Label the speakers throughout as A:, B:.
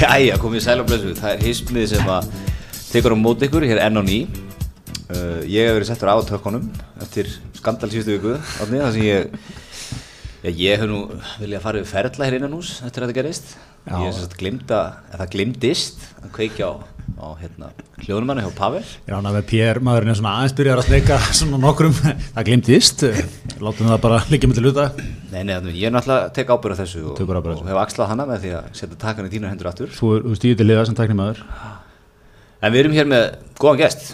A: Jæja, komið í sæl og blessuð, það er hismið sem að tekur á móti ykkur hér enn á ný uh, Ég hef verið settur á tökkunum eftir skandal síðustu viku átni, þar sem ég já, ég hef nú viljað fara yfir ferla hér innan hús eftir að þetta gerist
B: Já.
A: Ég hef sem sagt glimta, eða það glimtist að kveikja á, á hérna, hljóðnumanna hjá Pavel
B: Ég rána með Pér, maðurinn er svona aðeins byrjar að sneika svona nokkrum, það glimtist, látum það bara liggja með til hluta.
A: Nei, nei, þannig, ég er náttúrulega að teka ábyrð á þessu og,
B: Tekur ábyrgð á þessu.
A: og hef axlað hana með því að setja takan í þínu hendur aftur
B: Svo er þú stíðið til liða sem tækni maður,
A: En við erum hér með góðan gest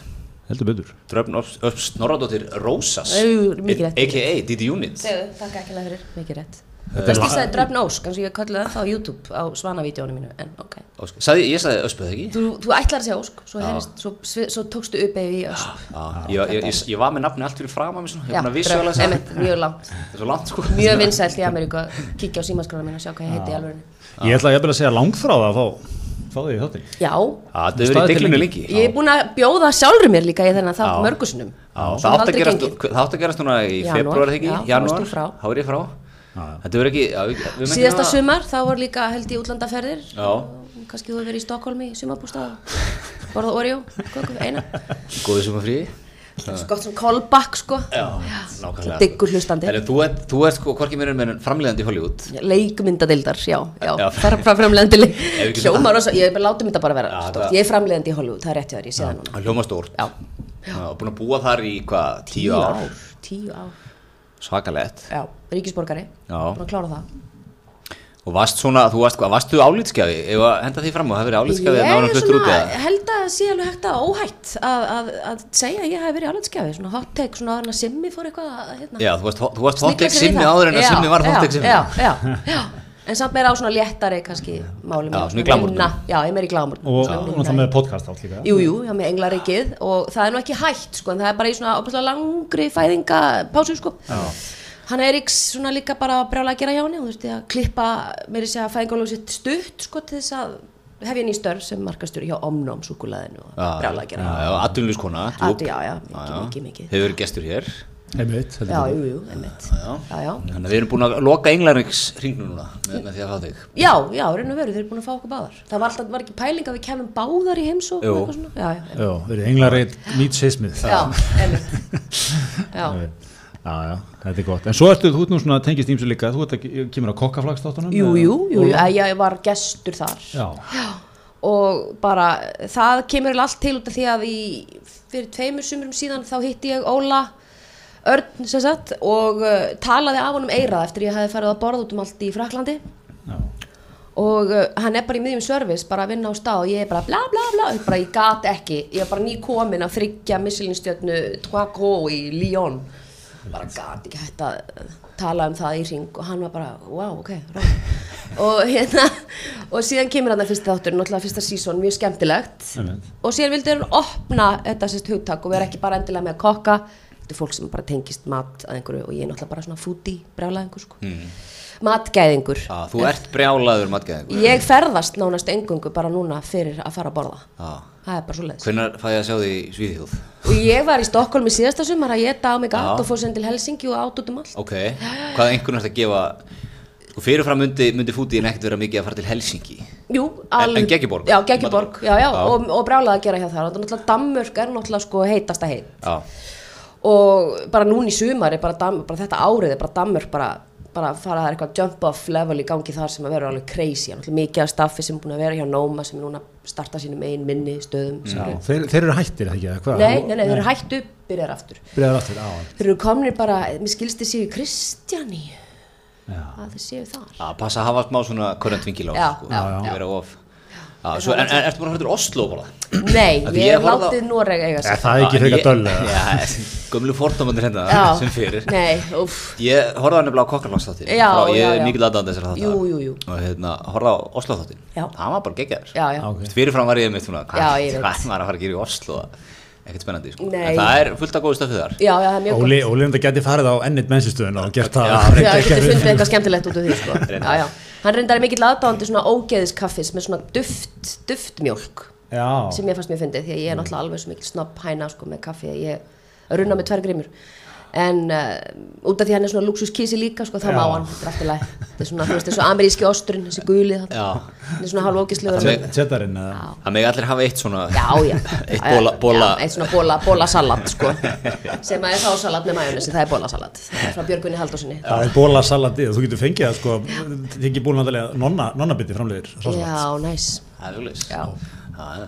B: heldur betur.
A: Dröfn Öps Öps Snorradóttir Rósas
C: Au, mikið rétt.
A: A.K.A. Didi Unit
C: Segðu, takk ekki lega fyrir, mikið rétt
B: Þetta er
C: Ég
B: lag-
C: sagði Dröfn Ósk, eins og ég kalli það þá á YouTube á svanavídjónu mínu, en ok
A: Ósk. sko, Sagði, ég sagði öspuð ekki
C: Þú, þú ætlar að segja Ósk, svo, heyrist, svo, svi- svo tókstu upp eða í Ösp
A: Já, ég, ég, ég, ég var með nafni allt fyrir fram að mér svona, ég
C: Já,
A: er búin að visuálega
C: Dröfn,
A: segja
C: einmitt, mjög langt
A: Það er svo langt sko
C: Mjög vinsælt í Ameríku að kíkja á símaskrána mín og sjá hvað ég heiti í alvörinu
B: Ég ætla að ég að segja langþráða að fá, fá því þáttir.
A: Já,
C: Já,
A: Það hefur verið í
B: Staðið
A: diglunni
B: til
A: lengi Já,
C: ég er búin að bjóða sjálfur mér líka í þennan þátt
A: Já.
C: mörgusunum
A: Það átt að gerast, það átti að gerast núna í
C: Janúar,
A: februar þegar
C: já,
A: ekki,
C: þá varst
A: janúar,
C: þú frá.
A: þá er ég frá Þetta verður ekki, já, við, við munum
C: Síðasta
A: hafa-
C: sumar, þá var líka held í útlandaferðir
A: Já.
C: Kannski þú hefur verið í Stokkólmi, sumarbústað Borða Oreo, kökum, eina
A: Góðu sumafrí
C: Svo gott sem callback sko
A: Já, nákvæmlega
C: Diggur hlustandi.
A: Þannig, þú ert, þú ert sko, hvorki mér en meðan framleiðandi í Hollywood
C: leikmyndadeildar, já,
A: Já.
C: já, þar frá framleiðandi leik-
A: við getum
C: hljómar og svo, ég bara látum þetta bara vera
A: Já,
C: stort,
A: það-
C: ég er framleiðandi í Hollywood, það er rétt hjá þér, ég sé það núna
A: Það hljóma stórt
C: Já.
A: Og búin að búa þar í hvað, tíu ár
C: tíu ár,
A: Svakalegt
C: já, ríkisborgari
A: Já.
C: búin að klára það,
A: Og varst svona, þú varst, hvað, varst þú álitskjafi? Ef að henda því fram og það verið álitskjafi en náður
C: ég hérna.
A: fluttur út eða?
C: held að sé alveg hægt að óhætt að, að, að segja að ég hef verið álöndskjafi, svona hot take, svona áður en að Simmi fór eitthvað að, hérna,
A: Já, þú varst, þú varst
C: snigla
A: hottek
C: sig við
A: simmi
C: það.
A: áður en að
C: Já,
A: simmi var
C: já,
A: hottek simmi.
C: já, já, já, en samt meira á svona léttari kannski máli
A: Já, svona í glamúrnum.
C: já, ég er meira í glamúrnum
B: Og
C: svona
B: og
C: minna
B: það með podcast átt líka.
C: Jú, jú, já, með englaríkið og það er nú ekki hægt, sko, en það er bara í svona opaslega langri fæðinga pásu, sko. Já. Hann er ykkur svona líka bara brjála að gera hjá henni, hún þurfti að klippa, meiri segja, fæðingalóð sitt stutt, sko, til þess að hefja ný störf sem markastur hjá Omnum súkulæðinu og brjála að gera.
A: Já, já, atvinnlífskona, djúp.
C: Atvi- já, já, mikið, mikið, mikið.
A: Hefur verið gestur hér.
B: Einmitt, heldur
C: Já,
B: betur.
C: jú, jú, einmitt. Já, já.
A: Þannig að við erum búin að loka englarings hringnum núna með, með því að fá þig.
C: Já, já, raun og veru, þeir eru búin að fá okkur báðar. Það var alltaf, var ekki pæling að við kemum báðar í heimsókn
A: Jú.
C: og eitthvað svona? Já, já,
B: Já, verið englarreit nýtt seismið.
C: já, einmitt. Já,
B: Já, já, þetta er gott. En svo ertu, þú ert nú svona tengist ímsu líka, þú ert að, kemur á kokkaflagstáttunum?
C: jú, jú, jú, jú, ég var gestur þar.
B: Já,
C: og bara það kemur eiginlega allt til út af því að í, fyrir tveimur sumurum síðan þá hitti ég Óla Örn sem sagt og uh, talaði af honum eirað eftir ég hafi farið að borða út um allt í Fraklandi
B: já,
C: og uh, hann er bara í miðjum service bara að vinna á stað og ég er bara bla bla bla bara ég gat ekki, ég er bara nýkomin að þryggja missilinstjörnu Tvago í Lyon bara gat ekki hægt að tala um það í ring og hann var bara, wow, ok, ráð og hérna, og síðan kemur hann að fyrsta þáttur, náttúrulega fyrsta sísón, mjög skemmtilegt
B: einmitt.
C: og síðan vildi hann opna þetta sérst hugtak og vera ekki bara endilega með að kokka þetta er fólk sem bara tengist mat að einhverju og ég er náttúrulega bara svona foodie, brjálæðingur sko. matgæðingur
A: Já, þú ert brjálaður matgæðingur.
C: ég ferðast nánast engungu bara núna fyrir að fara að borða
A: Já.
C: það er bara svo leiðis
A: Hvenær fæ ég að sjá þig í Svíðhjóð?
C: og ég var í Stokkólmi síðasta sumar að ég á mig
A: Já.
C: gat og fór sem til Helsingi og át út um allt
A: Ok, hvað einhvern ert að gefa? Sko fyrirfram myndi, myndi fútiðin ekkert vera mikið að fara til Helsingi.
C: Jú,
A: en Geggjuborg?
C: já, Geggjuborg, já, já,
A: Já.
C: og, og brjálega að gera hjá það og náttúrulega Dammörk er náttúrulega sko heitasta heit
A: Já,
C: og bara núna í sumar er bara, dam, bara þetta árið er bara dammur bara, bara fara það eitthvað jump off level í gangi þar sem að vera alveg crazy Náttúrulega mikið af staffi sem er búin að vera hjá Nóma sem er núna að starta sínum einn minni stöðum
A: Mm.
C: sem
B: já.
C: eru-
B: Þeir, þeir eru hættir, eða ekki, eða hvað?
C: nei, nei, nei, þeir eru hættu, byrjar aftur
B: Byrjaður aftur, á,
C: þeir eru komnir bara, mér skilst þið séu í Kristjani
B: já.
C: að þeir séu þar
A: Já, passa að hafa smá svona körrent vingil á.
C: Já,
A: sko.
C: já,
A: Ekki
C: já.
A: vera of. Já, svo, en, en ertu búin að fara til Oslo bara?
C: nei,
A: Af því
C: ég
A: ég
C: hef
A: horfði á-
C: látið Noreg eiga
B: Er
C: sig
B: það ekki frekar döll eða?
A: Já, gömlu fordómandir hérna
C: Já.
A: sem fyrir.
C: nei, uff
A: Ég horfði á nefnilega á kokkarlagsþáttin
C: Já,
A: Ég
C: já,
A: er
C: já.
A: mikill aðdæðan þessar þáttar
C: Jú, jú, jú.
A: Og hérna, horfði á Oslo þáttin
C: Já.
A: Það var bara geggjaður
C: já, já,
B: Ok.
A: Fyrirfram var ég mitt svona Hvað
C: Já, ég veit.
A: hvað er maður að fara að gera í Oslo Ekkert spennandi sko
C: Nei.
A: En það er fullt af góðu stöfið þar
C: já, já, það er mjög gott
B: Óli, Óli, þetta geti farið á ennit mennsistöðun og gert það.
A: Já,
C: Já,
B: frekar-
C: ég geti fundið eitthvað skemmtilegt út úr því sko.
A: Reyndar.
C: já, já. Hann reyndar er mikill aðdáðandi svona ógeðiskaffis með svona duft, duftmjólk
B: Já,
C: sem ég fannst mér fundið því að ég er náttúrulega alveg svo mikill snopp hæna sko, með kaffi að ég runna með tvær grímur en uh, út af því að hann er svona luxuskísi líka sko, þá
B: Já.
C: má hann, þetta er allt í lagi þetta er svona, þú veist, þessu ameríski osturinn, þessi guli þarna.
A: Já.
C: hann er svona hálf ógislegur
A: Þetta er-
B: Tjetarinn eða
A: Það megi allir hafa eitt svona
C: já, já
A: Eitt bóla- bóla-
C: já, eitt svona bóla, bóla salat sko, sem að er þá salat með majónesi, það er bóla salat frá Björgunni Halldórsinni já,
B: Það er bólasalandi, þú getur fengið það sko, þið ekki búin náttúrulega nonna, nonnabiti framlegir, sásalat.
C: næs
A: Það er svolítið
C: Já.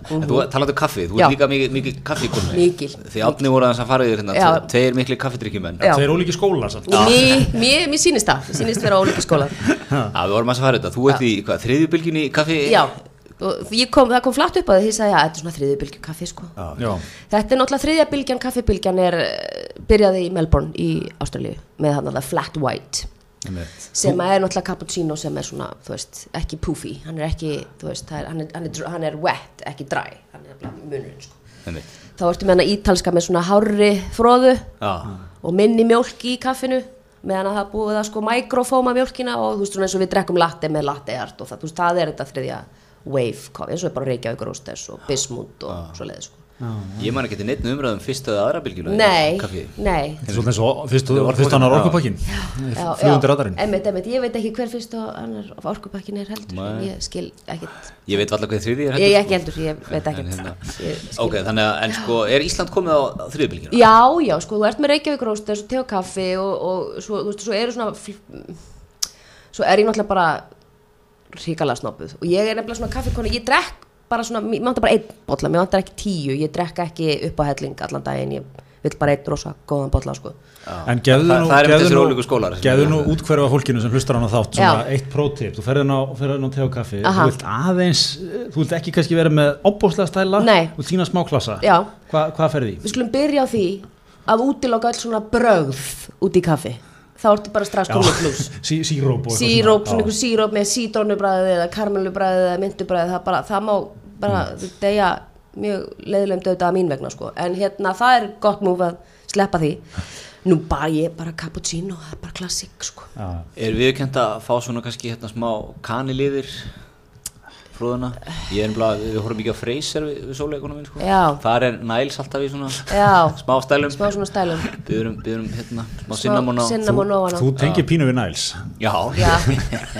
A: En þú talaðu um kaffi, þú
C: Já.
A: ert líka mikið, mikið kaffikonu
C: Mikil.
A: Því átni voru aðeins að fara yfir hérna
C: Já.
A: Tveir mikli kaffidrykkjumenn
C: Já.
A: Já,
B: Það er ólíki skólar samt.
C: og mér, mér, mér sýnist það, mér sýnist vera ólíki skólar
A: við vorum aðeins að fara yfir þetta Þú ert í hvað, þriðju bylgjunni í kaffi
C: já, og ég kom, það kom flatt upp að því að þetta er svona þriðju bylgju kaffi sko.
B: Já.
C: Þetta er náttúrulega þriðja bylgjan, kaffibylgjan er eh, byrjaði í Melbourne í Ástralíu með hann að það flat white
B: einmitt.
C: sem er náttúrulega cappuccino sem er svona, þú veist, ekki poofy hann er ekki, þú veist, það er, hann, er, hann, er, dr- hann er wet, ekki dry hann er bara munurinn, sko
A: Einmitt.
C: þá ertu með hann ítalska með svona hárri fróðu
A: Já,
C: og minni mjólk í kaffinu meðan að það er búið að sko mikrofóma mjólkina og þú veist svona eins og við drekkum latte með latte art og það, þú veist, það er þetta þriðja wave, coffee, eins og er bara Reykjavík Róstes og Bismut og svoleiði sko.
A: ég man ekki til neitt umræðum fyrsta um eða aðra bylgjuna í
C: Nei,
A: kaffi.
C: nei,
B: Þetta er Svolítið eins og fyrst, fyrst hann á orkupakkin,
C: Já,
B: flugundir
C: já,
B: radarinn.
C: einmitt, einmitt, ég veit ekki hver fyrst og annar af orkupakkin er heldur en ég skil ekkert
A: Ég veit alltaf hvað þriðji er
C: ég
A: heldur, sko.
C: ekki heldur, ég veit
A: En
C: ekkert
A: hérna-
C: Ég skil-
A: Ok, þannig að, en sko, er Ísland komið á, á þriðju bylgjuna?
C: já, já, sko, þú ert með Reykjavík Róstes og te og kaffi og, og svo, þú veist, svo eru svona fl- svo er ég náttúrulega bara ríkala snobbuð og ég er nefnilega svona kaffikona, ég drekk bara svona, mér vantar bara einn bolla, mér vantar ekki tíu ég drekk ekki upp á helling allan daginn ég vil bara einn rosa góðan bolla sko.
B: En gefðu
A: Það-
B: nú,
A: það er einmitt
B: gefðu
A: þessir
B: nú,
A: ólíku skólar sem hérna.
B: gefðu
A: við
B: nú
A: erum með.
B: útkverfa fólkinu sem hlustar hann á þátt, svona
C: Já.
B: eitt prótip, þú ferði hann á, ferði hann á te og kaffi,
C: Aha.
B: þú vilt aðeins, eh, þú vilt ekki kannski vera með opbóslega stæla,
C: Nei.
B: þú vilt sína smáklassa,
C: Já.
B: Hva, hvað ferði í?
C: Við skulum byrja á því að útiloka öll svona brögð út í kaffi. Þá ertu bara strax komið pluss.
B: sí, síróp og eitthvað
C: Síróp,
B: Já.
C: svona ykkur síróp með sítrónubræði eða karmelubræði eða myndubræði, það, bara, það má bara
B: Mm.
C: deyja mjög leiðilegum döta að mín vegna sko. En hérna það er gott múf að sleppa því. Nú bara ég, bara cappuccino, það er bara klassik sko.
B: Já.
A: Er viðkjönd að fá svona kannski hérna smá kanil yfir fróðuna? Ég er ennbla, við horfum mikið á Freyser við, við sóleikunum minn, sko.
C: Já.
A: Þar er Niles alltaf í svona
C: Já,
A: smá stælum.
C: smá svona stælum.
A: Byrjum, byrjum hérna, smá
C: Smá
A: sinnamon á.
C: Cinnamon á hana.
B: Þú tengir pínu við Niles.
A: Já.
C: Já,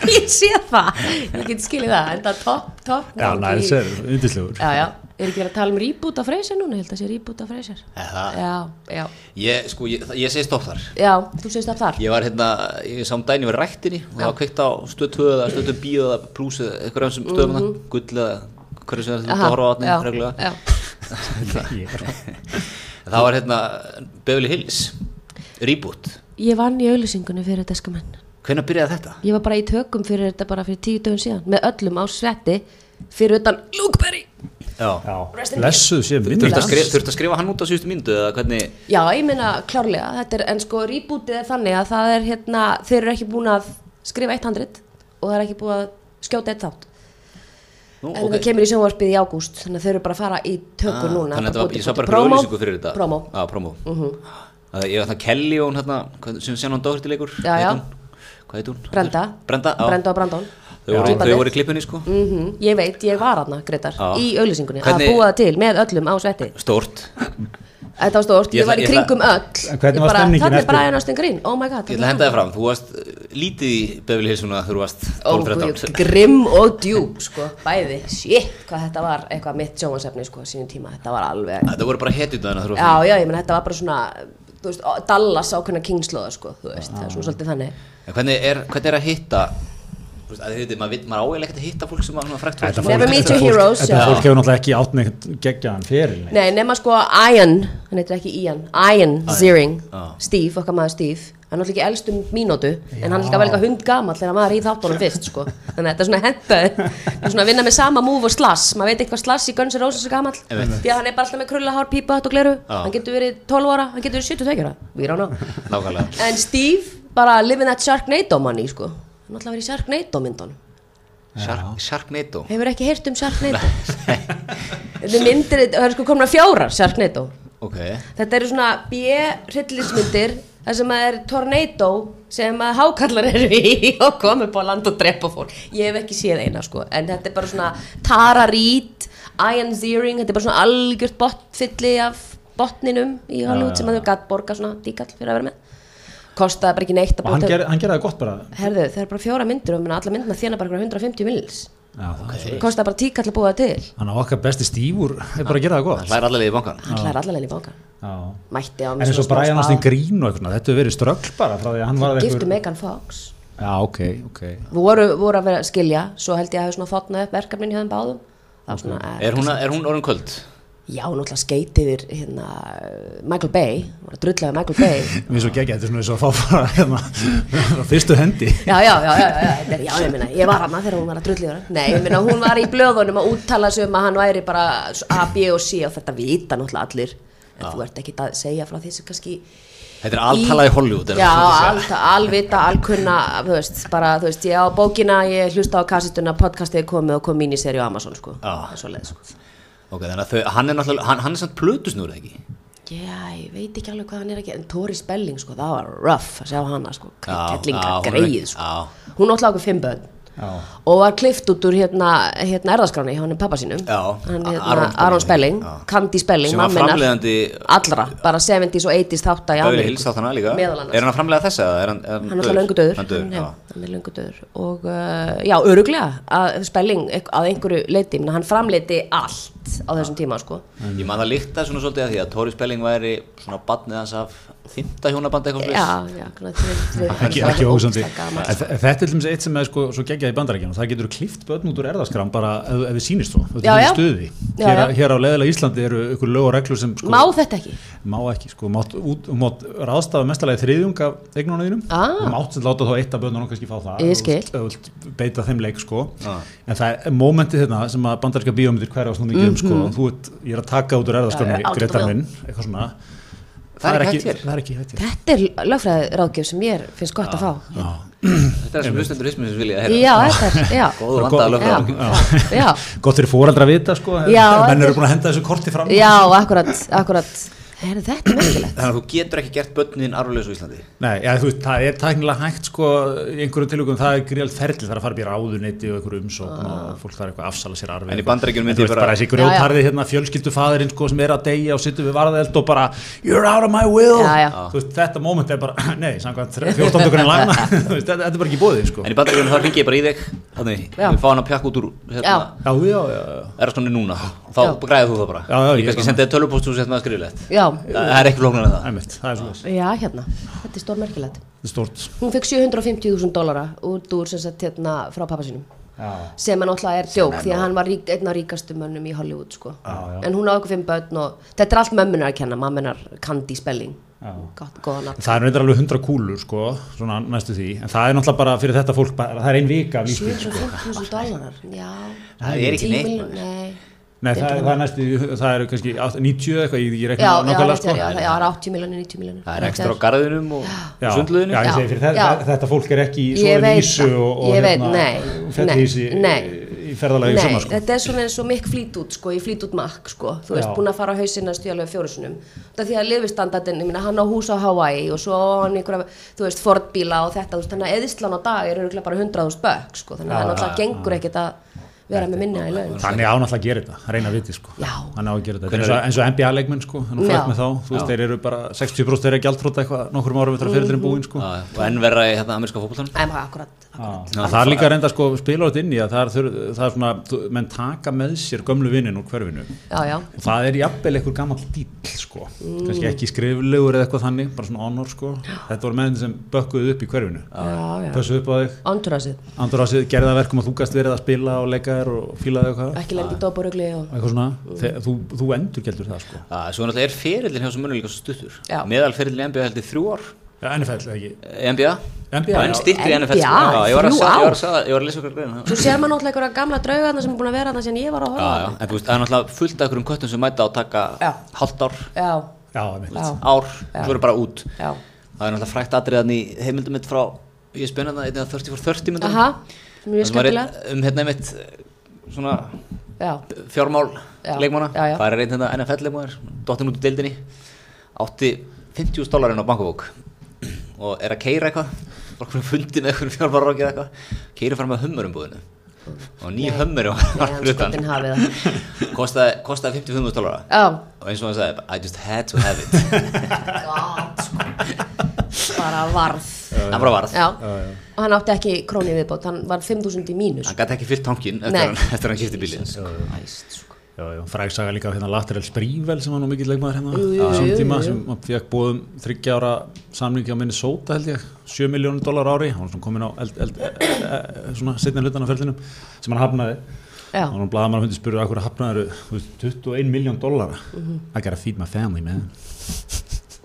C: ég sé það. Ég get skilið það, en það er topp, topp.
B: Já,
C: gangi
B: Niles
C: í-
B: er yndislegur.
C: Já, já, er ekki verið að tala um reboot af Freyser núna, ég held að sé reboot af Freyser
A: Er það?
C: Já, já,
A: Ég, sko, ég, ég segi stopp þar.
C: já, þú segist það þar
A: Ég var hérna, ég samt dæn, ég var í ræktinni og það var kveikt á stöð 2 eða stöð 2 bíu eða plus eða eitthvað sem stöðum mm -hmm. gull eða hverju sem þetta
C: Mhm. Aha,
A: að horfa á átni
C: já,
A: reglulega.
C: já.
A: Það var hérna Beverly Hills, reboot.
C: Ég vann í auðlýsingunni fyrir Deskamenn
A: Hvenær byrjaði þetta?
C: Ég var bara í tökum fyrir þetta bara fyrir tíu dögum síðan Með öllum á svetti fyrir utan Luke Berry
A: Já.
C: Rest
B: Já,
C: in
B: lessuð sé
A: Þurftu
B: minnilega.
A: að, skrifa, þurftu að skrifa hann út á síðustu myndu eða hvernig
C: Já, ég meina klárlega, þetta er, en sko rebootið er þannig að það er hérna Þeir eru ekki búin að skrifa 100 og það er ekki búin að skjóta eitt þátt
A: Nú, Ah,
C: En það kemur í sjónvarpið í ágúst Þannig að þeir eru bara að fara í tökur núna
A: Þannig að þetta
C: bara
A: var,
C: búið
A: ég
C: til
A: sá
C: búið
A: bara
C: til
A: einhverja
C: promo.
A: auglýsingu fyrir þetta Ah,
C: Promo Mhm.
A: Já, promo Það er þannig að Kelly og hún hérna hvern- sem sé hann dóhurti leikur
C: Já, já.
A: Hvað heit hún?
C: Brenda
A: Brenda, já
C: Brenda og Brandon
A: Þau voru,
C: Týpan
A: þau
C: er.
A: voru í klippinni sko
C: Mhm, Ég veit, ég var hana, Gretar
A: Já.
C: Í auðlýsingunni, að
A: Hvernig-
C: búa það til með öllum á svetti
A: Stórt
C: Þetta var stórt,
A: Ég
C: ég
A: ætla-
C: var í
A: ég ætla-
C: kringum öll
B: En hvernig
C: Ég
B: var
C: bara,
B: stemningin
C: Þarna er
B: eftir?
C: bara Brian Austin Green, oh my god
A: Ég ætla að henda þér fram Þú varst uh, lítið í Beverly Hills svona þegar þú varst
C: Ó,
A: 12-13
C: guð, grimm og djúb, sko, bæði Shit, hvað þetta var eitthvað mitt sjónvansefni, sko, sínum tíma Þetta var alveg
A: Þetta Ah, voru bara hetjum þarna þegar þú
C: Já, já, ég menn, þetta var bara svona Þú veist, ó- Dallas ákveðna kingslóða, sko Þú veist, það er svona svolítið þannig
A: En Hvernig er, hvernig er að hitta Þú veist, að þið veitir, maður, veit- maður áeiginlega ekkert að hitta fólk sem var svona frækt
B: Þetta
A: fólk
C: Never
B: fólk-
C: meet
B: þetta
C: your
B: fólk-
C: heroes,
B: Þetta
C: já.
B: fólk hefur náttúrulega ekki átt neitt geggjaðan fyrir.
C: Nei, nema sko Ian, hann heitir ekki Ian, Ian Ziering,
A: já.
C: Steve, okkar maður Steve, hann er náttúrulega ekki elst um mínútu, en hann er líka vel eitthvað hundgamall þegar hann var í þáttunum fyrst, sko. Þannig að þetta er svona hentaði, þetta er svona að vinna með sama múf og slass, maður veit eitthvað slass í Guns N' Roses er gamall,
A: Einmitt.
C: því að hann er bara alltaf með krullahár, pípahatt og gleru, hann getur verið 12 ára, hann getur verið 72 ára, we don't know.
A: Nákvæmlega
C: En Steve, bara living that Sharknado manni, sko, hann er alltaf verið í Sharknado myndunum.
A: Shark- Sharknado
C: Hefur ekki heyrt um Sharknado? Þetta er myndir, það er sko komin að fjára Sharknado.
A: Ok
C: Þetta eru svona B-hryllismyndir þar sem að er tornado sem að hákallar eru í og komu upp á land og drepa fólk. Ég hef ekki séð eina sko, en þetta er bara svona Tara Reid, Ian Ziering, þetta er bara svona algjört botfylli af botninum í Hollywood sem að þau gatt borga svona díkall fyrir að vera með kostaði bara ekki neitt að
B: Og hann,
C: búta-
B: ger, hann gerði það gott bara
C: herðu, það er bara fjóra myndir og menna, alla myndina þjána bara einhverja 150 mils
B: Já, okay.
C: kostaði bara tíkall að búa það til
B: Hann á okkar besti stífur er bara að gera það
A: Það
B: gott
A: hlæðir allavega í bankan
C: hann hlæði allavega í bókan
B: Já.
C: mætti á
B: En eins og Brian Austin Green og eitthvað Þetta hefur verið ströggl bara frá því að hann var
C: giftu Megan Fox
B: Já, ok, ok
C: við voru, voru að vera að skilja svo held ég að hafa svona þotnað upp verkefnin hjá þeim báðum það var svona, eh,
A: Er hún, er hún orðin köld?
C: já, náttúrulega skeit yfir hérna, Michael Bay var að drulla við Michael Bay
B: Mér er svo geggjað, þetta er svona eins og að fá bara hérna, frá fyrstu hendi
C: já, já, já, já, já, þetta er- já, ég meina, ég var hana þegar hún var að drulli hana. Nei, ég meina, hún var í blöðunum að úttala sig um að hann væri bara A, B og C og þetta vita náttúrulega allir. En þú ert ekki að segja frá því sem kannski...
A: Þetta er alltalað í Hollywood er
C: Já,
A: það sem þú segir.
C: al, alvita, alkunna, þú veist, bara, þú veist, ég á bókina, ég hlusta á kassituna, podcastið er komið og kom míniseri á Amazon, sko.
A: Já.
C: Svo leið, sko.
A: Ok, þannig að þau, hann er náttúrulega, hann, hann er samt plötusnúr ekki
C: Já, ég veit ekki alveg hvað hann er að gera, en Tori Spelling, sko, það var rough að sjá hana, sko,
A: Já,
C: kellinga
A: já, hún er-
C: greið, sko.
A: já.
C: Hún átti okkur fimm börn.
B: Já
C: og var klift út úr hérna, hérna erðaskráni hjá hann pappa sínum
A: Já,
C: hann,
A: A-
C: hérna,
A: Aron
C: Aron,
A: Spelling.
C: Spelling,
A: Já.
C: Candy Spelling
A: Sem var
C: mamma hennar,
A: framleiðandi-
C: allra, bara 70s og 80s þátt í
A: Böðli
C: Ameríku.
A: Hills átt hana líka
C: meðal annars
A: Er hann að framlega þessa? eða Er hann, er
C: hann er alltaf löngu döður
A: Hann döður,
C: já,
A: já
C: hann er löngu döður og uh, já, öruglega að Spelling ek- að einhverju leiti, Menna, hann framleiti allt á þessum tíma sko
A: Ég man það líkta svona svolítið að því að Tóri Spelling væri svona badnið hans af fymta hjónabandi eitthvað
C: já,
A: svoleiðis.
C: já, svona þrið- þrið-
B: ekki,
C: það er
B: ekki ósandi
C: ógeðslega gaman. sko.
B: þetta er til dæmis eitt sem er sko, svo geggjað í bandarækjunum það getur klift börn út úr erðaskram bara ef, ef við sýnist þú, ef
C: Já,
B: við
C: já.
B: stuði
C: Já,
B: hér,
C: já.
B: hér á leðilega Íslandi eru ykkur lög og reglur sem sko,
C: má þetta ekki
B: má ekki, sko, mátt, út, mátt ráðstafa mestalagi þriðjung af eignunum þínum
C: Ah.
B: og mátt sem láta þá eitt af börnunum kannski fá það
C: Ég
B: ef þú
C: skil.
B: vilt- ef þú vilt beita þeim leik sko.
A: Ah.
B: en það er momentið þetta sem að bandarækja bíómyndir hverja á svona mikið um
C: Mhm.
B: sko, þú ert, ég er að taka út úr
C: Já,
B: erðaskrami
C: já,
B: Gretar
C: áttu
B: minn, eitthvað svona
A: Það er ekki hægt hér.
B: það er ekki hægt hér
C: þetta er lögfræði ráðgjöf sem ég finnst gott að fá
A: Þetta er það sem hlustendur hismið sem vilja að heyra
C: já, þetta er, já
A: Góð og vandaða
C: Já,
A: lögfræðing
C: já,
B: gott fyrir fóraldra að vita sko
C: Já,
B: ef menn eru
C: þetta er-
B: búin að henda þessu korti fram
C: já, akkurat, akkurat. Er þetta merkilegt?
A: Þannig að þú getur ekki gert börnin arfulegs á Íslandi
B: Nei, já, þú veist, það er tæknilega hægt sko í einhverjum tilugum, það er gríðalt ferli það er að fara upp í ráðuneyti og einhverju
C: Ah.
B: umsókn og fólk þarf eitthvað að afsala sér arfi
A: En í Bandaríkjunum myndi
B: myndi
A: ég bara-
B: bara þessi
C: Já, já.
B: grjótarði hérna fjölskyldufaðurinn sko sem er að deyja og sittur við varðeld og bara you're out of my will
C: Já, já.
B: Þú veist, þetta moment er bara, nei, samkvæmt 14. grunn lagna, Þú veist, þetta þetta er bara ekki bóðið sko
A: En í bandaríkjunum þá ringi ég bara í þig Þannig,
C: Já.
A: við fá hann að pjakka út úr
C: Já.
A: hérna,
B: Já, já, já, já.
A: Er það núna, þá
C: Já.
A: græðið þú það bara
B: Já, já,
A: Ég
B: ég
A: kannski
B: bara-
A: sendið tölvupóst og sett maður skriflegt
C: Já,
A: Það er ekki flóknar en það
B: Æmitt, það er svo
C: já, hérna, þetta er stór merkilegt.
B: þetta er stort
C: Hún fekk 750.000 dólara út úr sem sagt hérna frá pappa sínum
B: Já,
C: sem hann alltaf er djók því að hann var rík, einn af ríkastu mönnum í Hollywood sko.
B: Já, já.
C: en hún á okkur fimm börn og þetta er allt mömmunar að kenna, mammunar Candy Spelling,
B: Já.
C: gott, góða nafn
B: Það er reyndar alveg 100 kúlur sko, svona næstu því, en það er náttúrulega bara fyrir þetta fólk, bara, það er ein vika af lífstíð sko.
C: 750.000 dólarar, já
A: Það er ekki
C: 10
A: neitt
C: milljón-
A: maður.
C: nei.
B: Nei, það, það er næstu, það eru kannski átt- 90 eitthvað, ég, ég
C: Já,
B: rekna
C: já,
B: nákvæmlega
C: rétt
B: sko.
C: er, já, já, það er 80 miljonir, 90 miljonir
A: Það er ekstra á garðinum og
B: Já,
A: sundluðinu
B: já, ég segi
C: Já.
B: fyrir þetta,
C: Já.
B: þetta fólk er ekki í
C: Ég
B: svona
C: veit
B: vísu
C: það.
B: og, og hérna
C: Ég veit, nei,
B: fætti
C: nei,
B: þessi
C: nei.
B: í ferðalagi
C: Nei,
B: saman sko.
C: þetta er svona eins og mikk flýt út sko, ég flýt út makk sko, þú veist,
B: Já.
C: búin að fara á hausinn að stjálega fjórusunum. Það er því að lifistandardin, ég minna, hann á hús á Hawaii og svo á hann einhverja, þú veist, Ford-bíla og þetta, þú veist, þannig að eðislan á dag er öruglega bara 100.000 bökk sko, þannig að það náttúrulega gengur ekkert að vera með minna í laun.
B: Þannig án alltaf að gera þetta, reyna að viti sko.
C: Já.
B: Hann á að gera þetta, Þetta er eins og, eins og NBA-leikmenn sko, hann
C: Já.
B: fætt með þá, þú veist, þeir eru bara 60% þeirra gjaldtróta eitthvað nokkrum árum
C: Mhm.
B: eftir að fyrirlin búinn sko.
A: Já, já. Og enn verra í hérna ameríska fókbóltanum
C: Æ, maður, akkurat, akkurat.
B: Já, það er líka reynda sko spilar út inn í að það er, þur, það er svona, þú- menn taka með sér gömlu vinnin úr hverfinu
C: Já, já,
B: og það er jafnvel einhver gammal dýll sko, kannski ekki skriflegur eða eitthvað þannig, bara svona honor sko þetta voru menn sem bökkuðu upp í hverfinu
C: já, já.
B: pössuðu upp á þig,
C: Andurasið,
B: andur á sig gerða verkum að þú gast verið að spila og leika þér og fílaði eitthvað,
C: ekki lendi í dóparugli og...
B: eitthvað svona Þe, þú, þú endur geldur það sko
A: Já, Svo náttúrulega er ferillin hjá þessum mönnum líka svo stuttur
C: Já.
A: Meðalferillin í NBA heldur þrjú ár
B: Já, NFL eða ekki
A: Eh, NBA
B: NBA,
A: Og enn
B: já.
A: stýttir í NFL
C: NBA,
A: sko. Já, Ég var að
C: þrjú
A: sa- ég var
C: ár.
A: að sa- ég var að lesa okkur greina
C: Svo sér maður náttúrulega einhverja gamla draugarna sem er búin að vera þarna síðan ég var að
A: Já,
C: horfa á
A: já,
C: þetta.
A: en þú veist, það er náttúrulega fullt af einhverjum köttum sem mæta á að taka
C: Já.
A: hálft ár,
C: Já,
B: Já, einmitt.
C: já,
A: ár, svo eru bara út.
C: já.
A: Það er náttúrulega frækt atriðan í heimildum mitt frá, E ég spenna það, einnig að 30 for 30 myndum.
C: Aha, mjög skemmtilega.
A: Um hérna einmitt, eh, svona
C: Já.
A: fjármál
C: Já,
A: leikmána,
C: já, já.
A: það er einn hérna NFL leikmáður, dottin út í deildinni, átti 50.000 dólarinn á bankabók og er að keira eitthvað, var okkur fundin eða eitthvað fjármál rákið eitthvað, keiri fram að hummurumbúðinu um og ný hömmur
C: skotin hafið það.
A: kostaði kostaði 55.000 dólara
C: Já,
A: og eins og hann sagði, I just had to have it
C: gott sko. bara varð
A: hann bara varð,
C: sko. já. og hann átti ekki krónu í viðbót hann var 5000 í mínus
A: hann gæti ekki fyllt tankin eftir
C: Nei.
A: hann, eftir hann kipti bílinn
C: Jesus Christ, sko.
B: Já, já, frægsaga líka af hérna Lateral Sprível sem var nú mikill leikmaður hérna
C: Jú,
B: á
C: jú, jú,
B: þessum
C: jú,
B: tíma
C: jú.
B: sem fekk bóðum 30 ára samlingi á Minnesota held ég 7 miljónum dólar ári, hann var svona komin á eld, eld, e, e, e, svona setna hlutan af ferlinum sem hann hafnaði
C: Já.
B: og hann blaða mann hundi spurði að hverju hafnaði 21 miljón dólar
C: Mhm.
B: I gotta feed my family man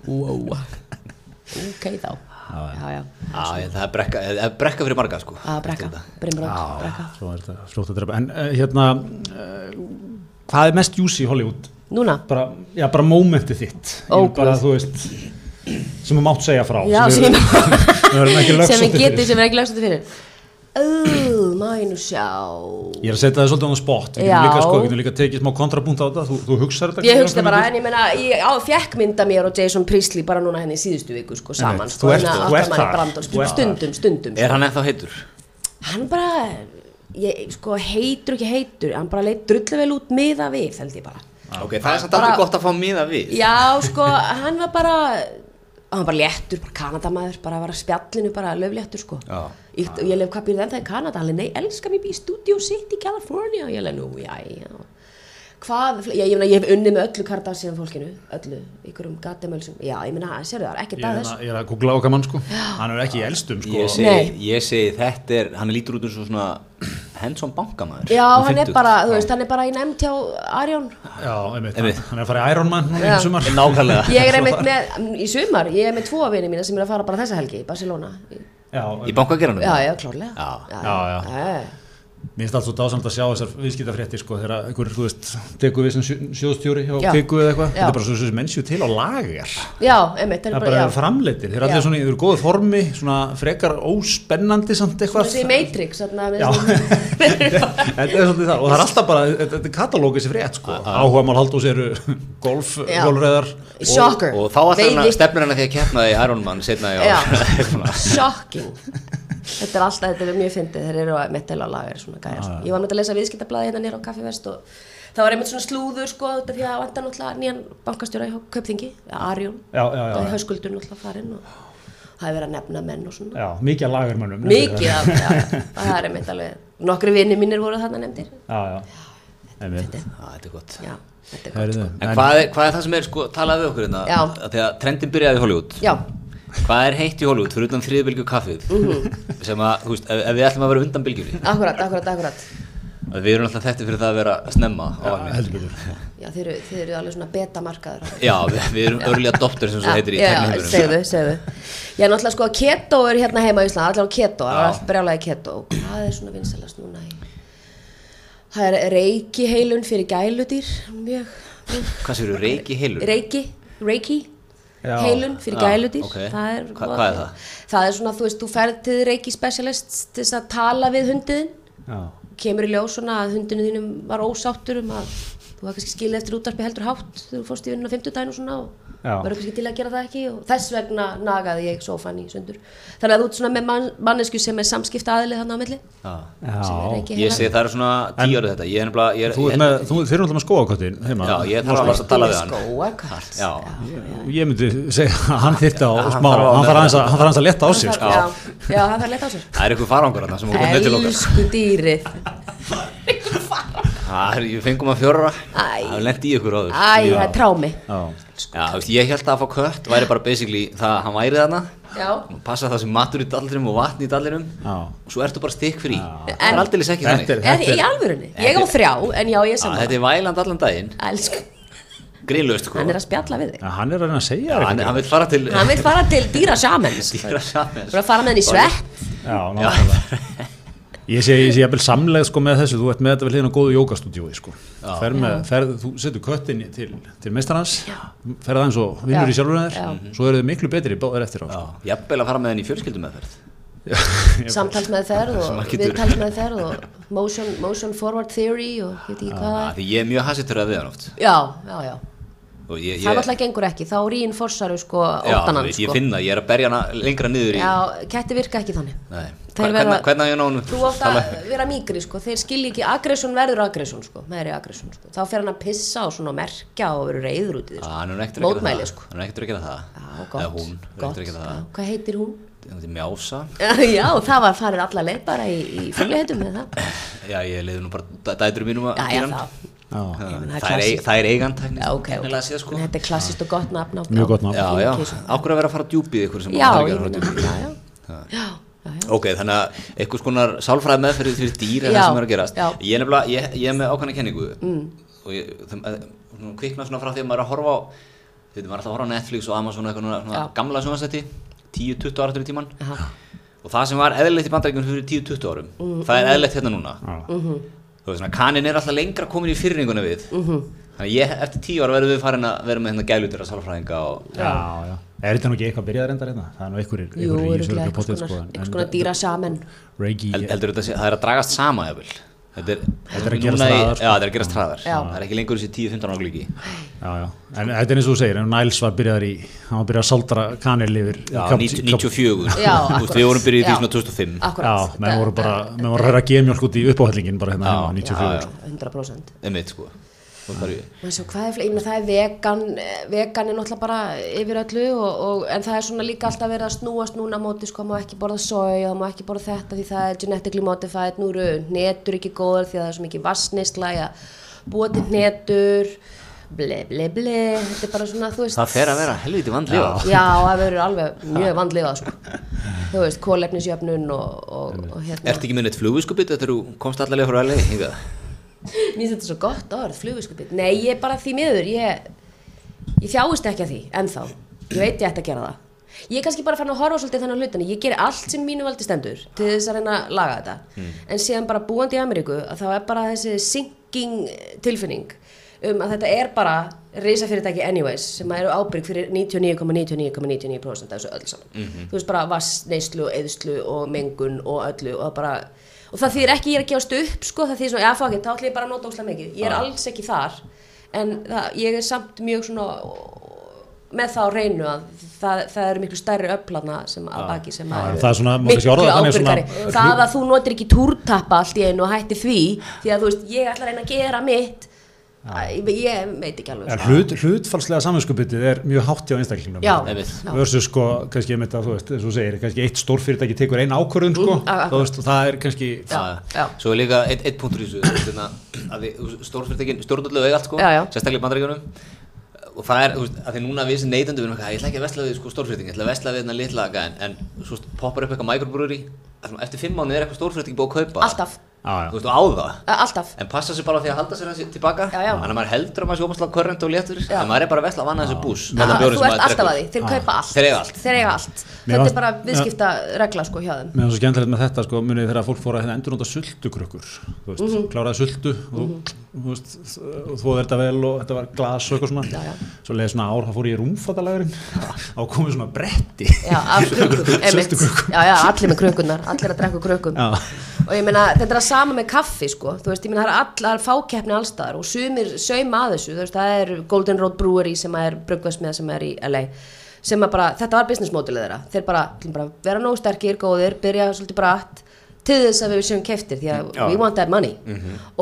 C: wow. ok þá já, já.
A: Já, ég- það er brekka, það er brekka fyrir marga sko
C: að brekka, brimbrót, brekka
B: svo er þetta fljótt að drepa en uh, hérna uh, hvað er mest juicy í Hollywood?
C: núna,
B: bara, já, bara momentið þitt Ég
C: Ó,
B: vil bara, þú veist sem þú mátt segja frá
C: Já,
B: sem, við- við verðum ekki
C: sem við
B: lögsóttir
C: getum
B: fyrir.
C: sem við erum ekki lagstu fyrir oh, mænu sjá
B: ég er að setja það svolítið á spott við
C: Já.
B: getum líka, sko, við getum líka tekið smá kontrapunkt á þetta þú, þú hugsar þetta
C: Ég
B: kannski
C: hugsti
B: nokkrar
C: bara,
B: mínútur.
C: en ég meina, ég á, fekk mynda mér og Jason Priestley bara núna henni í síðustu viku, sko, saman,
B: Einmitt,
C: sko,
B: þú ert-
C: hérna,
B: þú ert
C: aftan manni
B: þar,
C: Brandon,
B: þú ert
C: stundum, stundum,
A: Er hann ennþá heitur?
C: sko. Hann bara, ég, sko, heitur ekki heitur, hann bara leit drullu vel út miða við, held ég bara.
A: Ok, það er samt
C: Bara-
A: alveg gott að fá miða við
C: Já, sko, hann var bara, hann var bara léttur, bara kanadamaður, bara var að spjallinu, bara löfléttur, sko.
A: Já.
C: Ég, og ég lef, hvað býrði ennþá í Kanada? Hann er, nei, elskar mér býr í Studio City, California. Og ég lef, nú, já, já. Hvað, já, ég meina, ég hef unnið með öllu Kardashian fólkinu, öllu, ykkurum gatamölsum. Já, ég meina, sérðu það, er ekkert
B: ég
C: að
B: er,
C: þessu.
B: að, ég er að googla okkar mann sko hann er ekki í elstum sko
A: Ég segi,
C: Nei.
A: ég segi þetta er, hann lítur út eins og svona hensom bankamæður
C: Já, hann er bara, þú veist, hann er bara í nefnd hjá Arjón.
B: já, einmitt,
A: Einmitt.
B: hann, hann er að fara í Iron Man núna
C: Já.
B: í sumar
A: Nákvæmlega
C: Ég er einmitt með, mm, í sumar, ég er með tvo vini mína sem er að fara bara þessa helgi í Barcelona.
B: já,
A: Í bankageranum?
C: Já, já, klárlega.
A: Já.
B: Já, já. Mér finnst allt svo dásamt að sjá þessar viðskiptafrétti sko þegar einhver, þú veist, tekur við sem sjö, sjóðstjóri hjá
C: Já.
B: Kviku eða eitthvað,
C: Já.
B: þetta er bara svo sem mennsju til á lager.
C: Já, einmitt,
B: Það er bara
C: já.
B: framleitir, þeir eru allir
C: Já.
B: svona, þeir eru góðu formi, svona frekar óspennandi samt
C: Þú
B: eitthvað.
C: veist, í Matrix, þarna með
B: Já. Þetta er svolítið það og það er alltaf bara, þetta þetta er katalógið sér frétt sko. Áhuga mál haldós eru golf,
C: Já.
B: golfreðar.
C: Shocker.
A: Og þá alltaf hann
C: Veiði.
A: stefnir hann að því að keppna í Iron Man setna í
C: Já.
A: ár Svona.
C: Shocking Þetta er alltaf, þetta er mjög fyndið Þeir eru að metal á lagar svona gæjar sko. Ég var með að lesa viðskiptablaði hérna nýra á kaffivest og það var einmitt svona slúður sko út af því að vantar náttúrulega nýjan bankastjóra í Kaupþingi, Arjón
B: Já, já, já.
C: og Höskuldur náttúrulega farinn og það er verið að nefna menn og svona
B: Já, mikið að lagermönnum.
C: Mikið af, já, það er einmitt alveg Nokkri vini mínir voru þarna nefndir
B: Já, já. Einmitt.
A: Já, þetta er gott
C: Já, þetta er gott
B: Heyrðu,
A: En
B: en-
A: hvað er, hvað er það sem er sko, talað við okkur hérna
C: Já.
A: Af Því að trendin byrjaði í Hollywood
C: Já,
A: Hvað er heitt í Hollywood, fyrir utan þriðbylgju kaffið sem að, þú veist, ef, ef við ætlum að vera undan bylgjunni
C: akkurat, akkurat, akkurat
A: að Við erum alltaf þetta fyrir það að vera snemma á
B: Já,
A: alveg
B: heldur betur.
C: Já, þeir eru, þeir eru alveg svona betamarkaður
A: Já, við, við erum örli adopter sem svo heitir í
C: já, segðu,
A: tekniheimurum
C: segðu Ég er náttúrulega sko að keto er hérna heima í Íslanda allar á keto, það er
A: Já.
C: allt brjálega keto Hvað er svona vinsalast núna í Það er reiki heilun fyrir gæludýr mjög, mjög.
A: Hvað séu, reiki heilur?
C: Reiki, reiki
B: Já.
C: heilun fyrir
A: Já,
C: gæludýr
A: ok.
C: það er,
A: Hva- hvað er það?
C: Það er svona, þú veist, þú ferð til reiki specialist til þess að tala við hundiðin
B: Já.
C: kemur í ljós svona að hundinu þínum var ósáttur um að þú var kannski skilið eftir útarpi heldur hátt þegar þú fórst í vinnuna á fimmtudaginn og svona og
B: Já.
C: verður kannski til að gera það ekki og þess vegna nagaði ég sófan í sundur þannig að þú ert svona með man, mannesku sem er samskipta aðili þannig á milli
A: Já
C: sem er
B: Já.
C: ekki
A: Ég segi það eru svona tíu árið þetta Ég er nefnilega ég er,
B: Þú ert með, þú, þeir eru alltaf með skóakottin heima.
A: Já, ég þarf alveg að tala við hann
C: skóakart
A: Já,
B: Ég myndi segja að hann þyrfti á
A: hann
B: smá,
A: þarf að-
B: hann þarf aðeins að- hann þarf aðeins að leta á sig sko.
C: já, já, það þarf leta á sér
A: það er eitthvað farangur þarna sem hún komið til okkar
C: Elsku dýrið
A: Það er, ég fengum að fjóra
C: Æ.
A: Það er lent í ykkur áður
C: Æ, það er trámi
B: Já.
A: Já, þú veist, ég held að að fá kött væri bara basically það að hann væri þarna
C: Já,
A: og passa það sem matur í dallinum og vatn í dallinum
B: Já.
A: og svo ertu bara stikk frí
B: Já.
A: Það er aldrei ekki
B: Þetta
A: þannig
B: er-
C: er í alvörunni Ég á þrjá, en já, ég er
A: Já,
C: saman
A: Þetta er væland allan daginn,
C: Elsku,
A: grillust sko
C: hann er að spjalla við þig
B: Já, Hann er að reyna að segja
A: Já,
B: þér
A: hann,
B: eitthvað.
A: hann vil fara til
C: Hann vil fara til dýra samens
A: dýra saman
C: Þú að fara með henni í svett
B: Já, nákvæmlega. Ég sé, ég sé jafnvel samlega sko með þessu, þú ert með þetta vel hérna á góðu jókastúdíói sko. Fer með, fer, þú setur köttin í- til, til meistarans, ferð aðeins og vinnur
C: Já.
B: í sjálfur
C: Já.
B: aðeins, svo eru þið miklu betri báðir eftir á. Sko.
A: Jafnvel að fara með henni í fjölskyldum meðferð
C: samtalsmeðferð
A: maður
C: og
A: getur-
C: viðtalsmeðferð og motion, motion forward theory og ég veit ekki hvað
A: Því Ah, ég er mjög hasitur að við hann oft
C: já, já, já
A: Og ég, ég,
C: það náttúrulega gengur ekki, þá rín forsaru sko
A: Já, þú
C: óttan hann
A: veit, ég
C: sko
A: finna, ég er að berja hana lengra niður í
C: já, ketti virka ekki þannig
A: Nei.
C: Þeir
A: Hver-
C: verða-
A: hvernig- hvernig á ég að ná honum?
C: þú átt að vera mýgri sko, þeir skilji ekki aggression verður aggression sko, meðri aggression sko. þá fer hann að pissa og svona merkja og verður reyður út í
A: Ah,
C: því sko.
A: hann er nú ekkert að gera
C: mótmæli
A: það.
C: sko
A: Hann er ekkert að gera það
C: já,
A: Eða
C: gott,
A: hún, er
C: gott
A: ekkert að gera
C: já.
A: það
C: hvað heitir hún?
A: Þetta er mjása
C: já, það var farið alla leið bara í, í fugluhetum með það
A: Já, ég leiði nú bara dæ- dætrum mínum að
C: já, já,
A: gera hann.
C: það,
B: Já,
C: Ég meina, það er
A: Það er eig-
C: klassískt.
A: það er eigantækni
C: já, ok, ok
A: Sé, sko.
C: þetta er klassist og gott nafn á-
B: Mjög gott nafn.
A: Já, já,
C: Kinkies.
A: ákveð að vera að fara djúpið ykkur sem
C: já,
A: þarf ekki
C: ég
A: að fara
C: meina,
A: djúpið
C: já, já já, já, já
A: Ok, þannig að einhvers konar sálfræð meðferðið fyrir dýr er
C: Já,
A: það sem er að gerast
C: já.
A: Ég er nefnilega, ég, ég er með ákveðna kenningu mm. og ég, þeim, eh, svona kvikna svona frá því að maður er að horfa á þú veit, maður er alltaf að horfa á Netflix og Amazon og eitthvað svona- svona
C: Já.
A: gamla sjónastætti 10-20 ára til tíman
C: Aha.
A: og það sem var eðlilegt í bandarækjum fyrir 10-20 árum
C: Mm,
A: það er eðlilegt hérna núna
C: Mhm.
A: þú veist svona, kanin er alltaf lengra komin í fyrringuna við
C: Mm. Mhm.
A: þannig að ég, eftir 10 ára verðum við farin að vera með hérna gælutera sálfræðinga og
B: já, já. Er þetta nú ekki eitthvað byrjað reyndar hérna? Það er nú einhverjir
C: Jú,
B: einhverjir í þessu
C: örugglega
B: öllu potið,
C: einhvers
B: sko,
C: konar,
B: en-
C: einhvers
B: en
C: konar dýra samen
B: Reiki,
A: Held, heldur þetta að sé- það er að dragast sama jafnvel þetta er,
B: Þetta er að
A: núna
B: gerast
A: í-
B: hraðar, sko.
A: já, þetta er að gerast hraðar
C: Já.
A: það er ekki lengur þessi 10-15 ára glíki
B: já, já. En þetta er eins og þú segir, en Niles var byrjaðar í, hann var byrjað að saldra kanil yfir
A: já,
B: kap-
A: 90
B: kap-
A: 94 sko. Þú
C: Já,
A: veist,
C: akkurat.
A: við vorum byrjuð í því
C: Já.
A: svona 2005
C: akkurat
B: Já, menn voru bara, menn voru að hræra gemjólk út í uppáhællingin bara hérna heima, 94
C: já, 100%
A: einmitt sko Og bara í-
C: Og Svo, hvað er, fle- ég meina, það er vegan, eh, vegan er náttúrulega bara yfir öllu og, og, en það er svona líka alltaf verið að snúast núna á móti sko, má ekki borða soy og má ekki borða þetta því það er genetically modified, nú eru hnetur ekki góðar því að það er svo mikið vassnisla að búa til hnetur, ble ble ble, þetta er bara svona þú veist
A: það fer að vera helviti vandlega
C: Já, það verður alveg mjög vandlega sko. þú veist, kólefnisjöfnun og, og, og hérna
A: ertu ekki með neitt flugvískupið þetta þú komst allalega frá LA hingað
C: Mér finnst þetta svo gott orð, flugviskupið. Nei, ég er bara því miður, ég, ég þjáist ekki að því, ennþá. Ég veit ég ætti að gera það. Ég er kannski bara fann að horfa á svolítið þannig hlutinu, ég geri allt sem mínu valdi stendur til þess að reyna að laga þetta. En síðan bara búandi í Ameríku, að þá er bara þessi sinking eh, tilfinning um að þetta er bara risafyrirtæki anyways sem eru ábyrg fyrir 99,99,99% af þessu öll saman. Þú veist bara vassneislu og eðslu og mengun og öllu og bara og það þýðir ekki ég er að gefast upp sko, það þýðir svona, já fuck it, þá ætlum ég bara að nota óslega mikið ég er
A: Já.
C: alls ekki þar en það, ég er samt mjög svona ó, með það á reynu að það, það eru miklu stærri öflana sem að baki sem að
B: Já,
C: eru
B: það er svona- má kannski
C: miklu
B: orða það þannig
C: ábyrgari
B: svona-
C: það að þú notir ekki túrtappa allt í einu og hætti því því að þú veist, ég ætla að reyna að gera mitt ég, ég veit ekki alveg
B: En
C: sko.
B: hlut, hlutfalslega saminskupitið er mjög hátt hjá einstaklingum
C: já,
A: einmitt.
C: já,
B: versus sko, kannski einmitt að þú veist, eins og þú segir, kannski eitt stórfyrirtæki tekur einn ákvörðun sko,
C: Mm, a-
B: þú veist, og það er kannski
C: Já, já.
A: svo er líka eitt, eitt punktur í þessu þú veist, hérna, að því stórfyrirtekin stjórnulegu eiga allt sko
C: Já, já.
A: sérstaklega í bandaríkjunum og það er, þú veist, að því núna við sem neytendur við erum eitthvað, ég ætla ekki að vesla við sko stórfyrirtekin ég ætla að vesla við hérna litla en, en svo poppar upp eitthvað microbrewery að svona eftir fimm mánu er eitthvað stórfyrirtekin búið að kaupa
C: alltaf,
B: Já, já.
A: þú veist, og á það
C: eh, alltaf
A: en passa sér bara á því að halda sér þessi tilbaka
C: Já, já.
A: þannig að maður heldur að maður sé ómaslega körrend og léttur
C: Já.
A: en maður er bara að vesla að vanna þessu bús með
C: Ah,
A: þann bjórinn
C: þú
A: sem
C: ert
A: maður
C: alltaf að því,
A: drekkur.
C: þeir kaupa allt
A: Þeir eiga allt.
C: Þeir eiga allt.
B: Ah. Mér
C: þetta
B: fannst-
C: er bara
B: Já.
C: viðskipta regla sko hjá þeim
B: Mér finnst svo skemmtilegt með þetta sko, munið þegar að fólk fór að hérna endurnóta sultukrökkur, þú veist,
C: Mhm.
B: kláraði sultu og mm þú veist, og þú þetta vel og þetta var glas og eitthvað svona,
C: Já, já.
B: svo leiði svona ár, þá fór ég í rúmfattalægurinn og komið svona bretti,
C: Já, af krökkum, einmitt
B: Sultukrukkum.
C: Já, já, allir með krökkunnar, allir að drekka úr krökkum
B: Já.
C: Og ég meina, þetta er að sama með kaffi, sko Þú veist, ég meina, það er allar fákeppni allstaðar Og sumir sauma að þessu, þú veist, það er Golden Road Brewery sem er brugvæsmiða sem er í LA Sem að bara, þetta var business modelið þeirra Þeir bara, ætlum bara að vera nóg sterkir, góðir, byrja svolítið bratt til þess að við séum keftir því að we want that money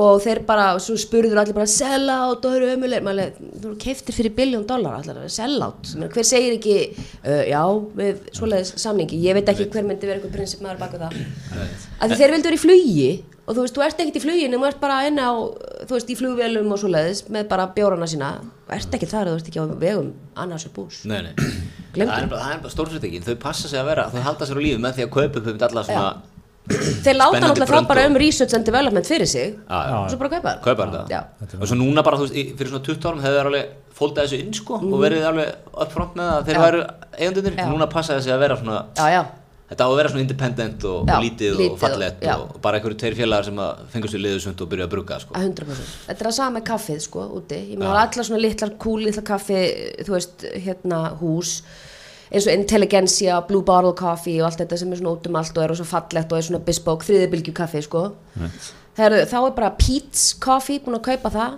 C: og þeir bara, og svo spurður allir bara sell out og þau eru ömulegir Maður alveg, þú eru keftir fyrir biljón dólar allar, sell out Ég meina, hver segir ekki, uh, já við svoleiðis samningi, ég veit ekki hver myndi vera einhver prinsip maður baka það af því þeir vildu vera í flugi og þú veist, þú ert ekkert í fluginu, þú ert bara inn á þú veist, í flugvélum og svoleiðis með bara bjórana sína, þú ert ekki þar þú ert ekki á vegum annars og bús
A: Nei, nei. Það
C: Gleymdu.
A: er bara, það er bara stórfyrirtekin, þau passa sig að vera, þau halda sér á lífi með því að kaupa upp um alla svona,
C: þeir láta
A: Mm. Spennandi
C: náttúrulega
A: brönd
C: þá bara
A: og-
C: um research and development fyrir sig
A: Já, já.
C: og svo bara kaupa það.
A: kaupa þetta.
C: Já.
A: Og svo núna bara, þú veist, í- fyrir svona 20 árum hefur þeir alveg fóldað þessu inn sko og verið alveg uppfront með það að þeir
C: Mhm. Já.
A: væru eigundunir,
C: Já.
A: núna passa þessi að vera svona,
C: já, já,
A: þetta á að vera svona independent og,
C: Já,
A: og lítið,
C: lítið og-
A: og fallett
C: já.
A: og bara einhverju tveir félagar sem að fengast í liðusund og byrja að brugga sko.
C: að 100% Þetta er að sama með kaffið sko úti Ég meina ja. allar svona litlar kúl, litlar kaffi þú veist, hérna hús eins og Intelligentsia, Blue Bottle Coffee og allt þetta sem er svona út um allt og er svo fallegt og er svona bespoke, þriðibilgju kaffi sko Heru, þá er bara Pete's Coffee búin að kaupa það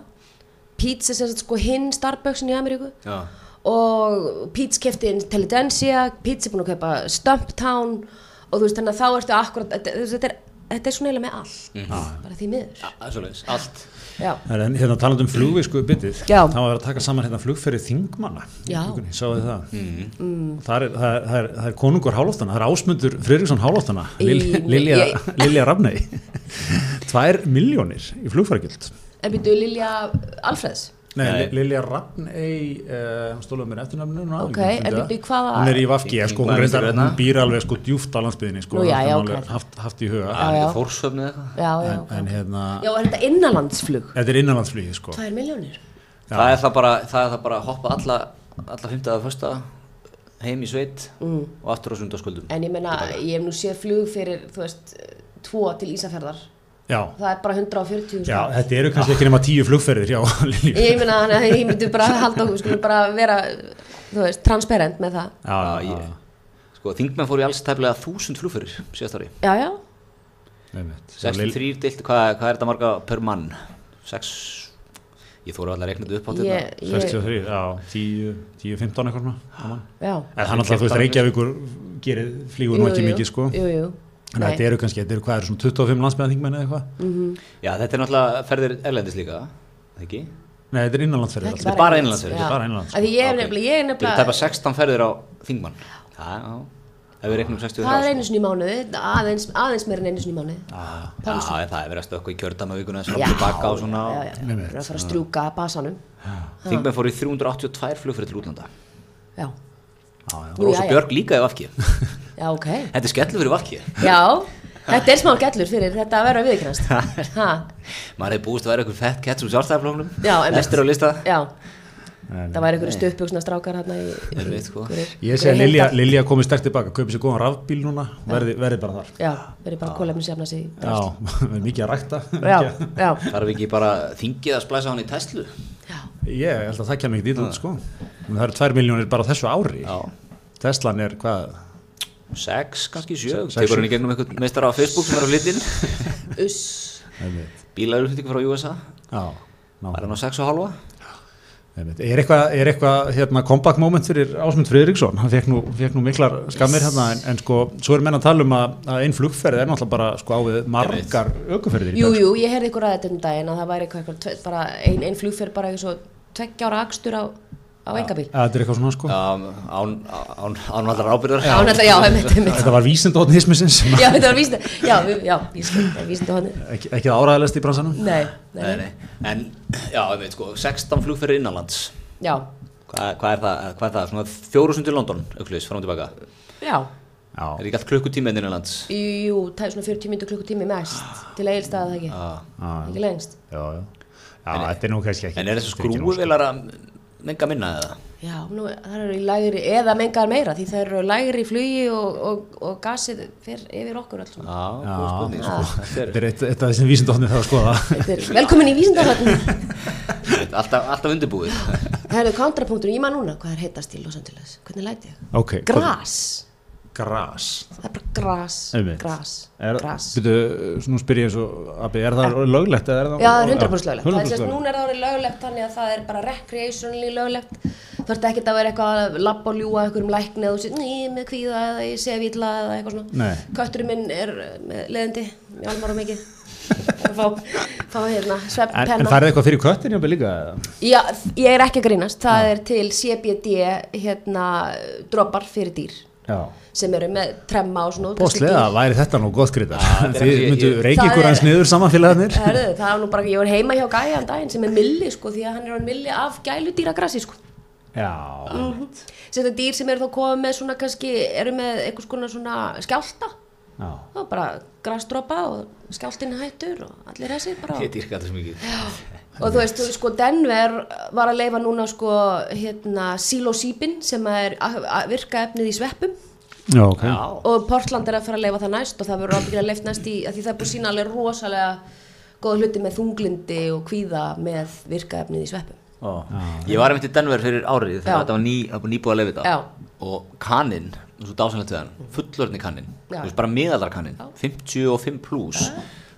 C: Pete's er sem sagt sko hinn Starbucksin í Ameríku
A: Já.
C: og Pete's kefti Intelligencia, Pete's er búin að kaupa Stumptown og þú veist þannig að þá ertu akkurat, þetta, þú veist, þetta, er, þetta er svona eiginlega með allt, bara því miður.
A: Það er svoleiðis, allt
C: Já,
B: En hérna talandi um flugvisku bitið,
C: Já.
B: það var að vera að taka saman hérna flugferði þingmanna, í
C: Já. Mm.
B: klukunni, sáðu þið það. Það, er, það, er, það, er, það er konungur hálóftana, það er ásmundur Friðriksson hálóftana,
C: Í-
B: Lil- Lilja Lilja Rafnei, tvær miljónir í flugferðgjöld.
C: en byrjuðu Lilja Alfreds,
B: Nei,
A: Nei.
B: Li- Lilja Rafnei, uh, hún stólaði mér eftirnafninu núna.
C: Ok,
B: ég myndi
C: en
B: það.
C: byrju, hvaða-
B: Hún er í Vafki, sko, hún,
A: Þingmaður
B: reyndar,
A: Vinstri grænna.
B: hún býr alveg sko djúft á landsbyðinni, sko,
C: Nú, já,
B: það
C: já,
B: er alveg
C: ok.
B: haft, haft í
A: Það
B: huga.
A: er
C: já.
A: ekki fórsöfni eða eitthvað
C: já, já,
B: En,
C: ok.
B: en hérna,
C: Já, er þetta innanlandsflug?
B: þetta er innanlandsflugið, sko.
C: Tvær miljónir?
A: það er það, bara, það er það bara að hoppa alla, alla fymtaða og fösta heim í sveit og aftur á sundarskvöldum
C: Mhm. En ég meina, ég hef nú séð flug fyrir, þú veist, tvo til Ísafjörðar.
B: Já,
C: Það er bara 140.000
B: já,
C: krónur.
B: þetta eru kannski ekki nema tíu flugferðir hjá Lilju.
C: Ég meina, þannig að ég myndi bara halda okkur, skulum bara vera, þú veist, transparent með það.
B: já,
A: Já,
B: já,
A: ég- Sko, þingmenn fóru í alls tæflega þúsund flugferir síðast ári
C: Já, já,
B: einmitt. Svo Lil-
A: 63 deilt, hvað, hvað er þetta marga per mann? 6 Ég þóru allar að reikna þetta upp á þetta
C: ég, ég,
B: 63, já, 10, 10, 15 eitthvað svona á mann.
C: já.
B: En hann alltaf, þú veist,
A: 15.
B: Reykjavíkur gerir flýgur nú ekki mikið, sko.
C: Jú, jú.
B: Þannig að þetta eru kannski, þetta eru hvað, eru svona 25 landsmeðaþingmenn eða eitthvað?
A: Já, þetta er náttúrulega ferðir erlendis líka ekki?
B: Nei, þetta er innanlandsferðir alltaf.
A: bara innanlands,
C: Já.
A: þetta
B: er bara innanlands.
C: Af Því ég er
A: Ok.
C: nefnilega, ég er
A: Þetta er
C: nefnilega,
A: bara 16 ferðir á þingmann Það, já, ef við reiknum 63
C: það er
A: sko.
C: einu sinni í mánuði, aðeins, aðeins meira en einu sinni í mánuði.
A: Já, já, það er verið að stökka í kjördamavíkuna sem
C: Já,
A: fyrir baka og svona
C: Já, já, já,
B: Einmitt.
C: það er að fara að strjúka basanum.
A: Þingmenn fór í 382 flugferð til útlanda
C: Já,
B: Já, já.
C: Nú,
A: Rósa
C: jæja.
A: Björk líka í Vafki Þetta
C: já, ok.
A: er skellu fyrir Vafki
C: Já, þetta er smá gellur fyrir þetta að vera viðkynast ha,
A: Maður hefði búist að vera einhver fett kett úr sjálfstæðarflóknum
C: Já, einmitt.
A: Eftir á lista
C: Já,
B: Nei, nei.
C: það væri einhverju stuppbuksna strákar hérna í, í
A: Einmitt, sko.
C: einhverjir-
B: Ég segi
C: einhverjir
B: að Lilja,
C: hundar.
B: Lilja komið sterkt tilbaka, kaupið sér góðan rafbíl núna, verði, verði bara þar.
C: Já, verið bara kólefnis jafna sig í
B: Já, við erum mikið að rækta.
C: Já,
B: mikið að-
C: já,
A: Þarf ekki bara þingið að splæsa hann í Tesla
C: já,
B: Ég held að það kemur ekkert ítla út, sko. En það eru 2 miljónir bara á þessu ári.
A: Já.
B: Teslan er hvað,
A: Sex, kannski sjö
B: Sex,
A: Tegur
B: sjö.
A: hann í gegnum einhvern meistara á Facebook sem er á litin
C: uss
B: einmitt.
A: Bílarutningu frá USA
B: Já, ná.
A: Var hann á sex og halva
B: Einmitt. Er eitthvað, er eitthvað hérna, comeback moment fyrir Ásmund Friðriksson? Hann fekk nú, fekk nú miklar skammir hérna en, en sko, svo er menn að tala um að, að einn flugferð er náttúrulega bara sko á við margar aukuferðir í
C: Jú,
B: dag.
C: jú, ég heyrði ykkur að þetta um daginn að það væri eitthvað, eitthvað tve- bara ein, ein flugferð bara eitthvað svo tveggja ára akstur á, á
B: Að
C: engabíl
B: Þetta er eitthvað svona sko.
A: um, Án, án, án allar ábyrðar
C: Já, þetta, já, einmitt, einmitt
B: Þetta var vísindóttin hismisins sem
C: Já, þetta var vísindi, já, við- já, ég skil, það er vísindi honni
B: ekki, ekki það áræðilegst í bransanum.
C: Nei,
A: Nei,
C: nei,
A: nei. En, já, ég veit sko 16 flugferðir innanlands
C: já,
A: Hvað, hvað er það? Hvað er það? Svona fjórusund í London, auklis, fram og tilbaka.
C: já
A: Er
B: Já,
A: ekki allt klukkutími enn innanlands?
C: Jú, það er svona 40 myndu klukkutími mest til eigilstaða það ekki
A: Já.
B: já,
C: ekki lengst
B: já. já. Já, þetta er nú kannski ekki.
A: En er þessu
B: þetta ekki nóg, sko.
A: skrúuvelar að menga minna eða?
C: já, nú, það eru í lægri eða mengar meira því það eru lægri í flugi og, og, og gasið fer yfir okkur alls
A: Já,
B: Já,
A: góð spurning, sko.
B: Þetta er eitt eitt af þessum vísindóttin það að skoða.
C: velkomin í vísindahöfn
A: Þetta er alltaf, alltaf undirbúið.
C: það eru kontrapunktur, ég maður núna hvað er heitast í Los Angeles, hvernig læti ég
B: Ok.
C: gras,
B: Gras.
C: það er bara gras
B: Einmitt.
C: gras,
B: Er,
C: gras
B: byrju, nú spyr ég eins og Abbi, er það löglegt? eða Er það,
C: Já, það er 100% löglegt. Það er
B: 100%
C: sérst, núna er það orðið löglegt þannig að það er bara recreationally löglegt. Þú ert ekkert að vera eitthvað að labba og ljúa einhverjum lækni eða þú sér, ný, með kvíða eða ég sé vila eða eitthvað svona.
B: Nei.
C: Kötturinn minn er eh, með leðandi, ég almar á mikið. Að fá, fá hérna, svepp
B: En, en
C: penna.
B: færðu eitthvað fyrir köttin jáfnveg líka? eða?
C: Já, ég er ekki að grínast. Það er til CBD, hérna, droppar fyrir dýr
B: Já.
C: sem eru með tremma og svona. útkastarsdýr.
B: Bóstlega væri þetta nú góð skrýta.
A: þetta er
B: Þið
A: ekki-
B: myndu
A: ég-
B: reykja
C: Það
B: ykkur
C: er-
B: hans niður samanfélagarnir.
C: Herðu, það var nú bara, ég var heima hjá gæjan daginn sem er milli sko, því að hann er á milli af gæludýragrassi sko.
B: Já.
C: sem þetta er dýr sem eru þá komið með svona kannski, eru með einhvers konar svona skjálta
B: Já.
C: þá er bara grasdropa og skjáltin hættur og allir þessir bara
A: Ég dýrka þetta svo mikið.
C: og þú veist, þú- sko Denver var að leifa núna sko hérna psilocybin sem er að- að virka efnið í sveppum
B: Já, ok.
A: Já.
C: og Portland er að fara að leifa það næst og það verður ábyggilega leift næst í, af því það er búið að sína alveg rosalega góða hluti með þunglindi og kvíða með virka efnið í sveppum
A: Ó. Ég var einmitt í Denver fyrir árið
C: Já.
A: þegar þetta var ný, það var nýbúið að leiða þetta.
C: Já.
A: Og kaninn, svo dásanlegt við hann, fullorðni kaninn,
C: Já.
A: þú veist bara miðaldra kaninn, 55 pluss,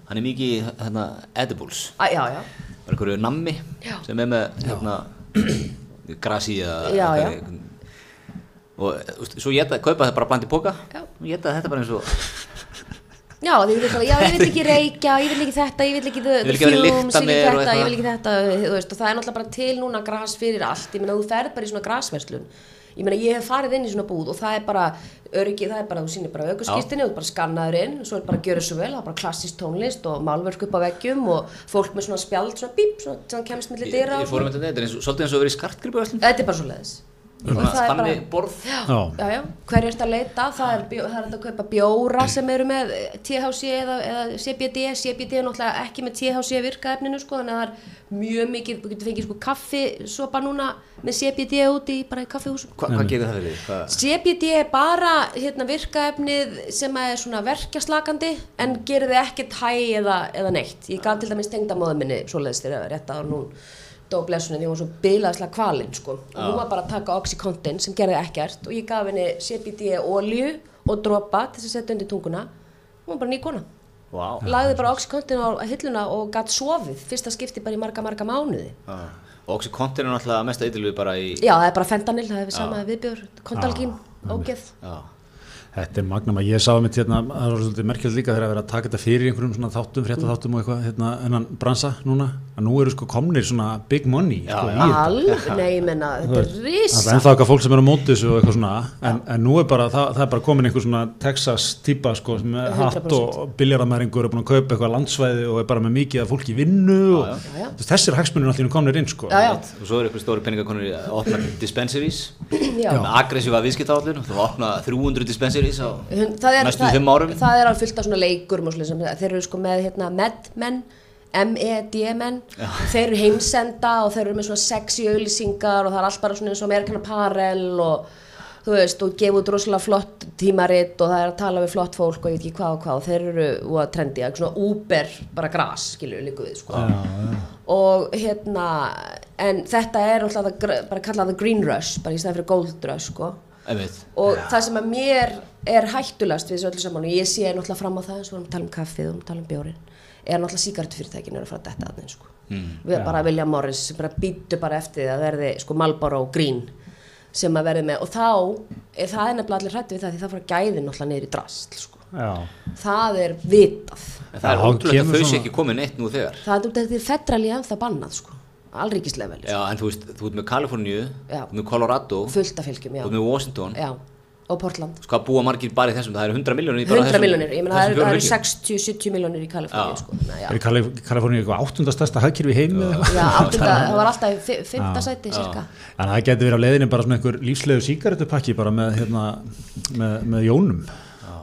A: hann er mikið í, hérna, edibles.
C: Æ, já, já,
A: bara einhverju nammi
C: Já.
A: sem er með hérna, grasi eða
C: Já,
A: eitthvað-
C: já.
A: einhvern- og þú veist, svo geta, kaupa það bara bland í póka
C: Já.
A: og geta þetta bara eins og
C: Já, þið vilja bara, já, ég vil ekki reykja, ég vil ekki þetta, ég vil ekki the,
A: Ég vil ekki vera í lykta
C: ég vil
A: mér og
C: ekki þetta, ég
A: eitthvað.
C: vil ekki þetta, þú veist, og það er náttúrulega bara til núna gras fyrir allt, ég meina, þú ferð bara í svona grasverslun, ég meina, ég hef farið inn í svona búð og það er bara, öryggi, það er bara, þú sýnir bara aukurskistinni, þú ert bara skannaður inn, svo er bara að gjöra svo vel, það er bara klassist tónlist og málverk upp á veggjum og fólk með svona spjald, svona bíp, svona, svona kemst
A: ég,
C: milli dyra
A: ég um-
C: og
A: fórum
C: svona.
A: þetta þetta er eins og- svolítið eins og verið í skartgripu öllum
C: Þetta er bara svo leiðis.
A: þannig borð
B: Já.
C: Já, já, hverju ert að leita, það er, bjó, það er hægt að kaupa bjóra sem eru með eh, THC eða, eða CBD, CBD er náttúrulega ekki með THC virkaefninu sko, þannig að það er mjög mikið, þú getur fengið sko kaffi sopa núna með CBD úti í- bara í kaffihúsum.
A: Hva, hvað gerir það fyrir því? Hvað-
C: CBD er bara hérna, virkaefnið sem að er svona verkjaslakandi en gerir þið ekkert hæ eða, eða neitt. Ég gaf til dæmis tengdamóðum minni svoleiðis þegar rétt að hún dó blessunni því hún var svo bilaðislega kvalinn sko. Og hún var bara að taka Oxycontin sem gerði ekkert og ég gaf henni CBD olju og dropa til þess að setja undir tunguna. Hún var bara ný kona.
A: Vá.
C: Lagði bara Oxycontin á hilluna og gatt sofið fyrsta skipti bara í marga marga mánuði.
A: Já. og Oxycontin er náttúrulega mest eitthiluð bara í
C: Já, það er bara fentanil, það er sama viðbjör, kondalgín, ógeð.
A: Já.
B: Þetta er magnum að ég sá mitt hérna, það var svolítið merkjöld líka þegar að vera að taka þetta fyrir í einhverjum svona þáttum, frétta þáttum og eitthvað, hérna, ennan bransa núna, að nú eru sko komnir svona big money,
A: Já,
B: sko,
A: já.
B: í þetta.
C: Alveg, nei, ég menna, þetta er
B: Það
C: risa
B: er ennþá eitthvað fólk sem er á móti þessu og eitthvað svona, en, en nú er bara, það, það er bara komin einhver svona Texas típa, sko, sem er hatt
C: 100%.
B: og biljaramæringur er búin að kaupa eitthvað landsvæði og er bara með mikið að fólki vinnu og
C: Já, já.
B: þú veist, þessir hagsmunir allir komnir inn, sko.
C: Já, já,
A: og svo eru ykkur stóri peningakonur í að opna dispensaries
C: já.
A: með aggressífa viðskiptáallun þú opna 300 dispensaries á
C: Hun- Það er,
A: næstu fimm árum
C: það er alveg fullt af svona leikur og slisum. þeir eru sko með hérna, medmenn M-E-D-menn þeir eru heimsenda og þeir eru með svona sexy auðlýsingar og það er allt bara svona eins og Amerikana Parel og þú veist og gefa út rosalega flott tímarit og það er að tala við flott fólk og ég veit ekki hvað og hvað og þeir eru og trendi að svona Uber bara gras skilur líku við sko og hérna en þetta er alltaf það gr- bara kallað the green rush bara í stæði fyrir gold rush sko
A: einmitt
C: og það sem að mér er hættulegast við þessu öllu saman og ég sé náttúrulega fram á það eins og við erum að tala um kaffið og við erum að tala um bjórin er náttúrulega síkartufyrirtækinu er að fara að detta aðeins sko. við erum bara að vilja Morris sem bara býtu bara eftir því að verði sko Malboro og Green sem að verði með og þá er það er nefnilega allir hrættu við það því það fara gæðin náttúrulega niður í drast sko.
B: Já.
C: það er vitað
A: En það er
B: Já,
A: ótrúlegt að
B: kemur
A: þau sé
B: svona-
A: ekki komið neitt nú þegar
C: það er út af því federal ég ennþá bannað sko. alríkislevel
A: Já, en þú veist, þú ert með Kaliforníu, þú
C: Já.
A: ert með Colorado, þú
C: fullt af fylgjum já.
A: ert með Washington,
C: Já. og Portland
A: sko að búa margir bara í þessum, það eru 100 miljónir í bara
C: 100 miljónir, ég meina það
A: þessum
C: eru- það
A: fjórum
C: eru
A: ríkjum.
C: 60-70 miljónir í Kaliforníu sko. Nei, já.
B: Er í Kalif- Kaliforníu eitthvað áttunda stærsta hagkerfi í heimi eða eitthvað?
C: Já, áttunda,
A: um
C: það var alltaf í fi- fimmta sæti cirka.
B: En það getur verið á leiðinni bara svona einhver lífslegu sígarettupakki bara með, hérna, með, með jónum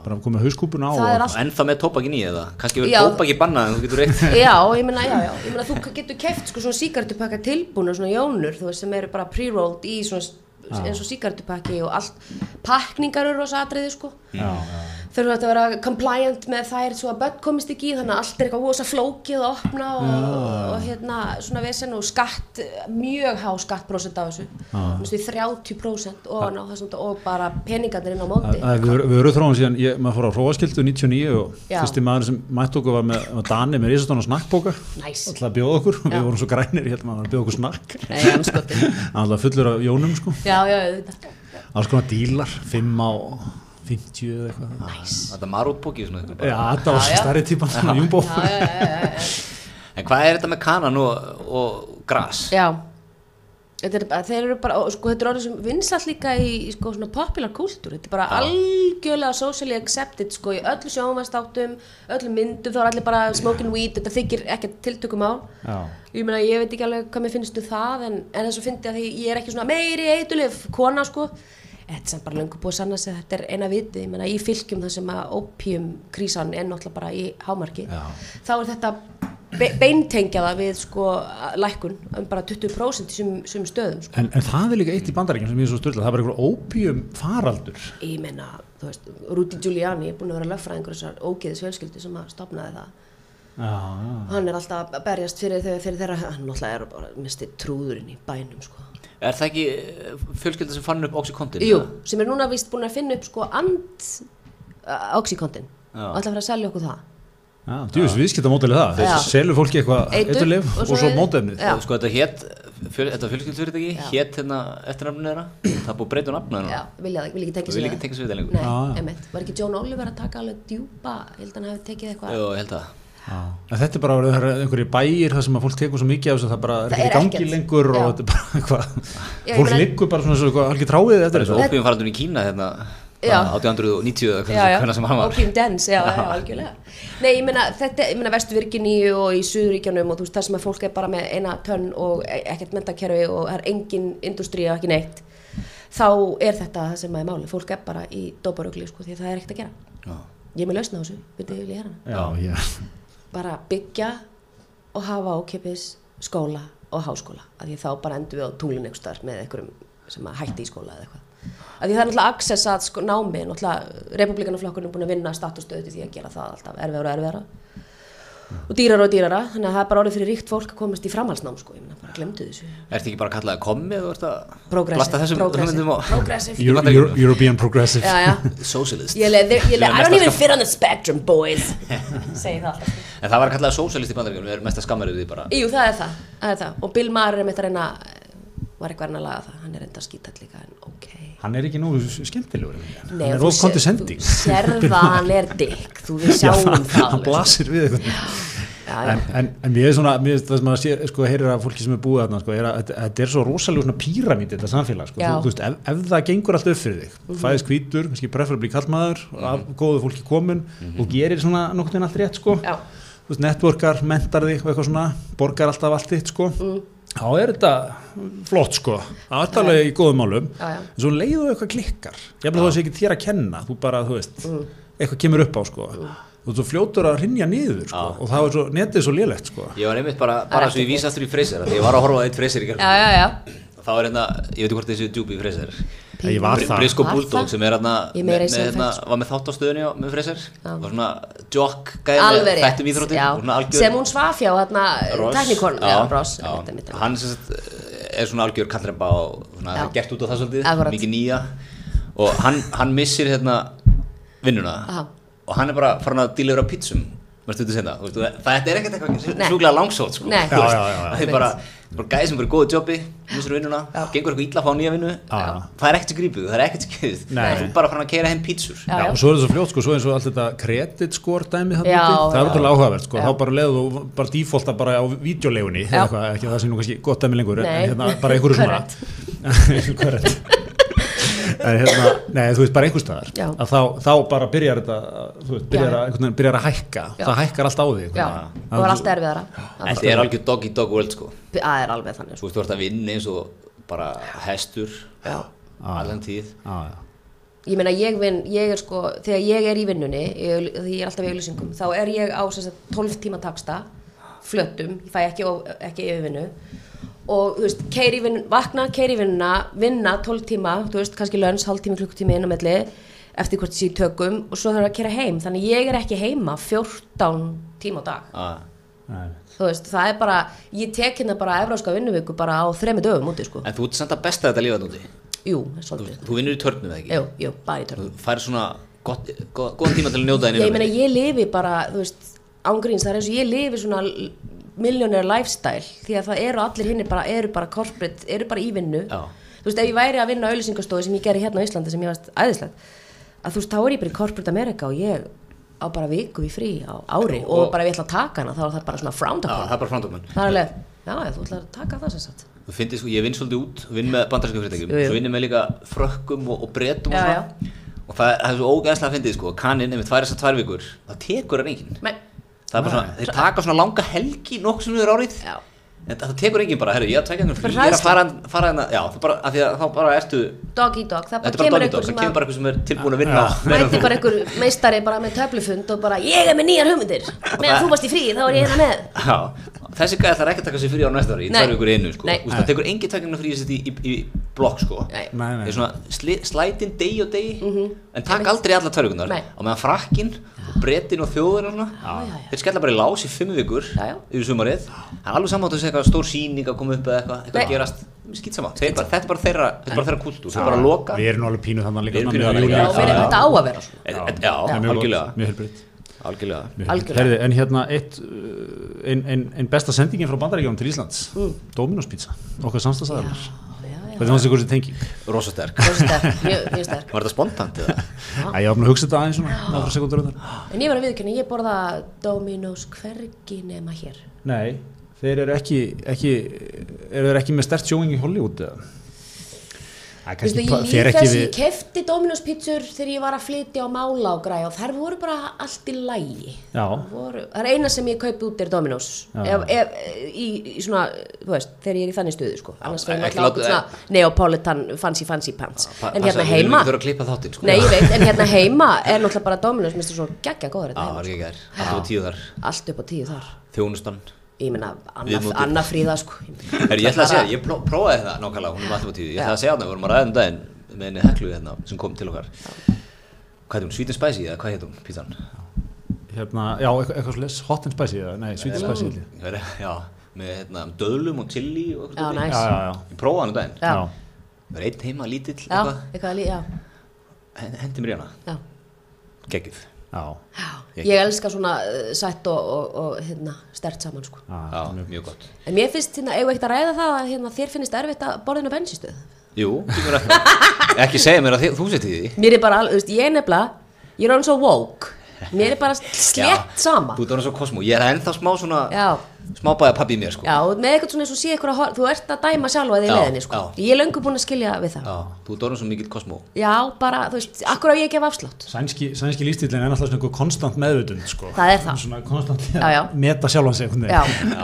B: bara komið hauskúpuna á
C: Það er
B: og-
A: Og ennþá með tópakin í eða, kannski verður
C: Já.
A: tópaki bannað en þú getur reykt.
C: Já, ég meina, já, já, ég meina þú getur keft sko svona síkartupakka tilbúna, svona jónur, þú veist, sem eru bara pre-rolled í svona s- eins og síkartupakki og allt, pakningar eru rosa atriði sko.
B: Já, já.
C: Þau eru að vera compliant með þær svo að börn komist ekki í, þannig að allt er eitthvað rosa flókið að opna og, og, hérna svona vesen og skatt, mjög há skattprósent á þessu, þú veist, 30% ofan á þessum og bara peningarnir inn á móti.
B: Það er vöru- vöruþróun síðan, ég, maður fór á hróaskildu 99 og
C: Já.
B: fyrsti maður sem mætt okkur var með var Dani með risastóna snakkbóka
C: Næs.
B: alltaf að bjóða okkur,
C: Já.
B: við vorum svo grænir hérna maður var að bjóða okkur snakk
C: Nei, anskotin.
B: alltaf fullur af jónum sko
C: Já, já, auðvitað.
B: alls konar dílar, 5 á 50 eða eitthvað
A: Þetta er marútpóki svona eitthvað.
B: Já, þetta var
C: Já, já.
B: starri típan svona júmbó
C: Já, já, já, já, já.
A: En hvað er þetta með kanan og, og gras?
C: Já Þetta er, bara- þeir eru bara, og sko, þetta er orðið sem vinsall líka í, í sko, svona popular kultúr þetta er bara algjörlega socially accepted sko, í öllu sjónvastáttum öllum myndum, þá er allir bara smoking weed þetta þykir ekkert tiltökum á
B: Já.
C: ég meina, ég veit ekki alveg hvað mér finnst um það en, en þess að fyndi að því ég er ekki svona meiri eitulif kona, sko þetta er samt bara löngu búið að sanna sig, þetta er eina viti ég meina, í fylgjum þar sem að opium krísan er náttúrulega bara í hámarki
B: Já.
C: þá er þetta be beintengjaða við sko lækun um bara 20% í sum, sum stöðum sko.
B: En, en það er líka eitt í bandaríkjum sem ég er svo styrla, það er bara einhver ópíum faraldur.
C: ég meina, þú veist, Rudy Giuliani er búin að vera lögfræðingur þessar ógeðis fjölskyldu sem að stopnaði það
B: Já, já.
C: hann er alltaf að berjast fyrir, þeir, fyrir þeirra hann náttúrulega er bara mistið trúðurinn í bænum sko.
A: Er það ekki eh, fjölskylda sem fann upp Oxycontin?
C: Jú,
A: eða?
C: sem er núna vist búin að finna upp sko and uh, oxykontin
A: Já.
C: og ætla að fara að selja okkur það
B: Djúvis viðskiptamódeli það,
C: Já.
B: selur fólki eitthvað
C: Eitur,
B: eiturlif
C: og
B: og
C: svo
B: svo
C: eitur.
B: mótefnið
C: Já.
A: og sko þetta hétt fjöl, þetta fjölskyldsfyrirtæki
C: Já.
A: hétt hérna eftirnafninu þeirra það er búið að breyta nafninu
C: Já,
A: hennar
C: vilja það, vilja ekki tengja
A: Vilja ekki tengja sig við það lengur.
C: Nei,
B: Já, já.
C: einmitt, var ekki John Oliver að taka alveg djúpa, ég held að hann hafi tekið eitthvað
A: og held að
B: En þetta er bara að vera einhverju bæir þar sem að fólk tekur svo mikið af þessu að það bara er
C: Það
B: ekki í
C: er
B: gangi
C: ekkert.
B: lengur og
C: Já.
B: þetta er bara eitthvað,
C: Já, ég
B: fólk
C: meina-
B: liggur bara svona svo alveg tráið eftir
A: bara eins og
B: þessu.
A: opium farandun í Kína hérna
C: Já.
A: 1890 eða
C: Já, já,
A: hvernig sem hann var
C: Opium Dance, já, já, algjörlega Nei, ég meina, þetta, ég meina Vesturvirkiníu og í Suðuríkjanum og þú veist það sem að fólk er bara með eina tönn og e- ekkert mentakerfi og það er engin industrí og ekki neitt þá er þetta það sem að er máli, fólk er bara í doparugli, sko, því að það er ekkert að gera
A: Já.
C: Ég er með lausna á þessu, veitir ég vil ég hérna
B: Já, já,
C: bara byggja og hafa ákipis skóla og háskóla af því að þá bara endur við á tunglinn einhvers staðar með einhverjum sem að hætti í skóla eða eitthvað af því það er náttúrulega access að sko, námi náttúrulega republikanaflokkurinn er búin að vinna statustöðu til því að gera það alltaf erfiðara og erfiðara og dýrara og dýrara þannig að það er bara orðið fyrir ríkt fólk að komast í framhaldsnám sko, ég meina bara glemdu þessu
A: Ertu ekki bara að kalla það kommi og ert að
C: Progressive,
A: blasta þessum
C: progressive,
A: hugmyndum á-
C: progressive.
A: Ég
B: Euro,
A: fatta ekki.
B: Euro, European Progressive.
C: já, já.
A: Socialist
C: Ég leið, ég leið, I
A: Mesta
C: don't even
A: skam-
C: fit on the spectrum boys segi það alltaf sko.
A: En það var að kalla það socialist í bandaríkjum Við erum mesta skammarið við því bara
C: Jú, það er það, það er það. Og Bill Maher er meitt að reyna, eh, var eitthvað að reyna að laga það, hann er reynda að skýta líka, en ok.
B: Hann er ekki nú skemmtilegur.
C: Nei,
B: hann
C: og
B: er
C: þú
B: of
C: sér-
B: condescending.
C: Þú sérð að hann er dykk, þú við
B: Já,
C: sjáum
B: hann-
C: það.
B: Hann
C: alveg.
B: blasir við eitthvað.
C: Já, já.
B: En, en, en mér er svona, mér er það sem að sé, sko, heyrir að fólki sem er búið þarna, sko, er að, þetta- þetta er svo rosalega svona píramít þetta samfélag, sko,
C: Já. Mhm.
B: þú, þú veist, ef, ef það gengur allt upp fyrir þig, fæðist hvítur, kannski preferably kallmaður, af góðu fólki komin og gerir svona nokkurn veginn allt rétt, sko,
C: Já.
B: þú veist, networkar, mentar þig og eitthvað svona, borgar alltaf allt þitt, sko,
C: Mm.
B: þá er þetta flott, sko, það er alveg í góðum málum,
C: Já, já.
B: en svo leiðu eitthvað klikkar, ég að það sé ekki þér að kenna, þú bara, þú veist,
C: Mm.
B: eitthvað kemur upp á, sko, og þú fljótur að rinja niður, sko,
A: Já.
B: og það er svo, netið er svo lélegt, sko.
A: Ég var einmitt bara, bara
C: ekki
A: svo ég vísa aftur í Fraser af Því ég var að horfa á eitt Fraser í gerð
C: Já, já, já.
A: Þá er hérna, ég veit ekki hvort þessi djúpi í Fraser
B: Ég var
A: Br-
B: það.
A: Brisco
C: Var
A: Bulldog
C: það?
A: sem er hérna
C: Ég
A: með,
C: meira í
A: með,
C: sem
A: hérna,
C: fætt,
A: var með þátt á stöðunni á- með Fraser
C: Já.
A: var svona jock gæði með
C: Alveg rétt.
A: Eh, þættum íþróttir
C: já.
A: og svona algjör
C: Sem hún svaf hjá, þarna,
A: Ross.
C: teknikorn, já, Ross.
A: já.
C: einmitt, einmitt, einmitt.
A: hann sem sagt, eh, er svona algjör kallremba og svona,
C: Já.
A: það er gert út á það svolítið,
C: Akkurat.
A: mikið nýja og hann, hann missir hérna vinnuna
C: Aha.
A: og hann er bara farin að díla yfir á pítsum Vestu, senna, vestu, þetta er ekkert eitthvað
C: Nei.
A: sjúklega langsótt sko.
C: Nei.
A: Þú veist,
B: Já, já, já, já.
A: það er bara, bara gæði sem verið góðu jobbi missur vinnuna, gengur eitthvað illa að fá nýja vinnu
B: já.
A: það er ekkert sem grípuð, það er ekkert sem grípuð
B: Nei.
A: þú er bara farin að keira heim pítsur
B: Já,
C: Já, já.
B: og svo er þetta svo fljótt, sko, svo eins og allt þetta credit score dæmi það
C: Já,
B: það er
C: já.
B: ótrúlega áhugavert, sko,
C: Já.
B: þá bara leiðu þú bara defaulta bara á videolegunni,
C: Já.
B: eða eitthvað, ekki að það sé nú kannski gott dæmi lengur,
C: Nei.
B: en hérna bara einhverju
C: Correct.
B: svona, korrekt, en hérna, nei, þú veist, bara einhvers staðar,
C: Já.
B: að þá, þá bara byrjar þetta, þú veist, byrjar,
C: Já.
B: að, einhvern veginn byrjar að hækka,
C: Já.
B: það hækkar allt á því,
C: Já,
B: einhvern
C: það var
B: veginn.
C: alltaf erfiðara.
A: þetta er algjör dog í dog world sko.
C: Það er alveg þannig,
A: Þú veist, þú ert að vinna eins og bara hestur
C: sko. Já.
A: allan tíð.
B: Já, já.
C: ég meina ég vinn, ég er sko þegar ég er í vinnunni, ég, því ég er alltaf í auðlýsingum, þá er ég á sem sagt, 12 tíma taksta, flötum ég fæ ekki, of- ekki yfirvinnu og þú veist, keiri vinn, vakna keiri vinnuna, vinna 12 tíma þú veist, kannski löns, hálftími, klukkutími inn á milli eftir hvort þessi tökum og svo þarf að kera heim, þannig ég er ekki heima 14 tíma á dag
A: Ah.
B: Nei.
C: þú veist, það er bara, ég tek hérna bara evróska vinnuviku bara á þremi dögum úti, sko,
A: En þú ert samt að besta þetta lífað núti.
C: jú,
A: Þú,
C: svolítið
A: þú vinnur í törnum eða ekki?
C: jú, jú, bara í törnum
A: Þú fær svona gott, gott, góðan tíma til að njóta þín
C: ég meina ég lifi bara þú veist, ángríns, það er eins og ég lifi svona millionaire lifestyle því að það eru allir hinnir bara, eru bara corporate, eru bara í vinnu
A: Já.
C: þú veist, ef ég væri að vinna á auðlýsingastóði sem ég gerði hérna á Íslandi sem ég varst æðislegt að þú veist, þá er ég bara í corporate America og ég á bara viku í frí á ári og,
A: Og-
C: bara ef ég ætla að taka hana þá er það bara svona
A: Já,
C: frowned
A: það
C: upon
A: er bara framtöfum.
C: það er alveg, já, ef þú ætlar að taka það sem sagt
A: Þú finnir sko, ég vinn svolítið út, vinn með bandarsku fyrirtækjum,
C: Jú, jú.
A: svo vinn ég með líka frökkum og, og bretum og
C: Já,
A: svona. Og það, það er svo ógæðslega að fyndið sko, kaninn, ef við tvær þessar tvær vikur, það tekur hann enginn.
C: Men,
A: Það er bara svona, þeir taka svona langa helgi nokkuð sem við erum árið.
C: Já.
A: En það tekur enginn bara, herru, ég er að taka einhvern
C: Bara
A: frí, ég er að
C: hræðsla.
A: fara, fara hérna, já, það bara, af því að þá bara ertu,
C: dog eat dog, það
A: þetta er bara
C: bara kemur
A: doggy
C: einhver
A: dog,
C: sem
A: það
C: að-
A: kemur bara einhver sem er tilbúin að vinna meira en
C: mæti
A: þú.
C: bara einhver meistari bara með töflufund og bara ég er með nýjar hugmyndir meðan þú varst í fríi þá er ég hérna með
A: Já, þessi gæði þarf ekki að taka sér frí á næsta ári í
C: Nei.
A: tvær vikur í einu sko.
C: Nei.
A: Úst, það tekur engin takna frí sitt í, í, í blokk sko.
C: Nei. Mhm.
B: Nei, nei.
A: Það er svona sli, slætin degi og degi en taka aldrei alla tvær vikunar
C: Nei.
A: á meðan frakkinn, brettin og þjóðurinn og svona,
C: Já, já, já.
A: þeir skella bara í lás í fimm vikur
C: Já, já.
A: yfir sumarið það er alveg samátt að segja eitthvað stór síning að koma upp eða eitthvað, eitthvað
C: Nei.
A: gerast, skýtsama þetta er bara þeirra, þetta er bara þeirra kultúr þetta er bara að loka
B: Við erum nú alveg pínu þannig
A: Við
B: líka,
A: erum
B: svona
A: pínu
B: með
A: þarna líka, já,
B: júlí-
C: Já, við-
A: já.
C: þetta á að vera svona
A: E- e- Já,
B: Það er mjög gott,
A: algjörlega
B: mjög heilbrigt.
A: algjörlega
C: Algjörlega.
B: Herði, en hérna eitt, uh, ein, ein, ein besta sendingin frá Bandaríkjónum til Íslands Dominos pizza, okkar samstagsaðanar
C: já, já.
B: Hvernig fannst þið hversu tenging?
A: rosa sterk
C: Mjög sterk, mjög, mjög sterk.
A: var þetta spontant eða?
B: Æ, ég var búin að hugsa þetta aðeins svona náttúrulega sekundur undan
C: En ég var að viðkynna, ég borða Dominos hvergi nema hér.
B: Nei, þeir eru ekki, ekki eru þeir ekki með stert sjóing í Hollywood eða? Það er
C: Þú
B: kannski
C: veist,
B: pa-
C: ég
B: fer
C: líka
B: ekki
C: þess, ég
B: við
C: kefti Dominos pizzur þegar ég var að flytja á mála og græja og þær voru bara allt í lægi.
B: Já,
C: Voru, það er eina sem ég kaupi út er Dominos
B: Já.
C: ef, ef, í, í svona, þú veist, þegar ég er í þannig stöðu sko. annars
A: ekki
C: verður alltaf
A: láta-
C: okkur svona neopolitan fancy fancy pants
A: Pa- passa,
C: en hérna
A: við viljum
C: heima
A: ekki þurfa að klippa þáttinn, sko.
C: nei, ég veit, en hérna heima er náttúrulega bara Dominos, minnst þú svo geggja
A: Já,
C: góður
A: það
C: þetta
A: Ah, var
C: heima,
A: ekki gær, alltaf var tíu þar
C: sko. allt upp á tíu þar
A: Þjónustan
C: ég meina,
A: Viðmótið.
C: Anna Fríða sko.
A: Her, Ég ætla að segja, ég pró prófaði þetta nákvæmlega, hún er alltaf á tíu Ég ætla að segja hann, við vorum að ræða um daginn með henni heklu hérna sem kom til okkar Hvað heit hún, Sweet and Spicy eða hvað heit hún, pítan?
B: hérna, já, eitthvað, eitthvað slis, hot and spicy eða, nei, sweet and spicy held ég.
A: Ég veit, Já, með hérna, döðlum og chili og
C: Já,
A: eitthvað dóti.
C: næs.
B: Já, já, já
A: Ég prófaði hann um daginn
C: Já.
A: Það var einn heima, lítill,
C: já,
A: eitthvað
C: eitthvað lí, já,
A: Hen- Hendi mér í hana,
C: já
A: geggjuð
B: Já,
C: Já,
A: Ég-
C: ég elska svona uh, sætt og, og, og hérna, stert saman sko.
B: já,
A: Já, mjög gott
C: en mér finnst hérna, eigum við ekkert að ræða það að hérna, þér finnist erfitt að borðinu bensinstöð
A: Jú, kemur að- ekki segja mér að þið- þú sett í því
C: Mér er bara, al- þú veist, ég er nefnilega, ég er alveg svo woke. Mér er bara slett
A: Já,
C: sama.
A: Þú ert orðin svo kosmó, ég er ennþá smá svona
C: Já.
A: smá bæða pappi í mér sko
C: Já, og með eitthvað svona eins og sé eitthvað, að hor- þú ert að dæma sjálfa þig í
A: Já,
C: leðinni, sko.
A: já.
C: Ég er löngu búin að skilja við það.
A: Já, þú ert orðin svo mikill kosmó
C: Já, bara, þú veist, akkur á ég að gefa afslátt.
B: Sænski, sænski lístillin er alltaf svona einhver konstant meðvutund sko.
C: Það er það.
B: Svona konstant
C: Já, já.
B: meta sjálfan sig einhvern
C: Já,
B: veginn.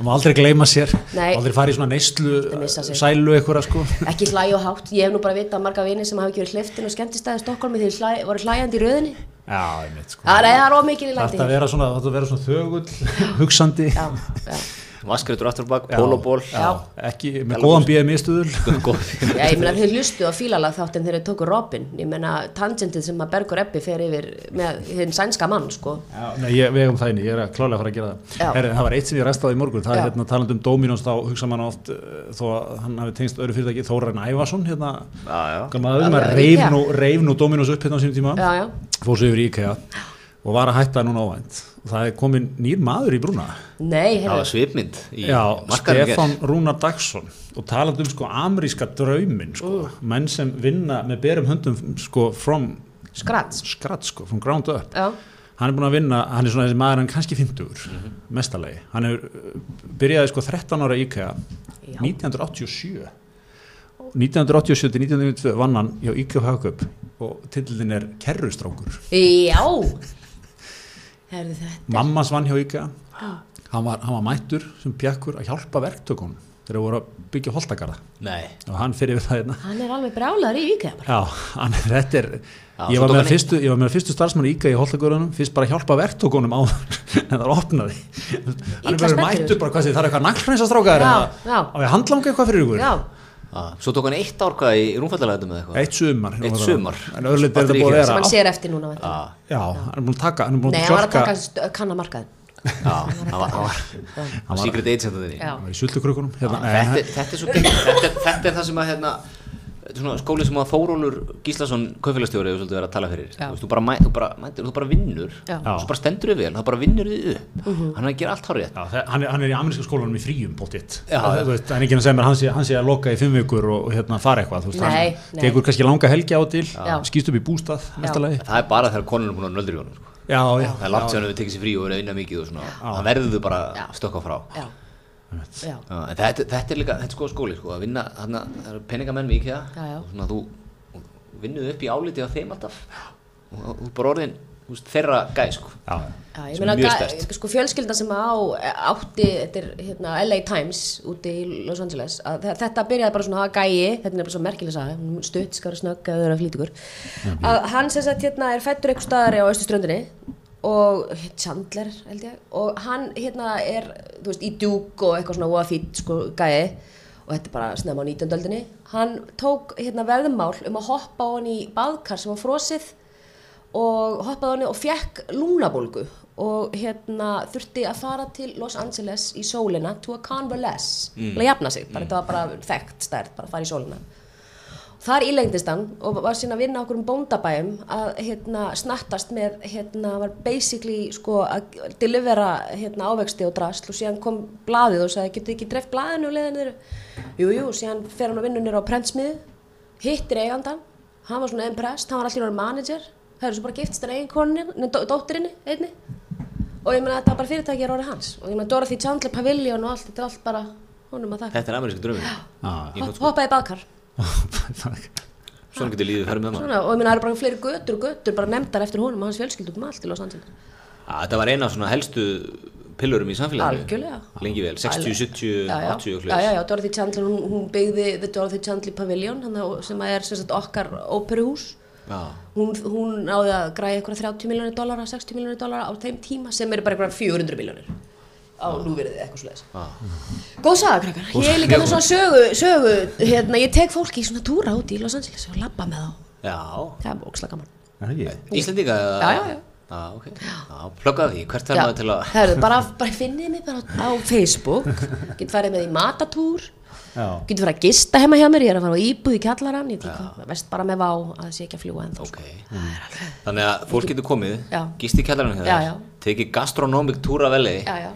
B: Það má aldrei gleyma sér,
C: Nei.
B: aldrei fara í svona neyslu,
C: að missa sig.
B: sælu einhverja sko.
C: ekki hlæ og hátt. Ég hef nú bara vitað marga vini sem hafa ekki verið hliftin og skemmtistæði í Stokkólmi þegar hlæ, voru hlæjandi í röðinni.
B: Já, ég veit sko.
C: Það er, það er ómikið í
B: Það
C: landi.
B: þarf að vera svona, það þarf að vera svona þögull, hugsandi.
C: Já, já.
A: Vaskreitur aftur á bak,
B: Já.
A: pólóból
B: Já, ekki, með
A: Galgos.
B: góðan BMI stuðul.
A: Góð
C: Já, ég meina þau hlustu á fílalag þáttinn þegar þau tóku Robin, ég meina tangentið sem að Bergur Ebbi fer yfir með hinn sænska mann, sko.
B: Já, nei, ég, við eigum það inni, ég er að klálega fara að gera
C: Já.
B: það Herri, það var eitt sem ég restaði í morgun það
C: Já.
B: er hérna talandi um Dominos þá hugsa mann oft uh, þó að hann hafi tengst öðru fyrirtæki Þóran Ævason hérna,
A: Já, já.
B: okkar maður, maður
C: Já,
B: reif
C: já.
B: nú, reif nú Dominos upp hérna á sínum tíma
C: Já, já.
B: fór svo yfir í IKEA og var að hætta núna óvænt og það er komin nýr maður í brúna
C: Nei,
A: Það var
C: heyrðu,
A: svipmynd í
B: Já,
A: markaðnum
B: Stefán Rúnar Dagsson og talandi um sko ameríska draumin sko, menn sem vinna með berum höndum sko from
C: skrats.
B: scratch sko, from ground up
C: Já,
B: hann er búinn að vinna, hann er svona þessi maður hann er kannski 50
A: Mhm.
B: mm mestalegi hann er, byrjaði sko 13 ára í IKEA
C: Já.
B: 1987 1987 til 1992 vann hann hjá IKEA Hagkaup og tillin er Kerrustrákur
C: já. Herðu þetta.
B: mammas vann hjá IKEA hann var, hann var mættur sem bjakkur að hjálpa verktökunum þegar voru að byggja holtakarða
A: Nei,
B: og hann fyrir við það hérna
C: Hann er alveg brjálaður í IKEA bara.
B: Já, hann, þetta er
A: Já,
B: ég,
A: svo
B: var
A: tók
B: með
A: hann
B: fyrstu, ég var með fyrstu starfsmann íka í Holtagörðunum fyrst bara að hjálpa verktókunum á en það er opnaði hann er
C: Illa
B: bara
C: spenntur.
B: mættur bara hvað sé, það er eitthvað naglrænsa strákaðar
C: Já, já.
B: á ég handlanga eitthvað fyrir ykkur
C: Já,
A: ah, svo tók hann eitt ár hvað í rúmfallalæðum eða eitthvað
B: eitt sumar
A: Eitt sumar.
B: en öðrulegt er þetta búið að
C: sem
B: vera
C: hann sér eftir núna. væntanlega.
A: ah,
B: já, hann er búin að taka hann er búin
C: Nei,
B: að
C: hann var að
B: sjokka
C: taka st- kanna markaðin.
A: Já, það var, það var, það var Secret Agent þarna inni.
C: Já.
B: hann var í sultukrökkunum hérna,
A: þetta,
B: en hann-
A: er- þetta er svo gegn þetta, er- þetta er það sem að hérna þetta er svona skóli sem að Þórólur Gíslason kaufélagstjóri hefur svolítið verið að tala fyrir
C: Já.
A: þú, veist, þú, bara, mæ, þú, bara, mætir, þú bara vinnur
C: Já. Mhm.
A: svo bara stendur við vel, það bara vinnur við upp hann er að gera allt hár rétt
B: Já, það- hann er- hann er í ameríska skólanum í fríum bóttið
A: Já, já.
B: en ekki hann segir mér hann sé, hann sé að loka í fimm vikur og, og hérna fara eitthvað þú veist,
C: Nei,
B: hann
C: nei.
B: tekur kannski langa helgi á til
C: Já.
B: skýst upp í bústað mesta lagi.
A: það er bara þegar konunum búin að nöldri honum sko.
B: já, já,
A: það er langt sér hann hefur tekið sér frí og verið að vinna mikið og svona það verður þú bara
C: Já.
A: stökka frá
C: Já, já.
A: Já, en þetta, þetta er líka, þetta er sko skóli sko, að vinna, þarna, það eru peningamenn mikið
C: Já, já.
A: og svona þú og vinnur upp í áliti á þeim alltaf og og þú er bara orðin, þú veist, þeirra gæ sko.
B: já, já.
C: Já, ég
A: Sem er
C: meina,
A: mjög
C: ga-
A: sterkt.
C: sko fjölskylda sem á eh, átti, þetta er hérna LA Times úti í Los Angeles, að þe- þetta byrjaði bara svona að gæi, þetta er nefnilega svo merkileg saga, hún stutt, skara snögg eða þau eru að flýta ykkur, að hann sem sagt hérna er fættur einhver staðar á Östuströndinni og Chandler held ég, og hann hérna er, þú veist, í djúk og eitthvað svona voða fýtt sko gæi og þetta er bara snemma á 19. öldinni, hann tók hérna veðmál um að hoppa á hann í baðkar sem var frosið og hoppaði á henni og fekk lungnabólgu og hérna þurfti að fara til Los Angeles í sólina to a convalesce, til að jafna sig, bara þetta var bara þekkt stærð, bara að fara í sólina Þar ílengdist hann og var síðan að vinna okkur um bóndabæjum að hérna, snattast með, hérna, var basically sko, að delivera hérna, ávexti og drasl og síðan kom blaðið og sagði, getur þið ekki dreift blaðinu og leiðinu þeirra? Jú, jú, síðan fer hann að vinna nýra á prentsmiðu, hittir eigandan, hann var svona impressed, hann var allir orðin manager, það eru svo bara giftst hann eigin konin, nei, dó- dóttirinni, einni, og ég meina þetta var bara fyrirtæki er orðið hans og ég meina Dorothy Chandler Pavilion og allt, þetta er allt bara honum að þakka.
A: Þetta er ameríski draumur
B: Já,
A: í
C: Hopp-
A: hnotskurn.
C: Hoppaði í baðkar.
A: Svona getur lífið farið með maður
C: Svona, og ég meina það eru bara fleiri götur og götur bara nefndar eftir honum og hans fjölskyldum um allt í Los Angeles
A: Að Þetta var eina af svona helstu pillurum í samfélaginu
C: Algjörlega.
A: Lengi vel, 60, 70,
C: já,
A: 80
C: já,
A: og
C: já, já,
A: hljóðis
C: já, Dorothy Chandler, hún, hún byggði The Dorothy Chandler Pavilion hana, sem að er sem sagt okkar óperuhús hún, hún náði að græja eitthvað 30 miljónir dollara, 60 miljónir dollara á þeim tíma sem eru bara eitthvað 400 miljónir á núverðið eitthvað svo leiðis Ah. Góð saga krakkar, ég er líka með svona sögu, sögu hérna, ég tek fólki í svona túra út í Los Angeles og labba með þá,
A: Já,
C: það er óksla gaman
B: er það ekki?
A: Íslendinga
C: Já, já, já.
A: Já, ok Já, pluggaði því, hvert er maður til að
C: Herðu, bara, bara finnið mig bara á Facebook getur farið með í matatúr
B: Já.
C: getur farið að gista heima hjá mér ég er að fara á íbúð í kjallarann ég veit ekki hvað, vest bara með vá að það sé ekki að fljúa ennþá sko.
A: Ok Þannig að fólk getur komið,
C: Mm. Já.
A: gist í kjallarinn hjá
C: Já,
A: þér
C: já.
A: Tekið gastronomic túra veli
C: já, já,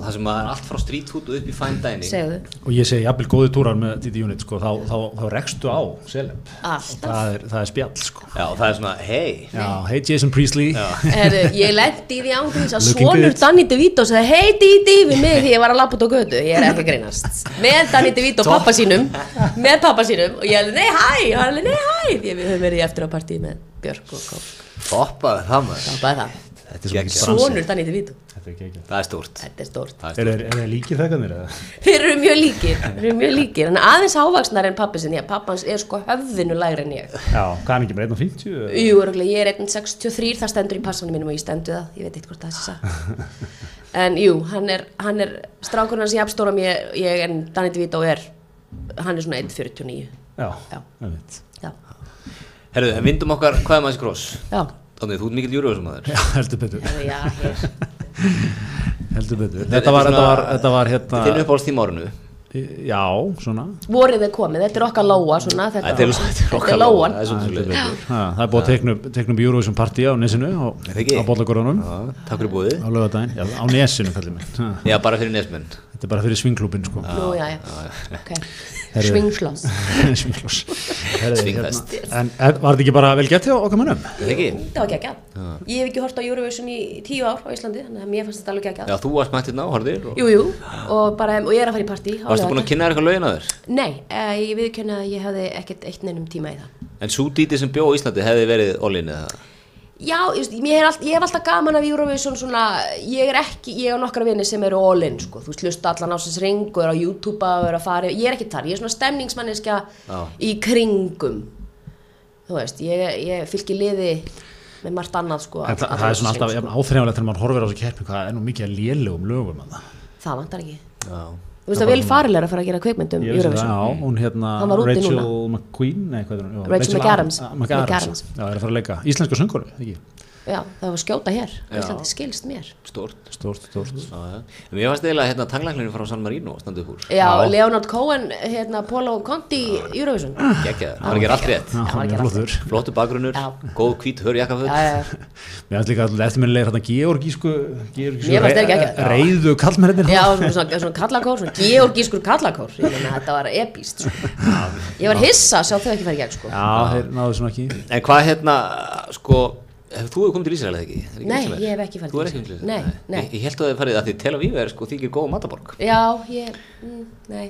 A: Og það sem maður er allt frá street food og upp í fine dining
C: segðu
B: Og ég segi jafnvel góði túrar með Didi Unit sko, þá, þá, þá rekstu á Seleb.
C: alltaf
B: Það er, það er spjall sko.
A: Já, það er svona, hei
B: Já, hey Jason Priestley.
C: Herðu, ég lendi í því ángríns að
B: Looking
C: sonur
B: good.
C: Danny DeVito sagði hei Didi við mig því ég var að labba út á götu ég er ekki að greinast með Danny DeVito og pappa sínum með pappa sínum og ég er alveg nei hæ og hann alveg nei hæ því við höfum verið í eftir á partíi með Björk og Kók
A: Hoppaði það maður
C: það er það
B: Þetta er svo mikið
A: Geggjað.
B: bransi.
C: sonur Danny DeVito
B: Þetta er geggjað.
A: Það er stórt
C: þetta er stórt
A: Það er
B: Er það líkir þegarnir eða?
C: Þeir eru mjög líkir, þeir eru mjög líkir, en aðeins ávaksnar en pappi sinni, pappi hans er sko höfðinu lægri en ég.
B: Já, hvað er mikið með 1.50? eða?
C: Jú, örugglega, ég er 1.63, það stendur í passanum mínum og ég stendu það, ég veit eitthvað hvort það sé satt. En jú, hann er, hann er, strákurinn hans jafnstóra mér, ég en Danny DeVito er, hann er svona 1.49,
B: Já,
C: Já.
B: ég veit.
C: já,
A: stórt Herðu, en vindum okkar, hvað er maður kross?
C: já,
A: Þannig, þú ert mikill júruvæðsmaður
B: Já, heldur betur.
C: Herðu, já, hér,
B: Heldur betur.
A: Þetta
B: Þetta
A: er
B: var,
A: svona-
B: þetta var, þetta var hérna...
A: Þinn uppáhalds tíma árinu
B: Já, svona.
C: vorið er komið, þetta er okkar láa svona, þetta,
A: Þetta er- þetta er
C: þetta
A: okkar
C: er láan.
A: Það er svona svolítið
B: Ha, Það er búið að teikna upp- teikna upp Eurovision partí á nesinu á,
A: Er það ekki?
B: á bollagorðunum
A: Já, Takk fyrir búið
B: á lögadaginn, já, á nesinu kallir mig Ha,
A: Já, bara fyrir nesmenn
B: Þetta er bara fyrir svingklúbin sko
C: Nú, já, já, ok,
B: Herðu.
C: svingslás.
B: Svingklós Herðu, hérna-
A: Svingfest.
B: En er, var þetta ekki bara vel gett hjá okkar mönnum?
A: Er það ekki?
C: Það var geggjað. Ég hef ekki hort á Eurovision í tíu ár á Íslandi, þannig að mér fannst þetta alveg geggjað.
A: Já, þú varst mættið ná, harðir og...
C: Jú, jú, og, bara, og ég er að fara í partí. á
A: Varstu búin að
C: laugardag.
A: kynna þér eitthvað lögin að þér?
C: Nei, eh, ég viðkjönda að ég hefði ekkert eitt neinum tíma í það.
A: En svo díti sem bjó á Íslandi hefði verið Ollin eða
C: Já, ég, veist, mér er allt, ég hef alltaf gaman af Eurovision svona, ég er ekki, ég og nokkra vini sem eru all-in, sko, þú veist, hlusta allan ásins ring og eru á YouTube og eru að fara, ég er ekki þar, ég er svona stemningsmanniska
A: Já.
C: í kringum, þú veist, ég, ég fylgir liði með margt annað, sko.
B: En, það, það er svona alltaf áþreyfalegt þegar maður horfir á þessu keppni hvað er nú mikið að lélugum lögum að það
C: Það vantar ekki.
A: Já
C: Þú veist að Vil Farrell er að fara að gera kveikmyndum
B: Ég vissi það,
C: Eurovision.
A: Mm.
B: Já, hún hérna
C: Hann var úti
B: Rachel
C: núna.
B: McQueen nei, hvað er hún? Já,
C: Rachel McAdams.
B: Ad- McAdams
C: McAdams.
B: Já, er að fara að leika Íslenska söngur, ekki?
C: Já, það var skjóta hér.
A: Já.
C: Íslandi skilst mér.
A: Stort
B: Stórt, stórt
A: Já, já En mér varst eiginlega hérna tanglæklinni frá San Marino standu upp úr
C: Já, Leonard Cohen, hérna, Polo Conti, Eurovision.
A: Gekkjaður, hann er ekki allt rétt
B: Já,
C: Það var
B: hann
C: ekki
B: er flottur
A: Flottu bakgrunnur,
C: Já.
A: góð hvít hör jakkaföld
C: Já, já, já.
B: Mér finnst líka alltaf eftirminnilegir hérna georgísku, georgísku
C: Mér fannst þeir geggjaðir.
B: rei- reiðu kallmennir
C: Já, svona, svona, svona kallakór, svona georgískur kallakór. Ég meina, þetta var epíst, sko. Ég var hissa að sjá þau ekki fara í gegn, sko.
B: Já, þeir náðu svona ekki
A: En hvað hérna, sko Hefur þú hefur komið til Ísrael eða ekki? Er ekki
C: Nei,
A: Ísrael?
C: ég hef ekki farið
A: Þú
C: til
A: er ekki
C: Ísrael.
A: til Ísrael?
C: Nei, nei.
A: Ég, ég held að þið farið að því Tel Aviv er sko þykir góð mataborg
C: Já, ég, mm, nei.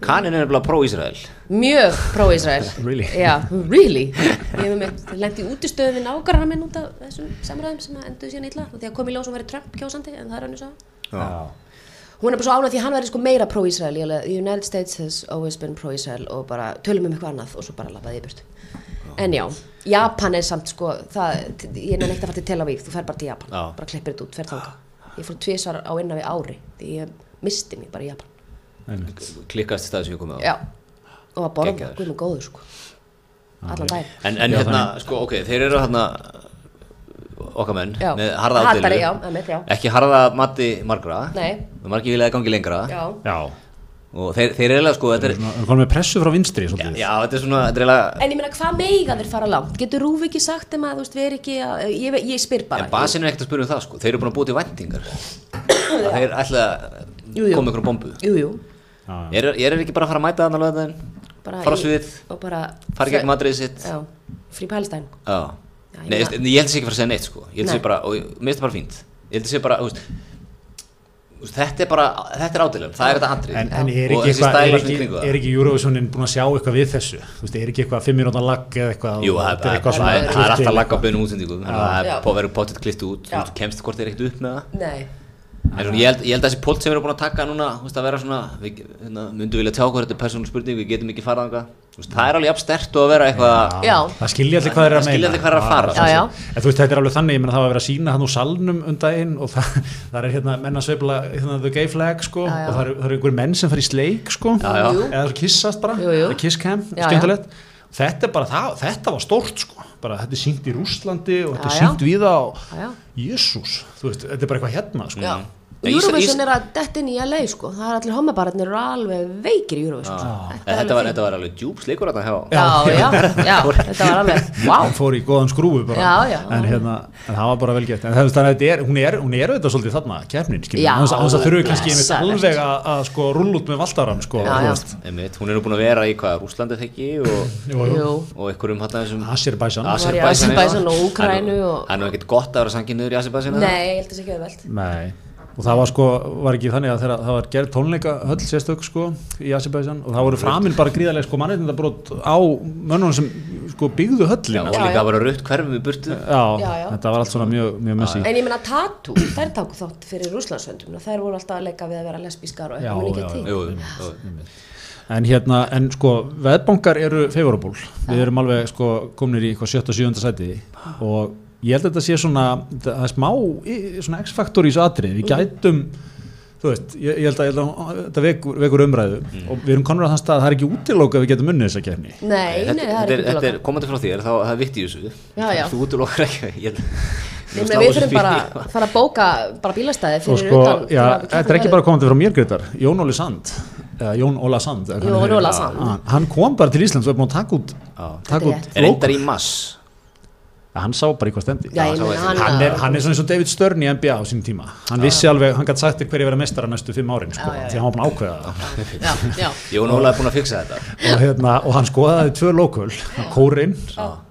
A: Kanin er nefnilega pró-Ísrael
C: Mjög pró-Ísrael.
B: Really?
C: Já, really. Ég hef með lendi útistöðu við nágrannar minn út af þessum samræðum sem að enduðu síðan illa. Því að kom í ljós og verið Trump kjósandi, en það er hann svo.
B: Já,
C: Hún er bara svo ánægð því að hann verði sko meira pro-Israel, ég alveg, the United States has always been pro-Israel og bara tölum um eitthvað annað og svo bara labbaði ég burt. En já, Japan er samt sko, það, ég er neitt að fara til Tel Aviv, þú fer bara til Japan,
A: Já.
C: bara klippir þetta út, fer þangað. Ég fór tvisar á innan við ári, því ég misti mig bara í Japan.
B: einmitt
A: Klikkast í staði sem ég komið á
C: Já, og að borða,
A: Geggjaður.
C: guð með góður sko, allan daginn.
A: En, en
B: Já,
A: hérna, sko, ok, þeir eru hérna okkar menn,
C: Já.
A: með harða
C: Hatari,
A: ádeilu.
C: já, einmitt, já.
A: ekki harða mati margra
C: Nei.
A: margi viljaði gangi lengra
C: Já,
B: Já,
A: og þeir, þeir eru eiginlega sko þetta er,
B: Svona, Við komum með pressu frá vinstri
A: já,
B: svolítið.
A: já, þetta er svona, þetta er eiginlega
C: En ég meina, hvað meiga þeir fara langt? Getur Rúf ekki sagt þeim að, þú veist, við erum ekki að, ég, ég spyr bara.
A: en basin er ekkert að spyrja um það sko, þeir eru búin að búa til væntingar Að þeir ætla að
C: Jú, jú.
A: koma ykkur á bombu
C: Jú, jú.
B: Já, já.
A: ég er, ég er ekki bara að fara að mæta þannig að
C: Bara
A: fara á
C: í-
A: sviðið,
C: Og bara.
A: fara í gegnum atriðið sitt
C: Já, frí Palestine.
A: Já,
C: Já, ég
A: Nei,
C: meina-
A: ég, ég held þess ekki að fara að segja neitt sko Ég held
C: Nei.
A: þess bara, og ég- mér finnst það bara fínt Ég held þess bara, þú veist þú veist, Þetta er bara, þetta er ádilum, það er þetta atrið
B: En, en er,
A: Og
B: ekki
A: þessi
B: eitthvað, er,
A: stælar sem
B: ekki,
A: kringu
B: er
A: það
B: ekki Eurovisionin búin að sjá eitthvað við þessu? Þú veist, er ekki eitthvað fimm mínúta lagg eða eitthvað?
A: Jú,
B: og
A: það
B: þetta
A: það-
B: eitthvað
A: það er
B: svona
A: það er
B: klift
A: alltaf
B: inn.
A: lagg á bönum útsendingum Þannig að
C: Já.
A: það er- verður pottet klift út
C: Já.
A: Þú veist, kemst hvort þeir ekkert upp með það
C: Nei.
A: En svona, ég, held, ég held að þessi pólt sem við erum búin að taka núna þú veist, að vera svona, við hérna, myndum vilja tjá hvað þetta er persónum spurning, við getum ekki farað þangað. Þú veist, Það er alveg jafnstert og að vera eitthvað
C: Já.
B: Það skilja allir hvað þeir eru að
A: Það
B: meina.
A: skilja allir hvað þeir eru að fara.
C: Já, já.
B: En þú veist, þetta er alveg þannig, ég menna það var að vera að sína hann úr salnum undan inn og það, það er hérna menn að sveifla hérna, the gay flag, sko,
C: Já, já.
B: og það eru er einhver menn sem fer í sleik, sko,
A: Já, já.
C: Jú.
B: eða svo kissast bara,
C: Jú, jú.
B: eða kiss cam,
C: Já, já.
B: skemmtilegt. Þetta er bara það, þetta var stórt, sko, bara þetta er sínt í Rúslandi og þetta
C: Já,
B: er
C: já.
B: sínt víða og
C: Já, já.
B: jésús, þú veist, þetta er bara eitthvað hérna, sko.
C: Já.
A: Nei, Ís-
C: Eurovision
A: Ís-
C: er að detta inn í LA sko, það er allir homabararnir eru alveg veikir í Eurovision sko.
A: En Þetta var, þetta var alveg djúb sleikur að hjá
C: Já, já, já, þetta var alveg,
B: Hann
C: wow,
B: fór í góðan skrúfu bara
C: Já, já.
B: En, hérna, en það var bara vel gett en það, þannig að þetta er, hún er, hún er auðvitað svolítið þarna keppnin, skiljum,
C: Já,
B: á þess að- á þess að þurfi kannski einmitt
C: blessalegt.
B: alveg að, að sko rull út með valdarann sko,
C: Já,
B: þú
C: já.
B: veist.
A: Einmitt, hún er nú búin að vera í hvað, Rúslandi þekki og,
B: Jú, jú.
C: jú,
A: og einhverjum hann þessum
B: Azerbaijan
C: Var í Aserbaídsjan og Úkraínu og-
A: Það er nú ekkert gott að vera sangin niður í Azerbaijan
C: nei, ég held þess ekki auðvelt
B: Nei og það var sko, var ekki þannig að þegar það var gerð tónleika höll sérstök sko í Azerbaijan og það voru framin bara gríðarlega sko mannréttindabrót á mönnunum sem sko byggðu
A: Já,
B: höllina
A: og
B: Já,
A: líka að vera rutt hverfum í burtu
C: Já, já.
B: þetta var allt svona mjög, mjög messi
C: En ég meina Tatu, þær táku þátt fyrir Rúslandsöndum þær voru alltaf að leika við að vera lesbískar og
B: Já,
C: eitthvað muni
B: já,
C: ekki til
A: Jú, jú,
B: En hérna, en sko, veðbankar eru favorable, við erum alveg sko komnir í eitthvað 77. sæti og ég held að þetta sé svona, það er smá, í- svona x-faktor í þessu atrið, við gætum, þú veist, ég, ég held að, ég held að þetta vekur, vekur umræðu og við erum konur að þann stað að það er ekki útilóka að við getum unnið þessa kefni.
C: Nei, nei, það er
A: þetta,
C: ekki
A: þetta er
C: útilokað.
A: komandi frá þér, þá það er vitt í þessu
C: Já, já.
A: Þú útlokar ekki ég held- ég vil
C: Nei, meina,
A: slá
C: Við
A: þessu
C: þurfum
A: fyrir.
C: bara að fara að bóka bara bílastæði
B: Og
C: fyrir
B: sko,
C: utan
B: já,
C: til að
B: þetta er ekki bara komandi frá mér, Gretar, Jón Óli Sand, eða Jón Óla Sand. eða hvað hann
C: Jón
B: heitir.
C: Óla Sand.
B: Hann- Hann kom bara til Íslands og er búin að taka út,
A: Já.
B: taka
C: Þetta er
B: út
A: Er
B: lók.
A: Reyndar í mass
B: Hann sá bara í hvað stemdi.
C: Já,
A: Já,
C: ég meina
A: sá
C: hann,
A: ég
B: hann er, hann er svona eins og David Stern í NBA á sín tíma hann vissi alveg, hann gæti sagt þér hverju verið mestara næstu fimm árin sko,
C: Já, já, já.
B: því hann var búin að ákveða það
C: Já, já,
A: Jón Óla er búin að fixa þetta
B: og, hérna, og hann skoðaði tvö lokul hann Kórin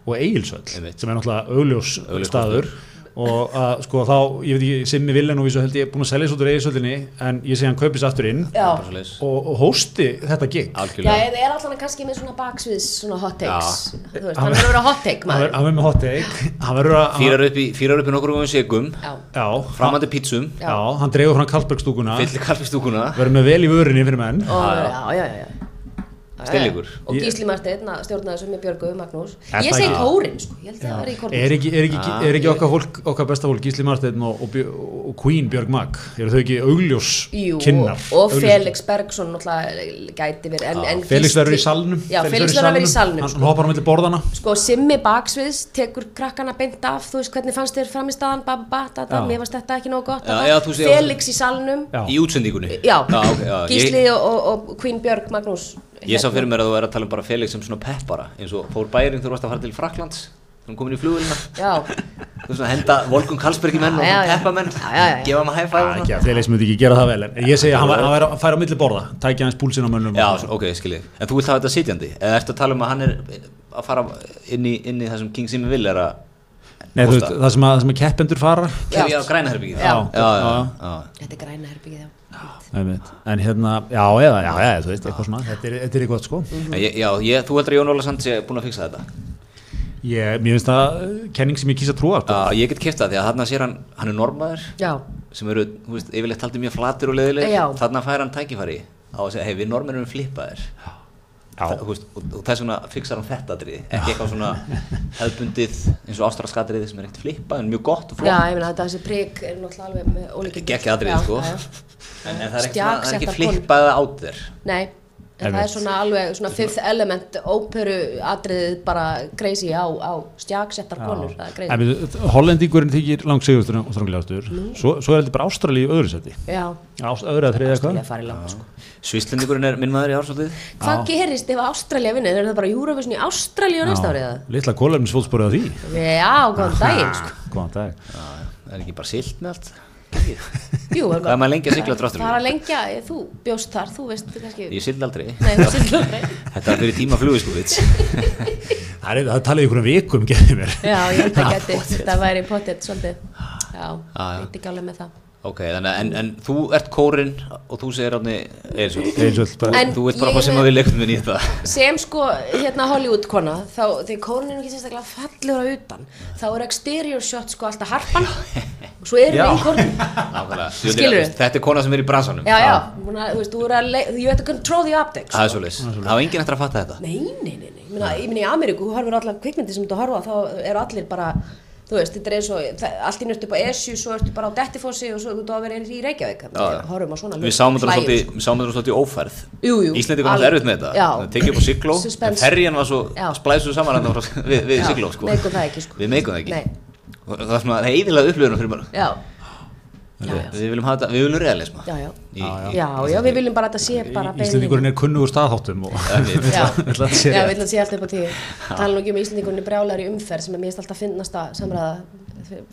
B: og Egilsöll
A: Einmitt.
B: sem er náttúrulega augljós
A: Augljós
B: staður og að, sko þá, ég veit ekki Simmi Villen og vísu held ég er búin að selja þessu út úr Egilsöllinni en ég segi hann kaupis aftur inn
C: já
A: Bara svoleiðis.
B: og, og hósti þetta gig
C: Ah. Já,
A: Algjörlega
C: það er alltaf kannski með svona baksviðs svona hot takes Þú
B: Hann-
C: veist, Hann verður að vera hot take
B: hann
C: maður
B: verður með hot take hann verður að hann-
A: Fýrar upp í, fýrar upp í nokkur um segum
C: Já,
B: já, hann,
A: Framandi pítsum
C: Já.
B: já, hann dreigur frá Karlbergstúkuna
A: Fyllir kalpistúkuna
B: verður með vel í vörinni fyrir menn
C: Ó,
A: Já,
C: já,
A: já.
C: já, já, já. Já,
A: Stillingur.
C: já, já. Og
B: Ég-
C: Gísli Marteinn að stjórna þessu með Björgu og Magnús
B: Er
C: Ég
B: það
C: segi
B: ekki?
C: kórin, sko, ég held að það verði í kórin
B: er ekki, er ekki, er ekki okkar, fólk, okkar besta fólk Gísli Marteinn og, og, Bjö- og Queen Björg Mag eru þau ekki augljós
C: Jú,
B: kinnar
C: og
B: Augljós-
C: Felix Bergson náttúrulega gæti verið en, en
B: Felix
C: Gísli-
B: verður í salnum
C: Já, Felix verður að vera í salnum
B: hann
C: sko.
B: hann hoppar á milli borðana
C: sko, Simmi Baksviðs tekur krakkana beint af Þú veist hvernig fannst þér fram í staðan ba, ba, ba, da,
B: Já.
C: Mér varst þetta ekki nóg gott
A: Já,
C: da,
A: já,
C: da.
A: þú segir-
C: Felix í salnum
B: Já.
A: Í útsendingunni
C: Já,
A: ok, já ég-
C: Gísli og, og, og Queen Björg Magnús
A: Ég sá fyrir mér að þú er að tala um bara Felix sem svona peppara eins og fór bæring þú varst að fara til Fraklands þú erum komin í flugulina
C: Já,
A: þú veist svona henda Volkun Karlsbergi menn og
C: Já, já.
A: peppa menn
C: Já, já, já.
A: gefa maður hæfæð
B: Ah, ekki, að Felix myndi ekki gera það vel en ég segi að hann var- hann væri að færa á milli borða tækja hans púlsinn á mönnum
A: Já,
B: og-
A: svona, ok, skiljið En þú vilt hafa þetta sitjandi eða ertu að tala um að hann er að fara inn í, inn í það sem King Simi vil er að
B: Nei, þú veist, það sem að, það sem að keppendur fara
A: kefja á grænaherbyggið
C: Já.
A: já, já, já.
C: þetta er græna herbyggið þá
B: einmitt. en hérna, já eða, já, já, þú veist, eitthvað svona þetta er, þetta er eitthvað sko
A: En Ég, já ég, þú heldur að Jón Óla Sand sé búin að fixa þetta
B: ég, mér finnst það eh, kenning sem ég kýsa trúa sko.
A: Já, ég get kipta því að þarna sér hann hann er normaður
C: Já,
A: sem eru, þú veist, yfirleitt haldið mjög flatir og leiðilegir
C: Já.
A: þarna fær hann tækifæri á að segja, hei, við normenn erum flippaðir
B: Já.
A: Þa- þú veist, og, og þess vegna fixar hann þetta atriði, ekki eitthvað svona hefðbundið eins og ástraskatriði sem er ekkert flippað en mjög gott og
C: Já,
A: flott
C: ég meina þetta þessi prik er náttúrulega alveg með ólíkjum
A: ekki atriði sko en, en það er ekkert svona- það er ekki
C: Stjaksettar konur.
A: flippað out there
C: Nei, En það er
D: Einmitt.
C: svona alveg svona fifth element óperu atriðið bara crazy á, á stjáksettar konur, það er
D: En
C: crazy.
D: við- Hollendingurinn þykir langsigustur og stranglegastur svo, svo er þetta bara Ástralíu öðru seti
C: Já,
D: Ást, öðru að þriða
C: Ástralja
D: eitthvað
C: farið langt sko.
A: Svíslendingurinn er minn maður í ársótið
C: Hvað gerist ef Ástralja vinnir? Er það bara Eurovision í Ástralja á næsta árið eða?
D: litla kólefnisfótsporið á því
C: Já, góðan daginn sko.
D: Góðan dag
A: Það er ekki bara silt með allt
C: Jú,
A: Hvað er maður lengi að sigla dráttur?
C: Það er að lengja, ég- þú bjóst þar, þú veist kannski
A: Ég sild aldrei
C: Nei, þú silt aldrei
A: Þetta var fyrir tíma flugu sko vits
D: Það er það talið ykkur um vikum gefið mér
C: Já, ég held ekki að þetta- þetta væri pottet svolítið Já,
A: Ah, já.
C: veit ekki alveg með það
A: Ok, þannig að en, en þú ert kórinn og þú segir átni Eirsson
D: Eins og bara
C: En
A: Þú veit bara
C: ég
A: hvað sem
C: vil-
A: að við leiktum við nýtt það
C: sem sko hérna Hollywood kona þá þegar kórinn er nú ekki sérstaklega fallur á utan þá er exterior shot sko alltaf harpan og svo er
A: Já.
C: við í kórinn
A: Nákvæmlega
C: Skilurðu?
A: Þetta er kona sem er í bransanum
C: já já, Muna, þú veist, þú er að le- you have to control the optics
A: Ah. Það er svoleiðis Það var enginn eftir að fatta þetta
C: nei, nei, nei, nei. Ég Meina, ég meina í Ameríku, þú horfir á allar kvikmyndi sem þú horfa á, þá eru allir bara þú veist, þetta er eins og, það- allt inn ertu upp á Esju svo ertu bara á Dettifossi og svo þú ert að vera í Reykjavík,
A: Já, já.
C: horfum á svona
A: Við
C: lög,
A: sáum þetta
C: hlæjum,
A: svolítið- við sáum þetta svolítið ófærð
C: Jú, jú.
A: Íslendingur var
C: Alveg.
A: erfitt með þetta
C: Já.
A: Það tekið upp á sigló En
C: Suspense.
A: ferjan var svo
C: Já.
A: splæsuð saman þarna frá- við, við
C: Já,
A: sigló sko.
C: meikum það ekki, sko.
A: Við meikum það ekki
C: Nei.
A: Og Það er svona það er eiginlega upplöðunum fyrir bara
C: já, já, já.
A: Við viljum hafa þetta, við viljum realisma
C: Já, já.
A: Í- í-
C: já, já, við viljum bara að þetta sé bara bein lína.
D: Íslendingurinn er kunnugur staðháttum og
C: Já,
D: vill að sé
C: já,
D: rétt.
C: vill að sé allt upp á tíu tala nú ekki um íslendingunni brjálar í umferð sem er mest alltaf finnast að samræða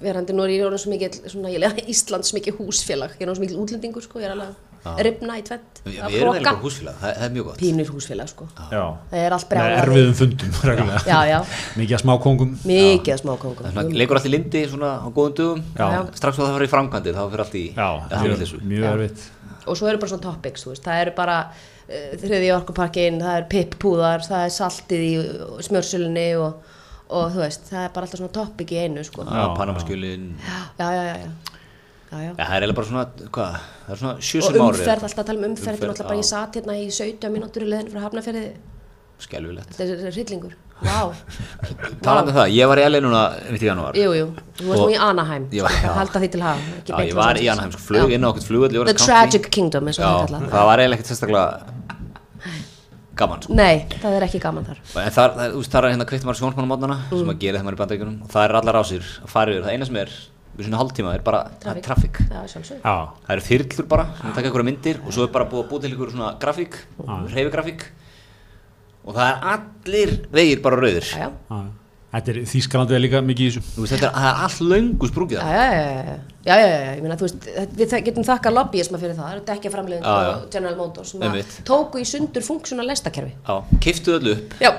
C: verandi nú er ég orðin svo mikið svona, ég lega Ísland svo mikið húsfélag ég er orðin svo mikið útlendingur sko, ég er alveg að ripna í tvent
A: Við,
C: að
A: við erum
C: hroka.
A: eiginlega húsfélag, það, það er mjög gott
C: pínur húsfélag sko
D: Já.
C: það er allt
D: Með
C: brjálar
D: erfiðum fundum reglulega.
C: já, já,
D: Mikið að smákongum
C: mikið að smákongum
A: Það er svona- leikur allt í lindi svona á góðum dögum
C: Já.
A: strax og það fyrir framkvæmdi þá fyrir allt í
D: Já,
A: það fyrir
D: mjög,
A: þessu
D: mjög erfitt
C: og svo eru bara svona topics, þú veist, það eru bara uh, þriði orkuparkin, það eru pippúðar það er saltið í uh, smjörsölunni og, og þú veist, það er bara alltaf svona topic í einu sko
A: Já, Panamaskjölin
C: já, já, já, já. já, já.
A: ja, það er eiginlega bara svona, hvað, það er svona
C: og
A: sjösum ári
C: umferð, alltaf að tala um umferð, þetta er náttúrulega bara
A: já.
C: ég satt hérna í 17 mínútur í leðinu frá Hafnarferði
A: skelvilegt
C: þetta er hryllingur, vá
A: talandi um það, ég var í LA núna mitt í janúar
C: jú, jú, þú varst nú
A: Og-
C: í Anaheim
A: Já,
C: já,
A: já.
C: halda því til hafa ekki
A: Já,
C: beint
A: ég
C: Los
A: var í
C: Angeles.
A: Anaheim, sko, flug
C: Já.
A: inn á okkur flugvöld
C: The Tragic Kingdom, eins og það er kallað
A: það var eiginlega ekkert sérstaklega gaman sko.
C: nei, það er ekki gaman þar
A: en þar, það, úst, þar er hérna kveitt maður sjónsmann á mótnana
C: Mm.
A: sem að gera þegar maður er í bandaríkunum og það er allar á sér að fara yfir, það eina sem er við svona hálftíma er bara
C: Traffic.
A: traffic
C: já, sjálfsög
D: Já,
A: Það eru þyrlur bara, sem taka einhverja myndir og svo er bara búið að búið til einhverju svona grafík,
C: Ah.
A: reyfigrafík og það er allir vegir bara rauðir.
C: já, já,
D: já. Þetta er Þýskalandi er líka mikið í þessu
A: Þú veist, þetta er, það er allt löngu sprungið
C: já,
A: það.
C: já, já, já, já, já, já, ég meina, þú veist, við þa- getum þakkað lobbyisma fyrir það, það eru dekkja
A: Já, já.
C: og General Motors sem að
A: Einmitt.
C: tóku í sundur funksjóna lestakerfi
A: Já, keiftuðu öllu upp,
C: já,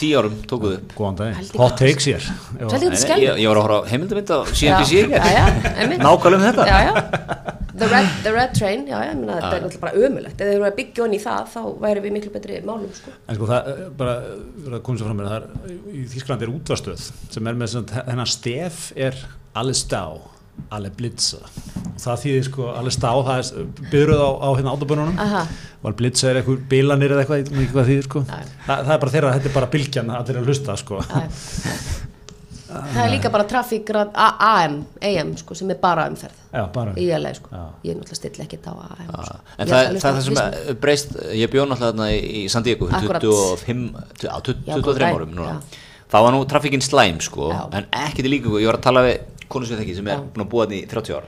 A: tíu árum tókuðu upp.
D: Góðan dag,
C: Heldur
D: hot takes hér Já.
C: Heldur Þetta er
A: Nei, nei, Ég,
C: skelfilegt.
A: ég var að horfa á heimildamind á CNBC
C: Já, já, já,
A: ekki,
C: einmitt.
A: nákvæmlega um þetta.
C: já, já. The, red, the red Train, já, já, ég meina, þetta er náttúrulega bara ömulegt. Ef við erum að byggja onni í það, þá væri við miklu betri málum, sko.
D: En sko það, eh, bara, verður að koma svo fram með það er, í Þýskalandi er útvarstöð sem er með svona, hennar stef er alle stá, alle blitza og það þýðir sko, alle stá það er byrjuð á, á hérna átabönunum
C: Aha.
D: og alle blitza er eitthvað bilanir eða eitthvað, ég veit ekki hvað þýðir sko
C: Já.
D: það, það er bara þeirra, þetta er bara bylgjan að þeirra hlusta sko
C: Það er, það er líka bara trafík AM, AM, sko, sem er bara umferð.
D: Já, bara
C: Í LA, sko.
D: Já.
C: Ég er náttúrulega stilla ekkert á AM,
A: Já,
C: sko.
A: En
C: Ég
A: það,
C: ætla að
A: það, það er
C: hlusta á
A: það sem
C: Disney.
A: er breyst, eh, ég bjó náttúrulega þarna í- í San Diego fyrir
C: Akkúrat.
A: 25, á 20
C: Já,
A: 23
C: góðan
A: árum
C: daginn,
A: núna.
C: já.
A: Það var nú trafíkinn slæm sko,
C: Já.
A: en ekkert í líku, ég var að tala við konu sem ég þekki sem er
C: Já. Mm.
A: búin að búa þarna í 30 ár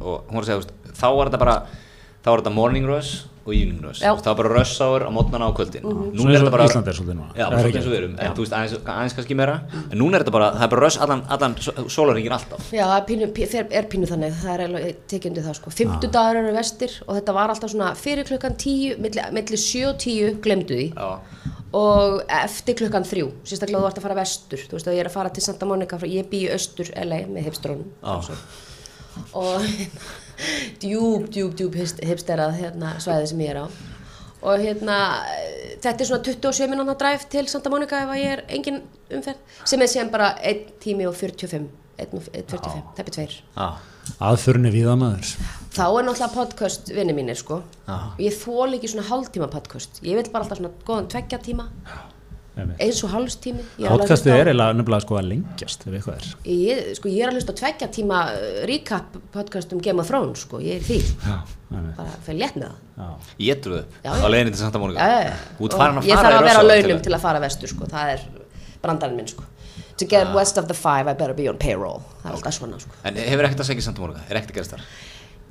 A: og hún var að segja, þú veist, þá var þetta bara, þá var þetta morning rush og evening rush, Þú
C: Já. Mhm.
A: veist, það var bara rush hour á mótnana og kvöldin.
D: Svona
A: Núna
D: eins
A: er
D: og
A: þetta bara,
D: Ísland er svolítið núna.
A: Já,
D: Er
A: bara
D: ekki?
A: svona eins og við erum, en þú veist, aðeins, aðeins kannski meira, en núna er þetta bara, það er bara rush allan, allan sólaringin alltaf.
C: Já, það er pínu, pí- þeir er pínu þannig, það er alveg tekjandi það sko. Fimmtudagar eru vestir og þetta var alltaf svona fyrir klukkan tíu, milli, milli sjö og tíu, glemdu því.
A: Já.
C: og eftir klukkan þrjú sérstaklega þú ert að fara vestur þú veist að ég er að fara til Santa Monica frá, ég bý í austur LA með hipstrónum
A: Já.
C: og djúb, djúb, djúb hipst- hipsterað hérna, svæði sem ég er á og hérna eh, þetta er svona 27 minúna dræf til Santa Monica ef að ég er engin umferð sem er síðan bara 1 tími og 45 1 og 45, teppi 2
A: Já.
D: Aðförinni viða maður
C: þá er náttúrulega podcast vinni mínir sko
A: Já.
C: og ég þól ekki svona hálftíma podcast ég vil bara alltaf svona góðan tveggja tíma
D: Einmitt.
C: eins og hálfstími ég alveg að
D: Podcastið
C: hlusta á-
D: er eiginlega nefnilega sko að lengjast ef eitthvað er.
C: ég, sko, ég er að hlusta á tveggja tíma eh, recap podcast um Game of Thrones sko, ég er í því,
D: Já, einmitt,
C: bara fyrir létt með það
D: já.
A: Ég dröðu upp
C: Já,
A: á
C: já.
A: leiðinni til Santa Monica
C: Já, já, já.
A: Þú ert
C: Og
A: farin að
C: ég
A: fara í
C: þarf að vera á
A: Rössal
C: launum til að fara vestur sko, það er brandarinn minn sko to get
A: Ah.
C: west of the five I better be on payroll það er alltaf svona sko
A: En hefur ekkert að segja í Santa Monica, er ekkert að gerast þar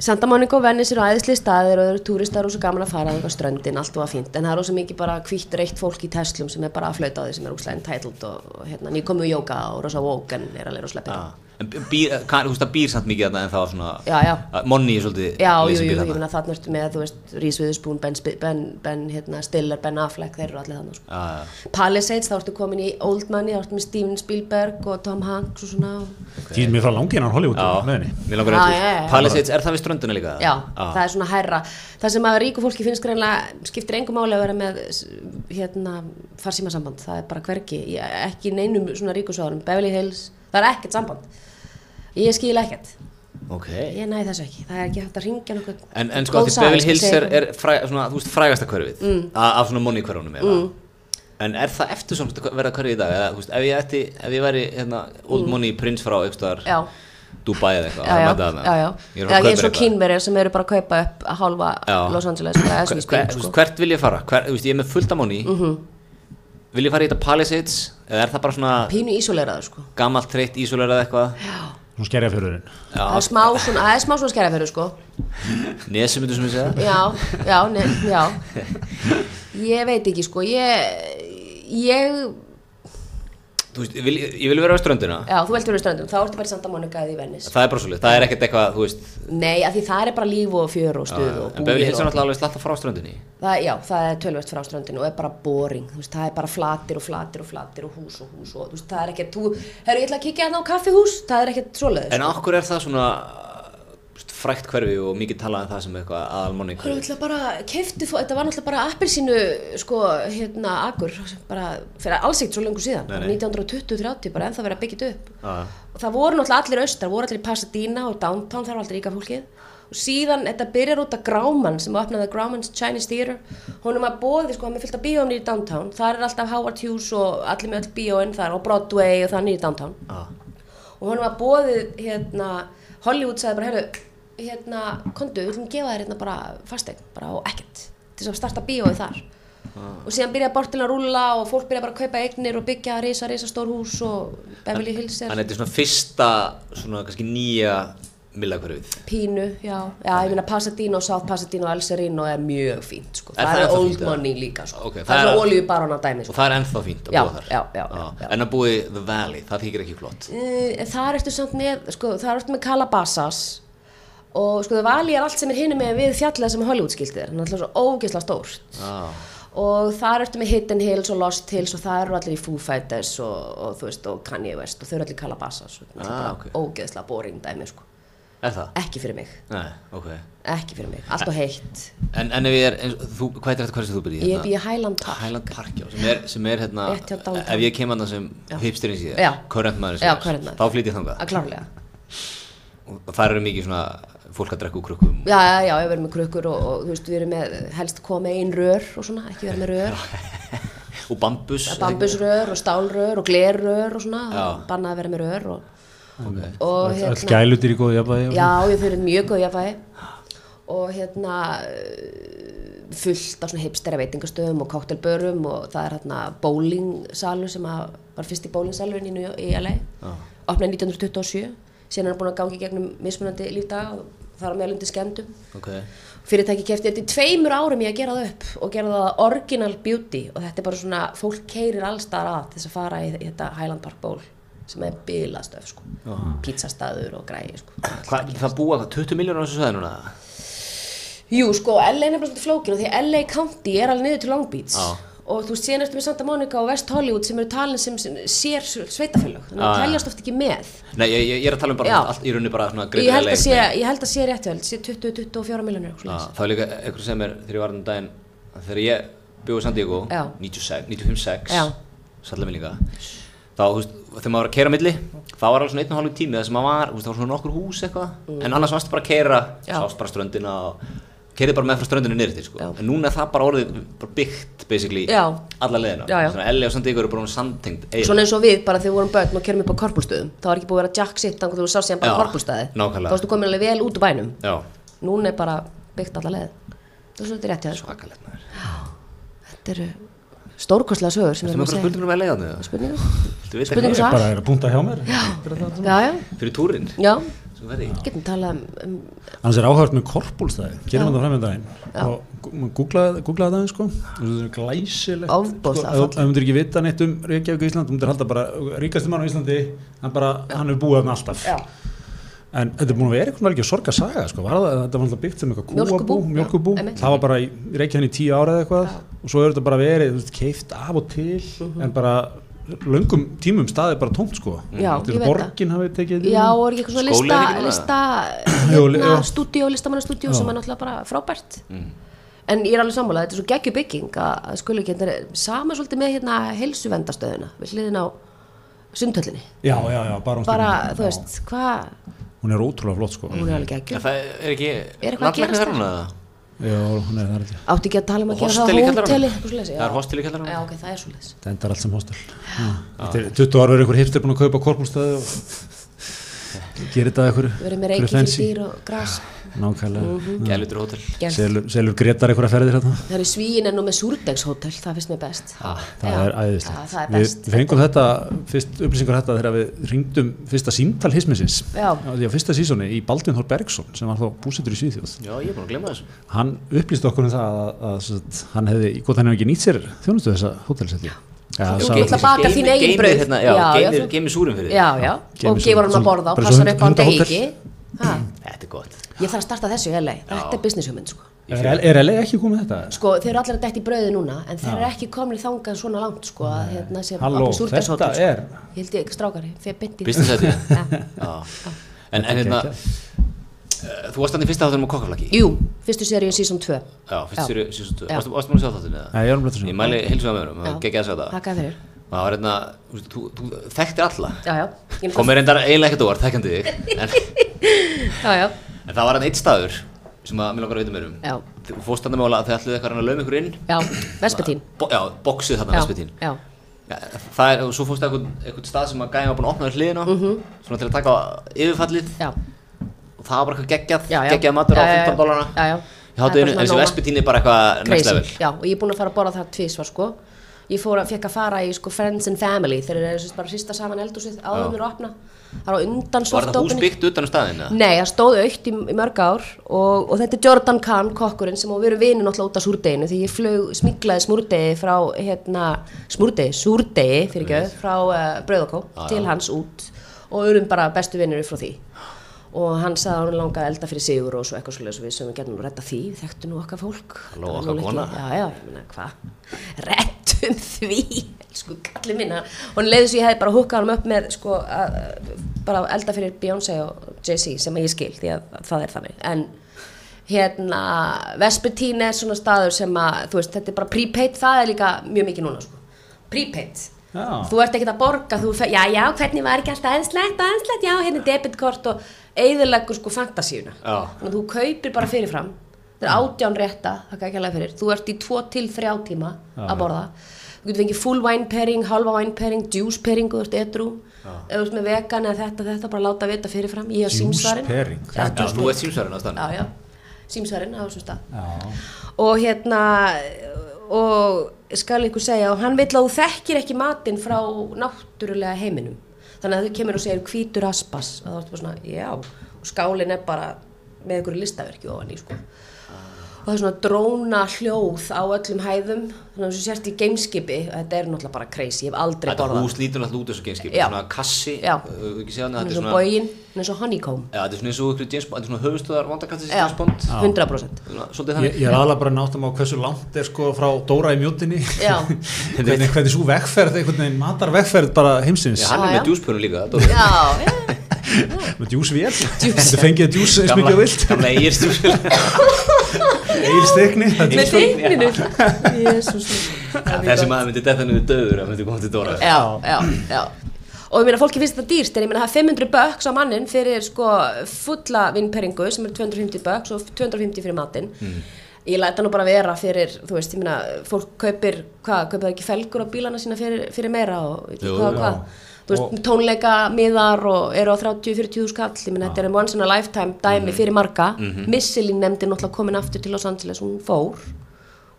C: Santa Monica og Venice eru æðisli staðir og það eru túristar og svo gaman að fara á ströndin, allt og að fínt, en það er ósað mikið bara hvitt reytt fólk í Teslum sem er bara að flauta á því sem er óslega entitled og, og hérna, nýkomu í jóka og rosa woke en er alveg rosa pyrra.
A: En býr, hvað, þú veist það býr samt mikið þarna en það var svona
C: Já, já.
A: að Monni er svolítið
C: Já,
A: liðið
C: jú,
A: sem býr
C: jú, ég
A: þarna.
C: meina þarna ertu með, þú veist, Reese Witherspoon, Ben, Sp- ben, ben hérna, Stiller, Ben Affleck, þeir eru allir þarna, sko.
A: Já, já.
C: Palisades, þá ertu komin í Old Money, þá ertu með Steven Spielberg og Tom Hanks og svona.
D: Því er mér frá langinan Hollywood
A: Já,
D: með henni.
A: mér langar
C: Já,
A: að
C: já, já, já.
A: Palisades, er það við ströndina líka?
C: Já, það er svona hærra. Það sem að ríku fólki finnst greinlega, skiptir engum máli að vera með, s- hérna, farsímasamband, það er bara hvergi, ég, ekki í neinum svona ríkusváðurum, Beverly Hills, það er ekkert samband. Ég skil ekkert,
A: Ok
C: ég næði þessu ekki, það er ekki hægt að ringja nokkuð.
A: En, en sko, því Beverly Hills er, er fræ, svona, þú veist, frægasta hverfið mm. af svona Monni hverfunum mm. En er það eftir svona verða hverfið í dag? Eða, þú veist, ef ég ætti, ef ég væri hérna, Old Money prins frá einhverstaðar
C: Mm. Já.
A: Dubai eða eitthvað
C: já,
A: að
C: já,
A: mæta þarna.
C: já, já.
A: Ég er að
C: Já,
A: fara að
C: eins
A: kaupa
C: og
A: eitthvað.
C: kínverjar sem eru bara að kaupa upp að hálfa
A: Já.
C: Los Angeles sko, eða
A: Hver-
C: svona í
A: hver- þú
C: stíl,
A: veist,
C: sko. Mhm.
A: hvert vil ég fara? Hver, þú veist, ég er með fullt af monni vil ég fara í þetta Palisades eða er það bara svona
C: pínu ísoleraður sko.
A: gamalt treytt ísólar eða eitthvað
D: Svona skerja fjörurinn.
C: það er smá svona, það er smá svona skerðafjörðu sko.
A: nesumundu sem ég segja
C: já, já, ne, já ég veit ekki sko ég, ég
A: Þú veist, ég vil, ég vil vera á ströndina
C: já, þú veldur við ströndum, þá ertu bara í Santa Monica eða í Venice
A: það er bara svolítið, það er ekkert eitthvað þú veist,
C: nei, af því það er bara líf og fjör og stuð og
A: en Beverly Hills
C: búðir
A: er
C: og
A: náttúrulega alveg slatta frá ströndinni
C: það, já, það er tölvert frá ströndinu og er bara boring, þú veist, það er bara flatir og flatir og flatir og hús og hús og þú veist, það er ekkert, þú, herru, ég ætla að kíkja hérna á kaffihús, það er ekkert svoleiðis.
A: en okkur er það svona þú veist, frækt hverfi og mikið talað um það sem eitthvað aðalmonni
C: Það var
A: hverfi
C: náttúrulega bara, keftu þú, þetta var náttúrulega bara appelsínu, sko, hérna, agur, bara, fyrir alls ekkert svo lengur síðan,
A: Nei,
C: bara
A: nei.
C: 1920-30, bara ennþá verið að byggja þetta upp.
A: Já.
C: Og það voru náttúrulega allir austar, voru allir í Pasadena og downtown, þar var alltaf ríka fólkið. Og síðan, þetta byrjar út af Grauman, sem opnaði Grauman's Chinese Theatre, honum að bóði, sko, hann er fyllt af bíóum nýri downtown, þar er alltaf Howard Hughes og allir með öll bíóin þar og Broadway og það nýri downtown
A: Ah.
C: og honum var bóðið hérna, Hollywood sagði bara, herru hérna, kondu, við viljum gefa þér hérna bara fasteign, bara og ekkert til þess að starta bíóið þar
A: Ah.
C: og síðan byrjaði bortin að rúlla og fólk byrjaði bara að kaupa eignir og byggja risa, risa stór hús og Beverly Hills
A: en
C: er
A: þetta er svona fyrsta svona kannski nýja milla hverfið
C: pínu, já, já, ég meina Pasadena og South Pasadena og El Sereno er mjög fínt, sko,
A: Er
C: það
A: það
C: er
A: ennþá
C: old
A: fínt, eða?
C: money líka, sko,
A: Ok,
C: það
A: það
C: er
A: er-
C: svona oljubarona dæmi,
A: og
C: sko
A: það er ennþá fínt að
C: Já,
A: búa þar Ah,
C: já, já, já, já.
A: en að búa í The Valley, það þykir ekki flott
C: Eh, þar ertu samt með, sko, þar ertu með Calabasas og sko það vali er allt sem er hinum með við fjallað sem Hollywood skildið er, náttúrulega svo ógeðslega stórt
A: ah.
C: og þar ertu með Hidden Hills og Lost Hills og það eru allir í Foo Fighters og, og þú veist, og Kanye West og þau eru allir í Calabasas og það er
A: Ah,
C: bara
A: ok.
C: ógeðslega boring dæmi, sko,
A: Er það?
C: ekki fyrir mig
A: Nei, ok.
C: ekki fyrir mig, allt og heitt
A: En, en ef ég er, eins, þú, hvað er þetta hversu þú byrjið?
C: ég er í Highland Park
A: Highland Park, já, sem er, sem er hérna,
C: Rétt hjá downtown.
A: ef ég kem hann sem hipsterinn síðar,
C: Já.
A: current maður
C: Já,
A: síðar,
C: current maður.
A: þá flyt ég þangað.
C: að Ah, klárlega
A: Og það eru mikið svona fólk að drekka úr krukkum.
C: Já, já, já, við erum með krukkur og, og þú veist, við erum með helst koma einn rör og svona, ekki vera með rör
A: Og bambus.
C: Það er bambusrör og stálrör og glerrör og svona,
A: Já.
C: bannað að vera með rör og,
A: Okay.
C: og hérna-
D: Öll gælutir í góðu jafnvægi. og-
C: já, ég fyrir mjög góð jafnvægi og hérna eh, fullt af svona hipstera veitingastöðum og kóktelbörum og það er hérna bowlingsalur sem að var fyrst í bowlingsalurinn í, New- í LA
A: Já.
C: opnaði 1927 síðan er hann búin að gangi gegnum mismunandi lífdaga og þar á meðlundi skemmtum
A: Ok.
C: fyrirtæki kefti þetta í tveimur árum ég að gera það upp og gera það original beauty og þetta er bara svona, fólk keirir allstaðar að til þess að fara í, í þetta Highland Park Bowl sem er bilastöf sko pizzastaður og græði sko
A: Hva, það búa hvað, 20 miljónur á þessu svæði núna?
C: Jú sko, LA er nefnilega svolítið flókin og því að LA County er alveg niður til Long Beach
A: Já.
C: og þú veist, síðan ertu með Santa Monica og West Hollywood sem eru talin sem, sem sér sveitafélög þannig
A: Já,
C: að
A: já.
C: teljast oft ekki með
A: Nei, ég, ég- ég er að tala um bara
C: Já.
A: allt í rauninu bara svona
C: ég
A: greater
C: held,
A: LA
C: að sé,
A: einhvern veginn.
C: ég held að sé réttjöld, sé 20-24 miljonir
A: Já, Ah, Það er líka einhver sem er þegar ég var hann daginn, þegar ég bjóði San Diego,
C: Já.
A: 96 95-6,
C: Já.
A: sallið minni líka, þá, þú veist, þegar maður var að keira milli, þá var alveg svona einn og hálfur tími þar sem maður var, þú veist, það var svona nokkur hús eitthvað, en annars varstu bara að keira,
C: Mm. Já.
A: sást bara ströndina og kerði bara með frá ströndinu niður til sko.
C: Já.
A: en núna er það bara orðið bara byggt basically
C: Já.
A: alla leðina
C: Já, já.
A: Elli og Sandíkur eru bara orðin samtengd eiginlega.
C: Svona eins og við, bara þegar við vorum börn og kerum upp á korpulstöðum Það var ekki búið að vera jack sitt þannig að þú sá síðan bara
A: Já,
C: korpulstöði
A: nákvæmlega.
C: Þá varstu komin alveg vel út úr bænum
A: já,
C: Núna er bara byggt alla leið Það er svolítið rétt hjá þér sko.
A: svakalegt maður
C: Þetta eru stórkostlega sögur sem
A: Þú
C: við
A: með
C: erum að
A: okkur
C: segja
A: spurningum um Elli þarna eða?
C: Spurningar?
A: Viltu vita
C: Spurningum
A: hvað
C: svar?
B: bara er að búnda hjá mér
C: Já, já,
A: er fyrir túrin
C: já
A: sem verði í?
C: Getum talað um, um
B: annars er áhört með korpúlstæði gerum
C: Já.
B: þetta fram með daginn
C: Já.
B: og gu- maður googlaði googlaði það aðeins sko og þetta er glæsilegt
C: Ofboðslega
B: sko, ef-
C: fallegt.
B: ef þú myndir ekki vita neitt um Reykjavík og Ísland þú myndir halda bara ríkastur mann á Íslandi hann bara hann hefur búið þarna alltaf
C: já,
B: en þetta er búin að vera eitthvað velkið sorga saga sko var það þetta var alltaf byggt sem eitthvað
C: Mjólkurbú,
B: kúabú
C: já,
B: mjölkubú
C: einmitt.
B: það var bara í Reykjavík í tíu ára eða eitthvað og svo er þetta bara verið þú veist keift af og til
C: Mhm.
B: en bara löngum tímum staðið bara tómt sko
C: Já,
B: Þetta er
C: ég veit það.
B: borgin hafi tekið þetta
C: já, og er ekki eitthvað
A: Skóli
C: svona
A: er
C: lista,
A: ekki núna?
C: lista
B: Jú, li-
C: hérna,
B: já.
C: stúdíó, listamannastúdíó sem er náttúrulega bara frábært
A: Mm.
C: en ég er alveg sammála, þetta er svo geggjubygging að að skuli ekki, þetta er sama svolítið með hérna heilsuvendastöðuna, við hliðin á sundhöllinni,
B: já já já bara, um
C: bara,
B: stundum.
C: þú veist, hvað
B: hún er ótrúlega flott sko
C: hún er alveg
A: Já,
C: geggjum,
A: Mm. Það er ekki
C: Er eitthvað að
A: landlæknir
C: gerast
A: þar núna eða?
B: Já, hún er það er þetta.
C: átti ekki að tala um að gera það
A: Hostel í
C: á
A: kjallaranum?
C: hóteli, eitthvað svoleiðis,
A: Það er hostel í
C: já,
A: kjallaranum
C: ok, það er svolítið
B: Það endar allt sem hostel. Þetta er 20 ára verið einhver hipster búin að kaupa korpúlstöðu og gerir þetta að einhverju.
C: við erum
B: einhverju
C: með reiki fyrir
B: fancy.
C: dýr og Mhm. gras
B: Nákvæmlega.
A: Gælutur hótel
C: Gert.
B: Selur, selur Gretar einhverja ferðir hérna.
C: það eru svíin ennú með súrdegshótel, það finnst mér best
B: Það
C: Já,
B: er æðislegt.
C: það- það er
B: Við
C: best
B: við fengum þetta, fyrst upplýsingar um þetta þegar við ringdum fyrsta símtal hismisins.
C: Já.
B: Því á fyrsta sísoni í Baldvin Þór Bergsson sem var þá búsettur í Svíþjóð.
A: Já, ég er búin að glemma þessu
B: Hann upplýst okkur um það að, að, að hann hefði, gott hann hefði ekki nýtt sér þjónustu þessa hótelsetli. Já,
C: Þú
B: sagði-
C: getur ætla að baka
A: Geymir-
C: þín eigin
A: geymir
C: brauð.
A: hérna, Já,
C: Já, já,
A: geymir-
C: þú-
A: geymir súrin fyrir
C: já, já, og
B: Kemur
C: gefur
B: svo-
C: hann að borða og
B: bara
C: passar
B: svo
C: upp á hann
B: hunda-
C: degi
B: hundahótel.
C: Ha,
A: Þetta er gott
C: ég þarf að starta þessu heli þetta er business hugmynd sko.
B: Er, er LA ekki komið þetta?
C: sko, þeir eru allir að dætt í brauði núna en þeir eru ekki komnir þangað svona langt sko, að hérna sem
B: Halló,
C: að súrdegshótel,
B: þetta
C: sko.
B: er-
C: ég held ég strákari, fyrir byndi
A: Business þetta
C: Já.
A: Já En, en hérna eh, Þú varst hann í fyrsta þáttunum á kokkaflaki
C: jú, fyrstu seríu season 2
A: Já, fyrst sér síðustu
C: Já.
A: Varstu varstu búin að sjá þáttun eða?
B: Nei, ég var alveg að sjá.
A: Ég mæli heilsu að með honum,
C: Já.
A: það geggja að sjá það
C: þakka fyrir
A: Það var hérna, þú veist, þú- þú þekktir alla
C: já, já, ég er
A: Komið reyndar eiginlega ekkert óvart, þekkjandi þig en,
C: já, já,
A: en það var hann eitt staður sem að mér langar að vita mér um
C: Já.
A: Þú fórst hann að mála að þið ætluðu eitthvað að lauma ykkur inn
C: já, vespetín
A: Bo Já, boxið þarna,
C: já,
A: Vespitín
C: já,
A: Ja, Það er, og svo fórstu eitthvað, eitthvað stað sem að gæði var búin að opna við hliðina
C: Mhm.
A: Svona til að taka yfirfallið
C: já,
A: Og það var bara eitthvað geggjað,
C: já, já.
A: geggjað matur á
C: Já, já,
A: 15
C: já.
A: dólarna
C: já, já
A: Ég hátu einu, en þessi vespitín er bara eitthvað next level
C: já, og ég er búin að fara að borða það tvísvar sko ég fór að, fekk að fara í sko friends and family þeir eru sem sagt bara að hrista saman eldhúsið áður mér að opna það er á undan
A: Var þetta hús
C: softopinni.
A: byggt utan á staðina?
C: Nei, það stóð aukt í, í mörg ár og, og þetta er Jordan Kahn, kokkurinn sem á að vera vinur náttúrulega út af súrdeginu því ég flög, smiglaði smúrdegi frá hérna, smúrdegi, súrdegi fyrir ekki, frá uh, Brauðakó til hans út og erum bara bestu vinur frá því og hann sagði að hann langaði að elda fyrir sigur og svo eitthvað svolítið svo við sem við getum nú retta því, þekktu nú okkar fólk
A: Halló,
C: Það er
A: okkar
C: nú ekki-
A: kona.
C: Já, já, ég meina, hvað? Rettum því, sko, kallið minna. Hún leiði svo ég hefði bara hukkað hann upp með, sko, að, bara elda fyrir Beyoncé og Jay-Z sem að ég skil, því að það er þannig. En, hérna, Vespertín er svona staður sem að, þú veist, þetta er bara prepaid, það er líka mjög mikið núna, sko. Prepaid.
B: Já.
C: Þú ert ekkert að borga, þú fer, já, já, hvernig var ekki alltaf aðeinslegt, aðeinslegt, já, hérna er debitkort og eigðilegur sko fantasíuna.
A: Já.
C: Þannig að þú kaupir bara fyrirfram, það er átján rétta, það ekki alveg fyrir, þú ert í tvo til þrjá tíma að borða. Þú getur fengið full wine pairing, halva wine pairing, juice pairing, þú ert edru, ef þú ert með vegan eða þetta, þetta, bara láta vita fyrirfram, ég er
B: Juice
C: símsvarinn.
B: pairing.
C: Já,
A: Já,
C: juice
A: þú ert símsverðin á staðinu
C: já, já, símsvarinn á þessum stað
B: Já.
C: og hérna og skal ykkur segja og hann vill að þú þekkir ekki matinn frá náttúrulega heiminum þannig að þú kemur og segir hvítur aspas og þá ertu bara svona, já og skálinn er bara með ykkur listaverki ofan í sko og það er svona dróna hljóð á öllum hæðum þannig að þú sért í gameskipi þetta er náttúrulega bara crazy, ég hef aldrei
A: Þetta
C: borðað
A: hús lítur náttúrulega út þessu genskip
C: Já.
A: Svona kassi,
C: Já.
A: uh, ekki séð hann
C: hann
A: Þetta
C: er
A: er
C: svona
A: svona,
C: bógin, hann er svona honeycomb
A: já, þetta er svona eins og ykkur James Bond Þetta er svona höfustöðar vandakastis í
C: já,
A: James Bond
C: 100%
A: Svona, Svolítið
B: Ég,
A: þannig
B: ég er aðalega bara að náttum á hversu langt er sko frá Dóra í mjótinni
C: já,
B: hvernig, hvernig svo vegferð, einhvern veginn matar vegferð bara heimsins
A: Já, hann er
C: Já, já.
A: með djúspjörnum líka Dóri.
C: já, já
B: með djúsvél, þetta fengið djús eins
A: Gamla-
B: mikið og vilt,
A: Gamla eigir stjúspjörnum
B: eigin stekni
C: með digninu Jésús Eh,
A: Þessi maður myndi detta niður döður að myndi koma til Dóra
C: já, já, já og ég meina fólki finnst þetta dýrst en ég meina það er 500 bucks á mannin fyrir sko fulla vinnperingu sem er 250 bucks og 250 fyrir matinn
A: Mm.
C: ég læta nú bara vera fyrir þú veist, ég meina fólk kaupir hvað, kaupir það ekki felgur á bílana sína fyrir, fyrir meira og veit ekki
A: Jú,
C: hvað
A: já.
C: og hvað Þú veist, tónleika, miðar og eru á 30-40 skall, ég meina þetta er um once in a lifetime dæmi
B: Mhm.
C: fyrir marga mm -hmm. Missilin nefndi náttúrulega komin aftur til Los Angeles, hún fór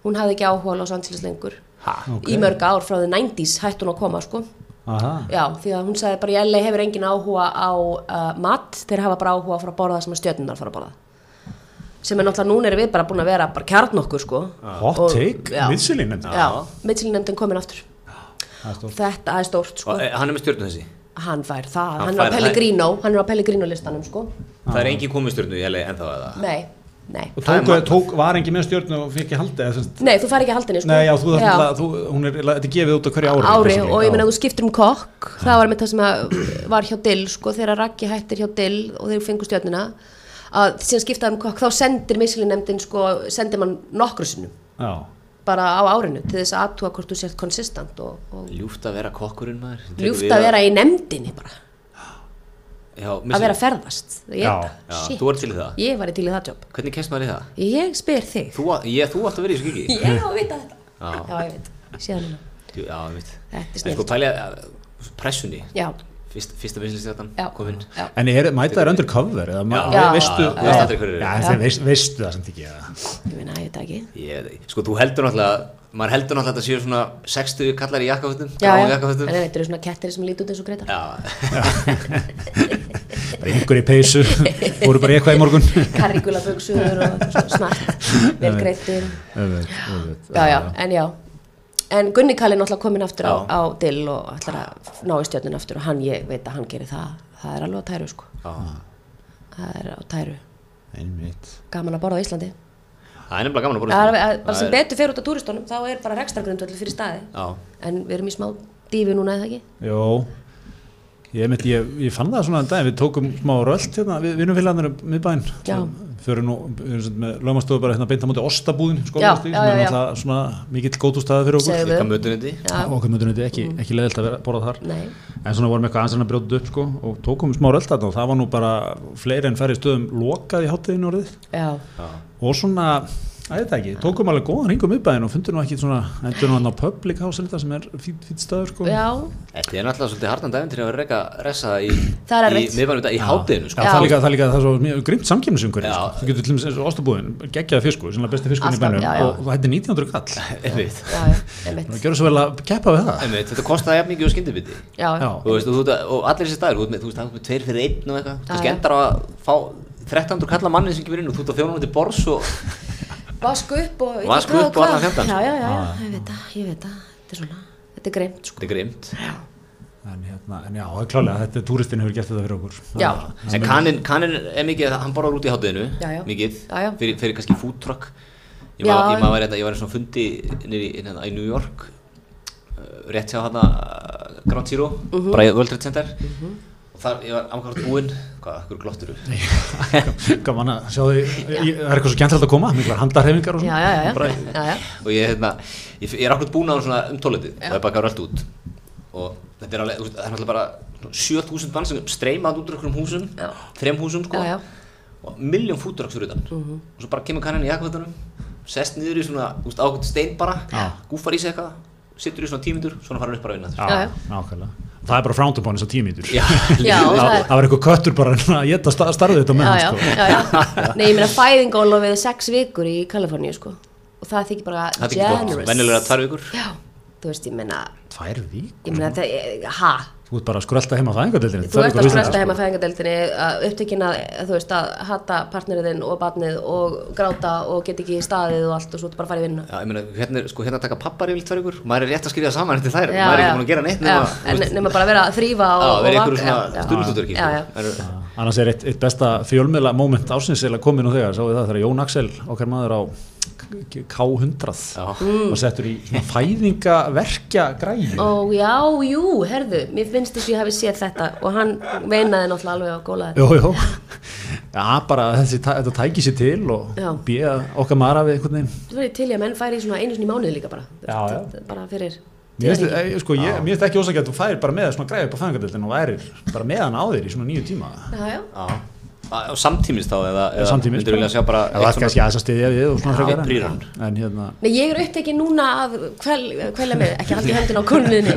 C: hún hafði ekki áhuga á Los Angeles lengur
B: ok.
C: í mörg ár frá the 90s hætti hún að koma sko
B: Aha.
C: Já, því að hún sagði bara í LA hefur engin áhuga á uh, mat, þeir hafa bara áhuga á að fara að borða það sem að stjörnunar fara að borða sem er náttúrulega, núna erum við bara búin að vera bara kjarn okkur sko
B: Ah. Hot
C: Og-
B: take,
C: já.
B: Michelin Ah, nefndin.
C: Já, Michelin nefndin komin aftur Þetta er stórt sko
A: Og, eh, Hann er með stjórnum þessi
C: Hann fær það,
A: Hann
C: hann, er á
A: fær það.
C: Pellegrino, hann er á Pellegrino listanum sko
A: Það er engin komið stjórnum í helgi ennþá eða
C: Nei, nei
B: Og
A: Það er
B: tók,
A: magnað.
B: tók, var engin með stjórnum og fikk ég haldið eða sem sagt-
C: Nei, þú fær ekki að haldinni sko
B: Nei, já, þú þarf náttúrulega, þú- hún er, þetta er gefið út á hverju ári.
C: ári
B: basically,
C: og ég
B: já.
C: meina að þú skiptir um kokk það var með það sem að var hjá Dill sko, þegar Raggi hættir hjá Dill og þeir fengu stjörnina að síðan skiptaði um kokk þá sendir mislinemdin sko, sendir mann nokkru sinnum
B: Já.
C: bara á árinu til þess að aðtúa hvort þú sért konsistant og, og
A: Ljúft að vera kokkurinn maður sem tekur
C: ljúft
A: við
C: að vera í nefndinni bara
A: Já,
C: að
A: missir-
C: vera að ferðast ég,
B: Já,
A: Já,
C: shit,
A: Þú ert til í það
C: ég var í til í það jobb
A: Hvernig kemst maður í það?
C: ég spyr þig
A: Þú, ég, þú átt að vera í þessu kiki
C: ég á að vita þetta
A: Já.
C: já, ég veit, ég sé það núna
A: Jú, Já, ég veit
C: Þetta er
A: En sko
C: snillt.
A: pælið að pressunni
C: já,
A: Fyrst, Fyrsta vinslistjartan
C: já,
A: kominn
C: já.
B: En er, mæta þær undercover eða ma-
A: Já.
B: ve- veistu?
A: Já, já, já. Veist aldrei hverjir eru.
B: Já, þeir veist- veistu það samt ekki. eða?
C: ég meina, ég veit það ekki
A: Ég, veit ekki. sko þú heldur náttúrulega maður heldur náttúrulega að þetta séu svona 60 kallar í jakkafötum
C: já, já,
A: gráum
C: en
A: jakkafötum
C: þetta eru svona kettir sem líti út eins og greitar
A: já,
B: Bara yngur í peysu, voru bara í eitthvað í morgun.
C: karrikulaböksuður og svona snart vel greittir
B: Öfut, öfut.
C: já, já, en já en Gunni Kalli er náttúrulega komin aftur á,
A: Já.
C: á dill og ætlar að ná í stjörnun aftur og hann, ég veit að hann gerir það það er alveg á tæru sko
A: já.
C: það er á tæru,
B: Einmitt.
C: gaman að borða á Íslandi
A: það er nefnilega gaman að borða
C: það er,
A: svona.
C: alveg- bara
A: Það
C: sem
A: er-
C: betur fer út á túristunum þá er bara rekstargrundvöldu fyrir staði
A: já,
C: en við erum í smá dífi núna eða ekki
B: Jó, ég, mynd, ég, ég fann það svona en dag, við tókum smá rölt hérna, við vinnumfélagarnir um miðbæinn,
C: Já.
B: fyrir nú, við erum sem sagt með lögmastofu bara hérna beint á móti Ostabúðin, skólastík, sem er
C: já, já, já.
B: náttúrulega svona mikill góðústaði fyrir okkur.
C: Segðu.
A: líka mötunetti
C: Já.
B: Og okkur mötunum þetta ekki, ekki leðilt að vera að borða þar.
C: Nei.
B: En svona vorum eitthvað aðeins að brjóta upp sko og tókum smá rölt þarna og það var nú bara fleiri en færri stöðum lokað í hátíðinu orðið
C: já,
B: og svona, að þetta ekki, tókum alveg góðan hringum miðbæðin og fundum nú ekki svona, endur nú hann á public house þetta sem er fýtt fít staður sko.
C: já,
A: þetta er náttúrulega svolítið harnan daginn til að vera reyka ressa í
C: Það er
A: í
C: erfitt.
A: miðbænum þetta í hátinu
B: Já,
A: sko.
B: það er líka, það er líka það er svo mjög grimt samkjömsumkur
A: Já.
B: þú getur til dæmis ostabúðin, geggjaði fiskur sem er besti fiskurinn í
C: Alltaf,
B: bænum
C: já, já.
B: og og þetta er 1900 kall
A: einmitt
C: já, já, einmitt
B: og gjörðu svo vel að keppa við það
A: einmitt þetta kostar jafn mikið og skyndibiti
C: já, já,
B: Já.
A: þú veist og, þú, ert að- og allir þessi dagur þú ert með- þú veist það er með tveir fyrir einn og eitthvað
C: Já,
A: þú
C: já.
A: skendar á að fá 1300 kalla manni sem kemur inn og þú ert að þjóna hún til bors og
C: vask upp og
A: Vask
C: hvað
A: upp og
C: hvað.
A: allan fjandans.
C: já, já, já, já,
B: Ah.
C: ég veit það, ég veit það þetta er svona, þetta er greimt sko
A: þetta er grimt
B: en, hérna, en já, það er klálega, þetta er túristin hefur gert þetta fyrir okkur
C: Já.
A: En kannin, kannin er mikið, hann borðar út í hátteginu,
C: Já, já.
A: mikið,
C: Já, já.
A: Fyrir, fyrir kannski food truck. Ég
C: Já,
A: maður, ég
C: já.
A: maður var hérna, ég var í svona fundi nýri, hérna, í New York, uh, rétt hjá hérna uh, Ground Zero, uh
C: Mhm.
A: -huh. bara í World Trade Center. Og þar, ég var amkvæmt búinn, hvað, hverju glottur þú?
B: gaman að sjá því, ég- það er eitthvað svo gentrælt að koma miklar handarhefingar og
C: já,
B: svona
C: já, já,
B: Bara-
C: já, já.
A: og ég, hérna, ég, ég er akkurat búinn á hann svona um tólitið og ég bakkar allt út. Og þetta er alveg, þú veist, það er náttúrulega bara 7000 mann sem streymaði út úr einhverjum húsum,
C: Já.
A: þrem húsum sko.
C: Já, já. Mhm.
A: og miljón fútdraks fyrir utan og svo bara kemur kannan í jakkvættunum sest niður í svona úst, ákvæmt stein bara
B: Já.
A: gúfar í sig eitthvað, sittur í svona tímindur svona fara hann upp bara að vinna þér
C: Já, já.
B: nákvæmlega það er bara frowned upon eins og tímítur
A: Já.
C: Já, það er-
B: það var eitthvað köttur bara hérna að geta starfið þetta með
C: já,
B: hann
C: já,
B: sko.
C: já, já. Nei, ég meina fæðingólofið er sex vikur í Kaliforníu sko. og það þykir
A: það
C: bara
A: er ekki gott,
C: generous
A: venjulega tvær vikur
C: já, þú veist, ég meina
B: tvær vík,
C: ég meina þetta, er- ha
B: þú ert bara að skrölda heima á fæðingadeildinni
C: þú
B: tvær vikur á
C: ert að
B: Íslandi,
C: skrösta
B: sko.
C: heima fæðingadeildinni að upptökin að, þú veist, að hata partneriðinn og barnið og gráta og get ekki staðið og allt og svo ertu bara að fara í vinna
A: Já, ég meina, hérna, er- sko, hérna taka pappar yfir tvær vikur maður er rétt að skrifa saman eftir þær
C: Já,
A: maður er
C: já.
A: ekki búin að gera neitt
C: Já,
A: nema, þú
C: en
A: veist,
C: nema bara að vera að þrýfa og,
A: já, verið
C: og
A: einhverju
C: vaka- já,
A: svona sko.
C: já.
A: stundutúrki
C: Já, já.
B: annars er eitt, eitt besta fjölmiðla moment ásins eða komin og þegar, sáu það þegar Jón Axel okkar maður á K- K100 og settur í svona fæðingaverkja
A: Mm.
B: græði
C: Ó, já, jú, herðu, mér finnst þess að ég hafi séð þetta og hann veinaði náttúrulega alveg á gólaði.
B: Jó, jó Já, bara þessi, tæ- þetta tæki sér til og
C: Já.
B: býja okkar maður af einhvern veginn
C: Þú verður til í að menn færi í svona einu sinni í mánuði líka bara.
B: Já, já.
C: Bara fyrir
B: Mér finnst eh, sko, ég- mér finnst ekki ósakið að þú færir bara með svona græði upp á fæðingadeildin og værir bara með hann á þér í svona nýju tíma
C: Já, já.
A: Á samtímis þá eða, eða
B: samtímis,
A: myndir vilja
B: bara.
A: sjá bara
B: Það var kannski aðeins að styðja við og svona
A: Já,
B: frekar en-
A: brýr hann.
B: En hérna,
C: Nei, ég er upptekið núna að kvel, kvelja mig, ekki haldið höndin á konunniðni.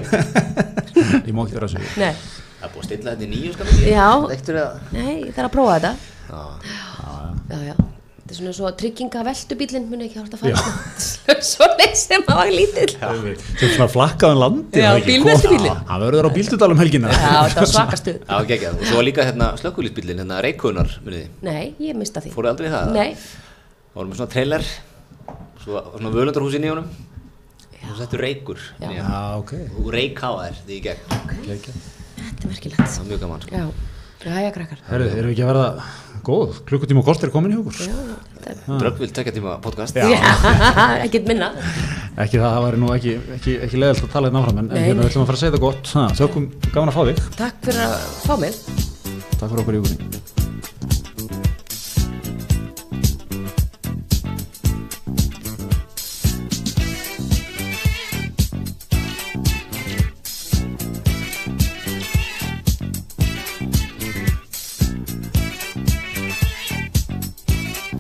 B: ég má ekki vera að segja
C: Nei,
A: Það er búið að stilla þetta í nýju skamlega
C: Já.
A: Ektur eða
C: nei, ég þarf að prófa þetta.
A: Já.
C: Já, já. Þetta er svona svo að trygginga veldubílinn muni ekki hort að fara. svo leið sem að var lítill. Já,
B: Svo svona flakkaðan landi
C: Já,
B: það er ekki
C: bílveltubílinn.
B: gott. Já, Hann verður á bíltudalum helgina
C: þetta var svakastuð.
A: Já, geggjað Og svo var líka hérna slökkulísbílinn, hérna reikunar, muniði
C: Nei, ég mista því.
A: Fóruð aldrei í það?
C: Nei,
A: Það voru með svona trailer Svo var svona völundarhús inn í honum Og svo settu reikur
C: Já.
A: inn í hann.
B: Já, ok
A: Og reikháða þér því í gegn Það
C: þetta er merkilegt.
A: var mjög gaman sko.
C: Já, já, já, krakkar.
B: Herðu, erum við ekki að verða góð? Klukkutíma og kort er komin í okkur
C: Já, þetta er...
A: Dröggvill tekja tíma podcast
C: Já, ekkert minna.
B: Ekki það, það væri nú ekki, ekki, ekki leðilt að tala hérna áfram En, en
C: Nei,
B: hérna
C: nei.
B: ætlum að fara að segja þetta gott ha, Þökkum gaman að fá þig
C: Takk fyrir að fá mig.
B: Takk fyrir okkur í okkur